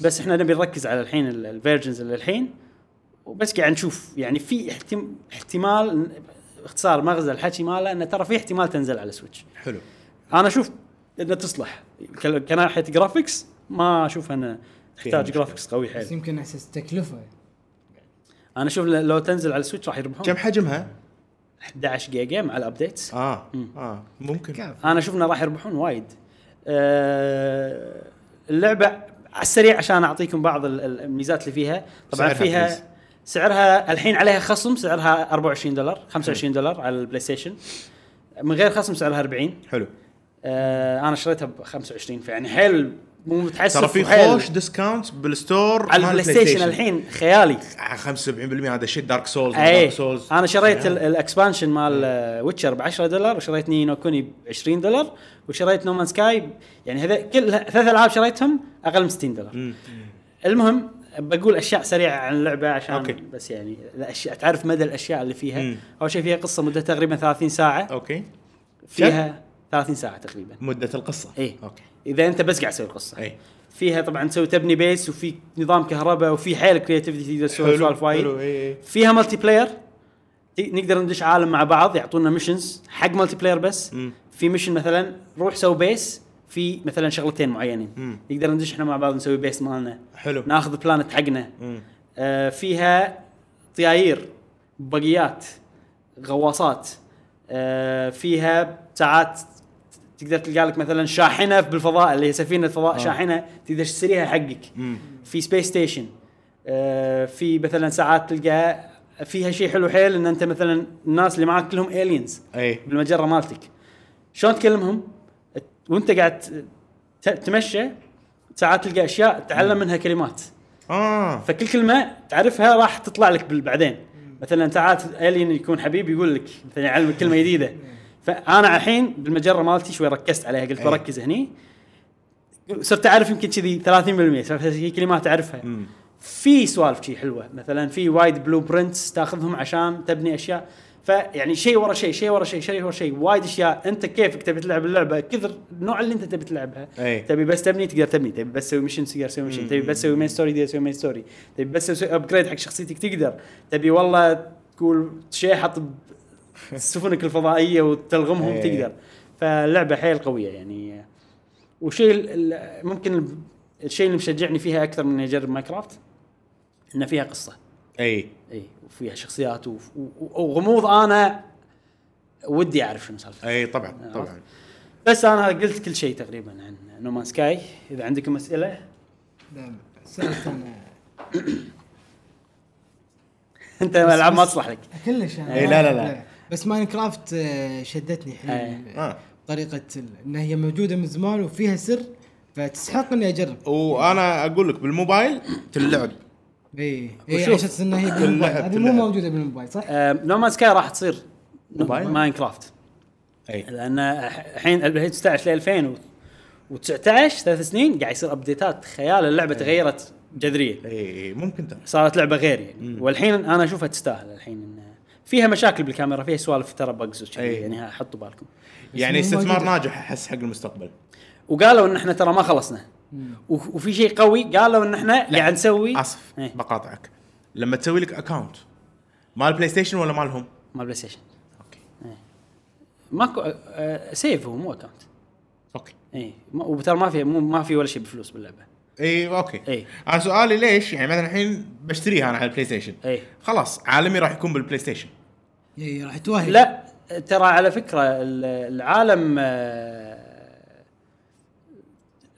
[SPEAKER 1] بس احنا نبي نركز على الحين الفيرجنز اللي الحين وبس قاعد نشوف يعني في احتم- احتمال اختصار مغزى الحكي ماله انه ترى في احتمال تنزل على السويتش
[SPEAKER 3] حلو
[SPEAKER 1] انا اشوف انها تصلح ك- كناحيه جرافيكس ما اشوف انها تحتاج
[SPEAKER 3] مشكلة.
[SPEAKER 1] جرافيكس قوي
[SPEAKER 2] بس
[SPEAKER 1] حيل
[SPEAKER 2] يمكن احساس التكلفه
[SPEAKER 1] انا اشوف ل- لو تنزل على السويتش راح
[SPEAKER 3] كم
[SPEAKER 1] يربحون
[SPEAKER 3] حجمها؟
[SPEAKER 1] 11 جيجا مع الابديتس
[SPEAKER 3] اه اه ممكن
[SPEAKER 2] كاف
[SPEAKER 1] انا اشوف انه راح يربحون وايد آه، اللعبه على السريع عشان اعطيكم بعض ال- ال- الميزات اللي فيها طبعا
[SPEAKER 3] سعرها
[SPEAKER 1] فيها
[SPEAKER 3] please.
[SPEAKER 1] سعرها الحين عليها خصم سعرها 24 دولار 25 دولار على البلاي ستيشن من غير خصم سعرها 40
[SPEAKER 3] حلو
[SPEAKER 1] آه، انا شريتها ب 25 فيعني حيل مو متحسف
[SPEAKER 3] ترى في
[SPEAKER 1] وحيل
[SPEAKER 3] خوش ديسكاونت بالستور
[SPEAKER 1] على
[SPEAKER 3] مال
[SPEAKER 1] البلاي ستيشن الحين خيالي
[SPEAKER 3] آه، 75% هذا شيء دارك سولز
[SPEAKER 1] اي
[SPEAKER 3] دارك سولز
[SPEAKER 1] انا إيه. شريت ال- الاكسبانشن مال
[SPEAKER 3] إيه.
[SPEAKER 1] ويتشر ب 10 دولار وشريت نينو كوني ب 20 دولار وشريت نومان سكاي يعني هذا كل ثلاث العاب شريتهم اقل من 60 دولار المهم بقول اشياء سريعه عن اللعبه عشان أوكي.
[SPEAKER 3] أوكي.
[SPEAKER 1] بس يعني الاشياء تعرف مدى الاشياء اللي فيها
[SPEAKER 3] مم.
[SPEAKER 1] اول شيء فيها قصه مدتها تقريبا 30 ساعه
[SPEAKER 3] اوكي
[SPEAKER 1] فيها 30 ساعه تقريبا
[SPEAKER 3] مده القصه
[SPEAKER 1] اي
[SPEAKER 3] اوكي
[SPEAKER 1] اذا انت بس قاعد تسوي القصه
[SPEAKER 3] اي
[SPEAKER 1] فيها طبعا تسوي تبني بيس وفي نظام كهرباء وفي حيل كرياتيفيتي تقدر تسوي
[SPEAKER 3] حلو
[SPEAKER 1] سوالف وايد
[SPEAKER 3] حلو إيه، اي اي
[SPEAKER 1] فيها ملتي بلاير ت- نقدر ندش عالم مع بعض يعطونا ميشنز حق ملتي بلاير بس
[SPEAKER 3] مم.
[SPEAKER 1] في ميشن مثلا روح سوي بيس في مثلا شغلتين معينين
[SPEAKER 3] مم.
[SPEAKER 1] نقدر ندش احنا مع بعض نسوي بيس مالنا
[SPEAKER 3] حلو
[SPEAKER 1] ناخذ بلانت حقنا
[SPEAKER 3] مم.
[SPEAKER 1] آه فيها طياير بقيات غواصات آه فيها ساعات تقدر تلقى لك مثلا شاحنه بالفضاء اللي هي سفينه فضاء آه. شاحنه تقدر تشتريها حقك
[SPEAKER 3] مم.
[SPEAKER 1] في سبيس ستيشن آه، في مثلا ساعات تلقى فيها شيء حلو حيل ان انت مثلا الناس اللي معاك كلهم الينز
[SPEAKER 3] اي
[SPEAKER 1] بالمجره مالتك شلون تكلمهم وانت قاعد ت- تمشى ساعات تلقى اشياء تعلم منها كلمات
[SPEAKER 3] اه
[SPEAKER 1] فكل كلمه تعرفها راح تطلع لك بال- بعدين مثلا ساعات الين يكون حبيب يقول لك مثلا يعلمك كلمه جديده فانا الحين بالمجره مالتي شوي ركزت عليها قلت
[SPEAKER 3] أي.
[SPEAKER 1] بركز هني صرت اعرف يمكن كذي 30% صرت هي كلمات اعرفها
[SPEAKER 3] مم.
[SPEAKER 1] في سوالف شي حلوه مثلا في وايد بلو برنتس تاخذهم عشان تبني اشياء فيعني شيء ورا شيء شيء ورا شيء شيء ورا شيء وايد اشياء انت كيفك تبي تلعب اللعبه كثر النوع اللي انت تبي تلعبها
[SPEAKER 3] أي.
[SPEAKER 1] تبي بس تبني تقدر تبني تبي بس تسوي ميشن تقدر تسوي ميشن تبي بس تسوي مين ستوري تقدر تسوي مين ستوري تبي بس تسوي ابجريد حق شخصيتك تقدر تبي والله تقول شيء حط ب- سفنك الفضائيه وتلغمهم
[SPEAKER 3] إيه.
[SPEAKER 1] تقدر فاللعبه حيل قويه يعني وشيء ال- ال- ممكن ال- الشيء اللي مشجعني فيها اكثر من إني اجرب ماينكرافت ان فيها قصه
[SPEAKER 3] اي
[SPEAKER 1] اي وفيها شخصيات وف- و- و- وغموض انا ودي اعرف شنو سالفته
[SPEAKER 3] اي طبعا طبعا
[SPEAKER 1] بس انا قلت كل شيء تقريبا عن نومان سكاي اذا عندكم اسئله
[SPEAKER 2] لا، سالفه أنا-
[SPEAKER 1] انت الالعاب ما
[SPEAKER 2] بس-
[SPEAKER 1] تصلح لك
[SPEAKER 2] كلش أنا
[SPEAKER 3] إي،
[SPEAKER 2] ما-
[SPEAKER 3] إيه، لا، لا، لا.
[SPEAKER 2] بس ماين كرافت آه، شدتني حيل
[SPEAKER 3] آه.
[SPEAKER 2] طريقه ال- انها هي موجوده من زمان وفيها سر فتستحق اني اجرب
[SPEAKER 3] وانا اقول لك بالموبايل تلعب
[SPEAKER 2] اي اي
[SPEAKER 1] وشوف.
[SPEAKER 2] على اساس انها إيه، هي بالموبايل
[SPEAKER 3] اللعب-
[SPEAKER 2] هذه مو
[SPEAKER 3] اللعب.
[SPEAKER 2] موجوده بالموبايل صح؟
[SPEAKER 1] نومان سكاي راح تصير
[SPEAKER 3] موبايل؟
[SPEAKER 1] ماين كرافت
[SPEAKER 3] اي
[SPEAKER 1] لان الح- الحين 2016 ل 2019 ثلاث سنين قاعد يصير ابديتات خيال اللعبه تغيرت جذريا
[SPEAKER 3] اي إيه. ممكن ترى
[SPEAKER 1] صارت لعبه غير يعني والحين انا اشوفها تستاهل الحين إن- فيها مشاكل بالكاميرا فيها سوالف ترى بجز وشي
[SPEAKER 3] إيه.
[SPEAKER 1] يعني ها- حطوا بالكم
[SPEAKER 3] يعني
[SPEAKER 2] بس مو
[SPEAKER 3] استثمار
[SPEAKER 2] موجودة.
[SPEAKER 3] ناجح احس حق المستقبل
[SPEAKER 1] وقالوا ان احنا ترى ما خلصنا وف- وفي شيء قوي قالوا ان احنا قاعد نسوي
[SPEAKER 3] اسف
[SPEAKER 1] إيه،
[SPEAKER 3] بقاطعك لما تسوي لك اكونت مال بلاي ستيشن ولا مالهم؟
[SPEAKER 1] مال بلاي ستيشن
[SPEAKER 3] اوكي
[SPEAKER 1] ماكو أه، أه، سيف هو مو اكونت
[SPEAKER 3] اوكي
[SPEAKER 1] اي ما- وترى ما في مو ما في ولا شيء بفلوس باللعبه
[SPEAKER 3] اي اوكي
[SPEAKER 1] إي.
[SPEAKER 3] انا إيه، سؤالي ليش يعني مثلا الحين بشتريها انا على البلاي ستيشن
[SPEAKER 1] إي.
[SPEAKER 3] خلاص عالمي راح يكون بالبلاي ستيشن
[SPEAKER 2] اي إيه، راح توهق
[SPEAKER 1] لا ترى على فكره ال- العالم آه،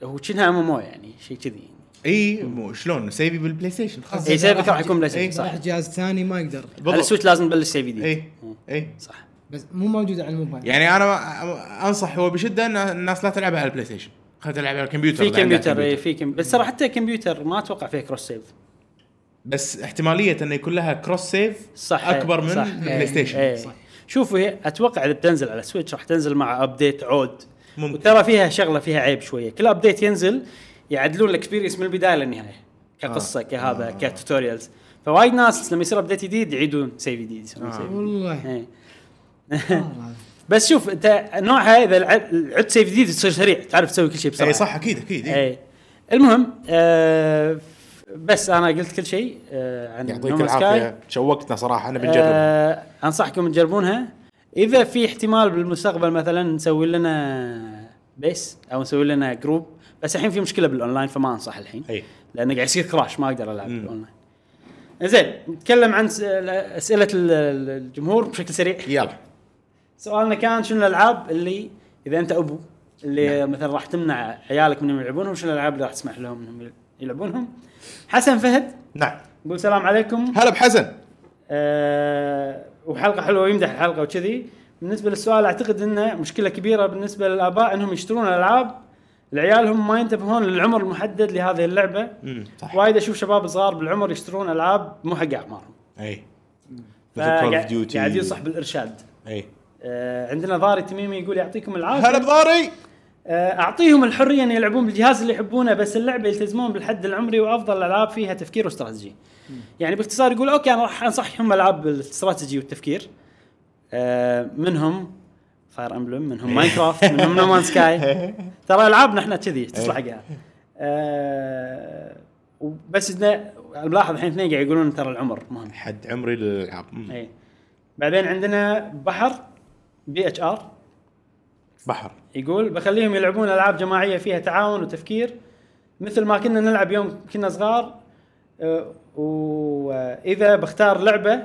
[SPEAKER 1] هو كأنها ام ام او يعني شيء كذي
[SPEAKER 3] اي مو شلون سيفي بالبلاي ستين خلاص
[SPEAKER 1] اي سيفك
[SPEAKER 2] راح
[SPEAKER 1] راح يكون بلاي
[SPEAKER 3] إي،
[SPEAKER 1] ستيشن صح
[SPEAKER 2] راح جهاز ثاني ما يقدر
[SPEAKER 1] إيه. على السويتش لازم نبلش سيف جديد
[SPEAKER 3] اي اي
[SPEAKER 1] صح
[SPEAKER 2] بس مو موجوده على الموبايل
[SPEAKER 3] إيه. يعني انا ما- انصح هو بشده ان الناس لا تلعبها على البلاي ستيشن خليها تلعب على الكمبيوتر
[SPEAKER 1] في
[SPEAKER 3] إذا عندها
[SPEAKER 1] كمبيوتر إيه. اي في كم بس ترى حتى كمبيوتر ما اتوقع فيه كروس سيف
[SPEAKER 3] بس احتماليه انه يكون لها كروس سيف
[SPEAKER 1] صح
[SPEAKER 3] اكبر من
[SPEAKER 1] صح.
[SPEAKER 3] البلاي
[SPEAKER 1] إيه،
[SPEAKER 3] ستيشن
[SPEAKER 1] إيه.
[SPEAKER 2] صح.
[SPEAKER 1] شوفوا هي اتوقع اذا بتنزل على سويتش راح تنزل مع ابديت عود
[SPEAKER 3] ممكن.
[SPEAKER 1] وترى فيها شغله فيها عيب شويه كل ابديت ينزل يعدلون الاكسبيرينس من البدايه للنهايه كقصه آه. كهذا آه. كتوتوريالز فوايد ناس لما يصير ابديت جديد يعيدون سيف جديد يسوون
[SPEAKER 3] آه.
[SPEAKER 1] save جديد.
[SPEAKER 2] والله
[SPEAKER 1] إيه.
[SPEAKER 2] والله.
[SPEAKER 1] بس شوف انت نوعها اذا الع- عدت سيف جديد تصير سريع تعرف تسوي كل شيء بسرعه
[SPEAKER 3] اي إيه، صح اكيد اكيد إي.
[SPEAKER 1] اي المهم آه بس انا قلت كل شيء آه عن
[SPEAKER 3] يعطيك
[SPEAKER 1] No Man's Sky.
[SPEAKER 3] العافيه شوقتنا صراحه انا بنجرب
[SPEAKER 1] آه انصحكم تجربونها اذا في احتمال بالمستقبل مثلا نسوي لنا بيس او نسوي لنا جروب بس الحين في مشكله بالاونلاين فما انصح الحين
[SPEAKER 3] اي
[SPEAKER 1] لانه قاعد يصير كراش ما اقدر العب
[SPEAKER 3] مم.
[SPEAKER 1] اونلاين زين نتكلم عن س- اسئله ال- ال- الجمهور بشكل سريع
[SPEAKER 3] إيه، يلا
[SPEAKER 1] سؤالنا كان شنو الالعاب اللي اذا انت ابو اللي نعم. مثلا راح تمنع عيالك منهم يلعبونهم شنو الالعاب اللي راح تسمح لهم انهم يلعبونهم حسن فهد
[SPEAKER 3] نعم
[SPEAKER 1] يقول السلام عليكم
[SPEAKER 3] هلا بحسن
[SPEAKER 1] آه، وحلقه حلوه ويمدح الحلقه وكذي بالنسبه للسؤال اعتقد انه مشكله كبيره بالنسبه للاباء انهم يشترون العاب لعيالهم ما ينتبهون للعمر المحدد لهذه اللعبه
[SPEAKER 3] امم صح
[SPEAKER 1] وايد اشوف شباب صغار بالعمر يشترون العاب مو حق اعمارهم
[SPEAKER 3] اي
[SPEAKER 1] فقاعد- قاعد ينصح بالارشاد
[SPEAKER 3] اي
[SPEAKER 1] آه، عندنا ضاري تميمي يقول يعطيكم العافيه
[SPEAKER 3] إيه. هلا بضاري
[SPEAKER 1] آه، اعطيهم الحريه ان يلعبون بالجهاز اللي يحبونه بس اللعبه يلتزمون بالحد العمري وافضل الالعاب فيها تفكير واستراتيجي. يعني باختصار يقول اوكي انا راح انصحهم العاب الاستراتيجي والتفكير آه، منهم فاير امبلم منهم ماينكرافت منهم نومان سكاي ترى العابنا احنا كذي تصلح حقها. آه، وبس إنه ملاحظ الحين اثنين قاعد يقولون ترى العمر مهم.
[SPEAKER 3] حد عمري للالعاب مم.
[SPEAKER 1] اي بعدين عندنا بحر بي اتش ار
[SPEAKER 3] بحر
[SPEAKER 1] يقول بخليهم يلعبون العاب جماعيه فيها تعاون وتفكير مثل ما كنا نلعب يوم كنا صغار أه، واذا بختار لعبه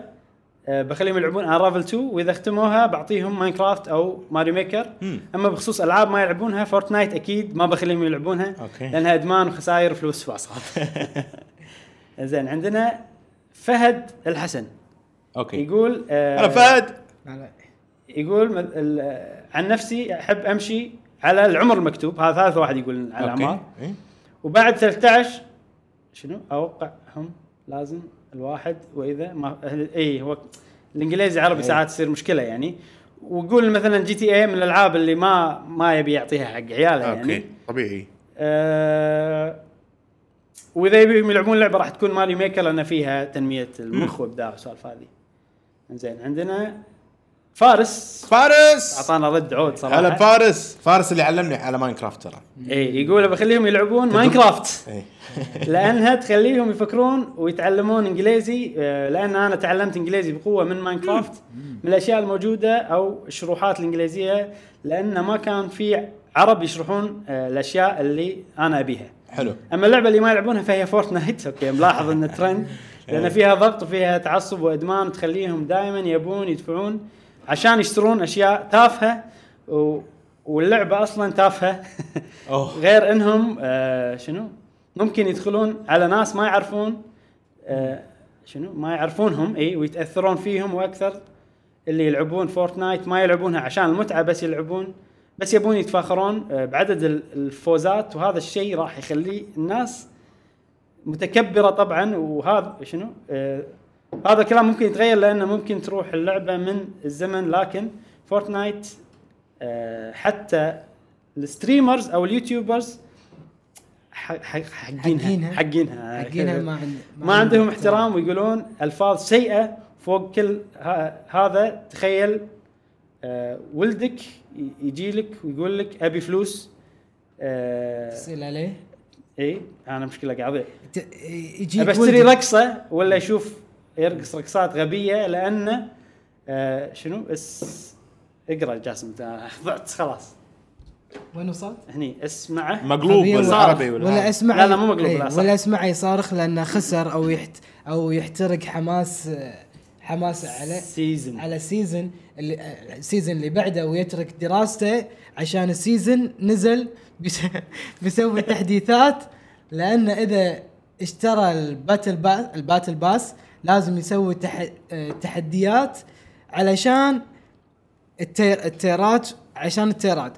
[SPEAKER 1] أه، بخليهم يلعبون انرافل 2 واذا ختموها بعطيهم ماينكرافت او ماري ميكر
[SPEAKER 3] مم.
[SPEAKER 1] اما بخصوص العاب ما يلعبونها فورتنايت اكيد ما بخليهم يلعبونها
[SPEAKER 3] أوكي.
[SPEAKER 1] لانها ادمان وخسائر فلوس واصعب زين عندنا فهد الحسن
[SPEAKER 3] اوكي
[SPEAKER 1] يقول أه،
[SPEAKER 3] هلا فهد
[SPEAKER 2] لا، لا.
[SPEAKER 1] يقول مد- ال- عن نفسي احب امشي على العمر المكتوب هذا ثالث واحد يقول على الاعمار
[SPEAKER 3] أوكي. إيه. إي.
[SPEAKER 1] وبعد 13 شنو اوقعهم لازم الواحد واذا ما اي هو الانجليزي عربي ساعات تصير مشكله يعني ويقول مثلا جي تي اي من الالعاب اللي ما يعني. ما يبي يعطيها حق عياله يعني
[SPEAKER 3] اوكي طبيعي
[SPEAKER 1] آه واذا يبيهم يلعبون لعبه راح تكون ماري ميكر لان فيها تنميه المخ وابداع والسوالف هذه. زين عندنا فارس
[SPEAKER 3] فارس
[SPEAKER 1] اعطانا رد عود صراحه
[SPEAKER 3] هلا فارس فارس اللي علمني على ماينكرافت ترى
[SPEAKER 1] اي إيه، يقول بخليهم يلعبون ماينكرافت
[SPEAKER 3] إيه.
[SPEAKER 1] لانها تخليهم يفكرون ويتعلمون انجليزي آه، لان انا تعلمت انجليزي بقوه من ماينكرافت من الاشياء الموجوده او الشروحات الانجليزيه لان ما كان في عرب يشرحون آه، الاشياء اللي انا ابيها.
[SPEAKER 3] حلو
[SPEAKER 1] اما اللعبه اللي ما يلعبونها فهي فورتنايت اوكي ملاحظ ان ترند لان فيها ضغط وفيها تعصب وادمان تخليهم دائما يبون يدفعون عشان يشترون اشياء تافهه و... واللعبه اصلا تافهه
[SPEAKER 3] أوه.
[SPEAKER 1] غير انهم آه شنو ممكن يدخلون على ناس ما يعرفون آه شنو ما يعرفونهم اي ويتاثرون فيهم واكثر اللي يلعبون فورتنايت ما يلعبونها عشان المتعه بس يلعبون بس يبون يتفاخرون آه، بعدد ال- الفوزات وهذا الشيء راح يخلي الناس متكبره طبعا وهذا شنو آه هذا الكلام ممكن يتغير لانه ممكن تروح اللعبه من الزمن لكن فورتنايت آه حتى الستريمرز او اليوتيوبرز ح- ح- حقينها
[SPEAKER 2] حقينها.
[SPEAKER 1] حقينها
[SPEAKER 2] حقينها ما عند
[SPEAKER 1] ما عندهم احترام ويقولون الفاظ سيئه فوق كل ه- هذا تخيل آه، ولدك ي- يجي لك ويقول لك ابي فلوس آه، إيه؟
[SPEAKER 2] تسال عليه
[SPEAKER 1] اي انا مشكله قاعد
[SPEAKER 2] ت- إيه، يجيك
[SPEAKER 1] ابي اشتري
[SPEAKER 2] ولدك.
[SPEAKER 1] رقصه ولا اشوف يرقص رقصات غبيه لانه آه، شنو اس اقرا جاسم أنت ضعت خلاص
[SPEAKER 2] وين وصلت؟
[SPEAKER 1] هني اسمعه
[SPEAKER 3] مقلوب
[SPEAKER 2] عربي ولا-
[SPEAKER 3] بالعربي
[SPEAKER 2] ولا,
[SPEAKER 3] ولا
[SPEAKER 2] ولا
[SPEAKER 3] عربي؟
[SPEAKER 2] اسمع
[SPEAKER 1] لا، لا، مو مقلوب،
[SPEAKER 2] إيه،
[SPEAKER 1] لا، صح.
[SPEAKER 2] ولا اسمع يصارخ لانه خسر او يحت او يحترق حماس حماس على
[SPEAKER 1] سيزن
[SPEAKER 2] على السيزن اللي آه، السيزن اللي بعده ويترك دراسته عشان السيزن نزل بس- بيسوي تحديثات لان اذا اشترى الباتل باس الباتل باس لازم يسوي تح... آه، تحديات علشان التير... التيرات عشان التيرات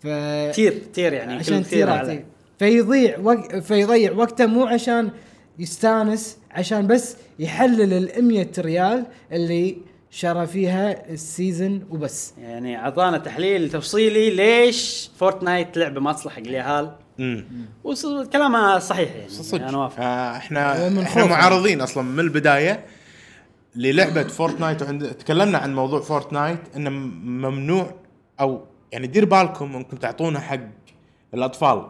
[SPEAKER 2] ف...
[SPEAKER 1] تير تير يعني
[SPEAKER 2] عشان
[SPEAKER 1] كل تير
[SPEAKER 2] تيرات
[SPEAKER 1] على
[SPEAKER 2] إيه. فيضيع وق... فيضيع وقته مو عشان يستانس عشان بس يحلل ال 100 ريال اللي شرى فيها السيزن وبس
[SPEAKER 1] يعني اعطانا تحليل تفصيلي ليش فورتنايت لعبه ما تصلح حق اليهال
[SPEAKER 3] مم.
[SPEAKER 1] وكلامها صحيح يعني
[SPEAKER 3] صدق
[SPEAKER 1] انا وافق
[SPEAKER 3] آه، احنا
[SPEAKER 2] ومن
[SPEAKER 3] احنا
[SPEAKER 2] خوف.
[SPEAKER 3] معارضين اصلا من البدايه للعبه فورتنايت وعند تكلمنا عن موضوع فورتنايت انه م- ممنوع او يعني دير بالكم انكم تعطونه حق الاطفال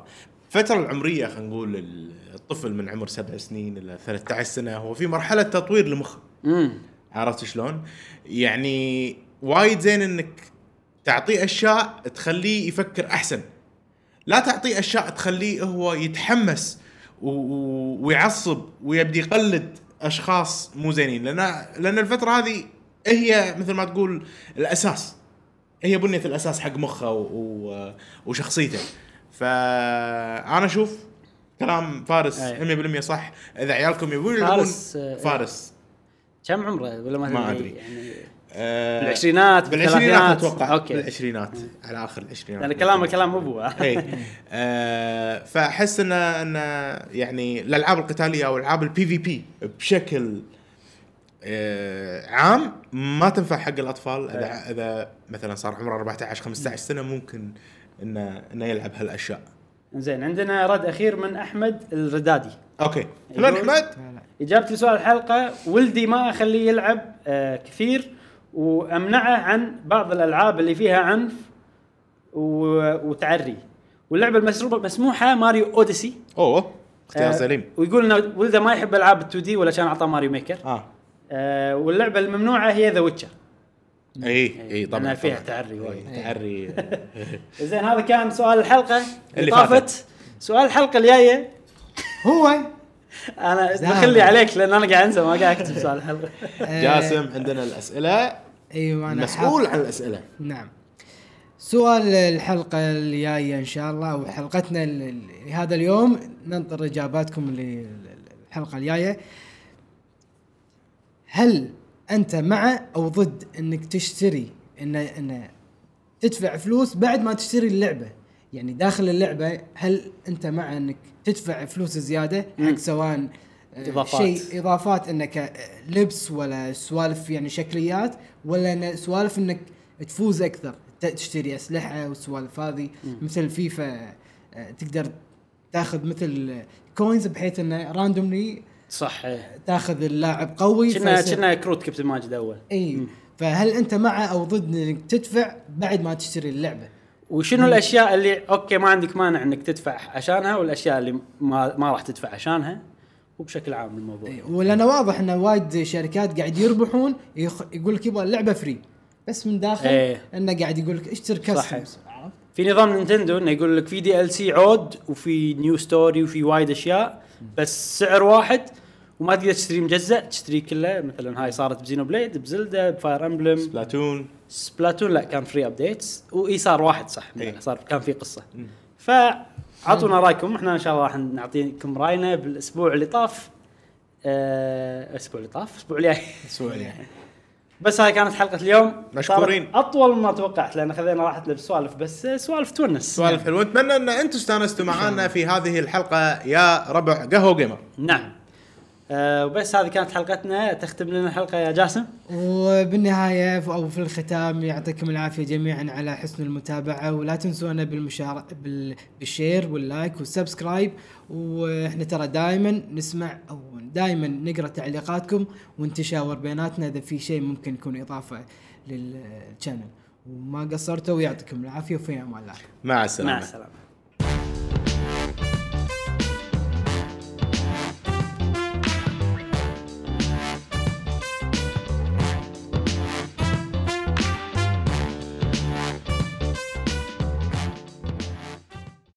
[SPEAKER 3] الفترة العمرية خلينا نقول ال- الطفل من عمر سبع سنين الى 13 سنة هو في مرحلة تطوير لمخ
[SPEAKER 1] امم
[SPEAKER 3] عرفت شلون؟ يعني وايد زين انك تعطيه اشياء تخليه يفكر احسن. لا تعطيه اشياء تخليه هو يتحمس و... و... ويعصب ويبدي يقلد اشخاص مو زينين لان لان الفتره هذه هي مثل ما تقول الاساس هي بنيه الاساس حق مخه و... و... وشخصيته فانا اشوف كلام فارس
[SPEAKER 1] أي.
[SPEAKER 3] 100% صح اذا عيالكم يبون يلعبون
[SPEAKER 1] فارس، آه،
[SPEAKER 3] فارس
[SPEAKER 1] كم عمره ولا ما,
[SPEAKER 3] ما
[SPEAKER 1] تدري؟
[SPEAKER 3] أدري.
[SPEAKER 1] يعني
[SPEAKER 3] آه،
[SPEAKER 1] بالعشرينات
[SPEAKER 3] بالعشرينات
[SPEAKER 1] بالثلاثينات
[SPEAKER 3] اتوقع
[SPEAKER 1] اوكي
[SPEAKER 3] بالعشرينات على اخر العشرينات
[SPEAKER 1] لان كلامه كلام ابوه
[SPEAKER 3] اي آه، فاحس ان ان يعني الالعاب القتاليه او العاب البي في بي بشكل آه، عام ما تنفع حق الاطفال
[SPEAKER 1] إيه.
[SPEAKER 3] اذا اذا مثلا صار عمره 14 15 سنه ممكن انه انه يلعب هالاشياء
[SPEAKER 1] زين عندنا رد اخير من احمد الردادي
[SPEAKER 3] اوكي شلون
[SPEAKER 1] يقول-
[SPEAKER 3] احمد
[SPEAKER 1] اجابتي لسؤال الحلقه ولدي ما اخليه يلعب آه كثير وامنعه عن بعض الالعاب اللي فيها عنف و- وتعري واللعبه المسروبه مسموحه ماريو اوديسي
[SPEAKER 3] اوه اختيار
[SPEAKER 1] آه،
[SPEAKER 3] سليم
[SPEAKER 1] ويقول انه ولده ما يحب العاب ال 2 دي ولا كان اعطاه ماريو ميكر
[SPEAKER 3] اه
[SPEAKER 1] آه واللعبه الممنوعه هي ذا ويتشر
[SPEAKER 3] اي اي طبعا
[SPEAKER 1] إيه. لأنها فيها
[SPEAKER 3] إيه. طبعاً.
[SPEAKER 1] تعري وايد. إيه.
[SPEAKER 3] إي، تعري
[SPEAKER 1] زين هذا كان سؤال الحلقه
[SPEAKER 3] اللي
[SPEAKER 1] اللي
[SPEAKER 3] فاتت.
[SPEAKER 1] طافت سؤال الحلقه الجايه
[SPEAKER 2] هو
[SPEAKER 1] انا
[SPEAKER 2] زين.
[SPEAKER 1] بخلي عليك لان انا قاعد انسى ما قاعد اكتب سؤال الحلقه
[SPEAKER 2] آه،
[SPEAKER 3] جاسم عندنا الاسئله
[SPEAKER 2] ايوه انا
[SPEAKER 3] مسؤول عن الاسئله
[SPEAKER 2] نعم سؤال الحلقة الجاية إن شاء الله وحلقتنا هذا اليوم ننطر إجاباتكم للحلقة الجاية هل أنت مع أو ضد أنك تشتري أن أن تدفع فلوس بعد ما تشتري اللعبة يعني داخل اللعبة هل أنت مع أنك تدفع فلوس زيادة حق سواء آه،
[SPEAKER 1] إضافات.
[SPEAKER 2] شيء اضافات انك لبس ولا سوالف يعني شكليات ولا إن سوالف انك تفوز اكثر ت- تشتري اسلحه والسوالف هذه مثل فيفا آه، تقدر تاخذ مثل كوينز بحيث انه راندوملي
[SPEAKER 1] صح إيه.
[SPEAKER 2] تاخذ اللاعب قوي
[SPEAKER 1] كنا
[SPEAKER 2] فيصير-
[SPEAKER 1] كنا كروت كابتن ماجد اول
[SPEAKER 2] اي فهل انت مع او ضد انك تدفع بعد ما تشتري اللعبه؟
[SPEAKER 1] وشنو الاشياء اللي اوكي ما عندك مانع انك تدفع عشانها والاشياء اللي ما ما راح تدفع عشانها وبشكل عام الموضوع
[SPEAKER 2] إي، ولانه واضح ان وايد شركات قاعد يربحون يخ... يقول لك يبغى اللعبه فري بس من داخل
[SPEAKER 1] إيه.
[SPEAKER 2] انه قاعد يقول لك اشتر
[SPEAKER 1] صحيح.
[SPEAKER 2] كاستمز عرفت؟
[SPEAKER 1] في نظام نينتندو انه يقول لك في دي ال سي عود وفي نيو ستوري وفي وايد اشياء بس سعر واحد وما تقدر تشتري مجزء تشتري كله مثلا هاي صارت بزينو بليد بزلدا بفاير امبلم
[SPEAKER 3] سبلاتون
[SPEAKER 1] سبلاتون لا كان فري ابديتس واي صار واحد صح يعني
[SPEAKER 3] إيه.
[SPEAKER 1] صار كان في قصه فاعطونا رايكم احنا ان شاء الله راح نعطيكم راينا بالاسبوع اللي طاف آه، الاسبوع اللي طاف الاسبوع الجاي
[SPEAKER 3] سوري
[SPEAKER 1] بس هاي كانت حلقه اليوم
[SPEAKER 3] مشكورين.
[SPEAKER 1] صارت اطول ما توقعت لان خذينا راحتنا بسوالف بس آه، سوالف تونس
[SPEAKER 3] سوالف حلوه نتمنى ان انتم استانستوا معنا في هذه الحلقه يا ربع قهوه جيمر
[SPEAKER 1] نعم آه، وبس هذه كانت حلقتنا تختم لنا الحلقه يا جاسم
[SPEAKER 2] وبالنهايه ف- او في الختام يعطيكم العافيه جميعا على حسن المتابعه ولا تنسونا بالمشار بال... بالشير واللايك والسبسكرايب واحنا ترى دائما نسمع او دائما نقرا تعليقاتكم ونتشاور بيناتنا اذا في شيء ممكن يكون اضافه للشانل وما قصرتوا ويعطيكم العافيه وفي امان الله
[SPEAKER 3] مع
[SPEAKER 1] مع
[SPEAKER 3] السلامه
[SPEAKER 1] السلامه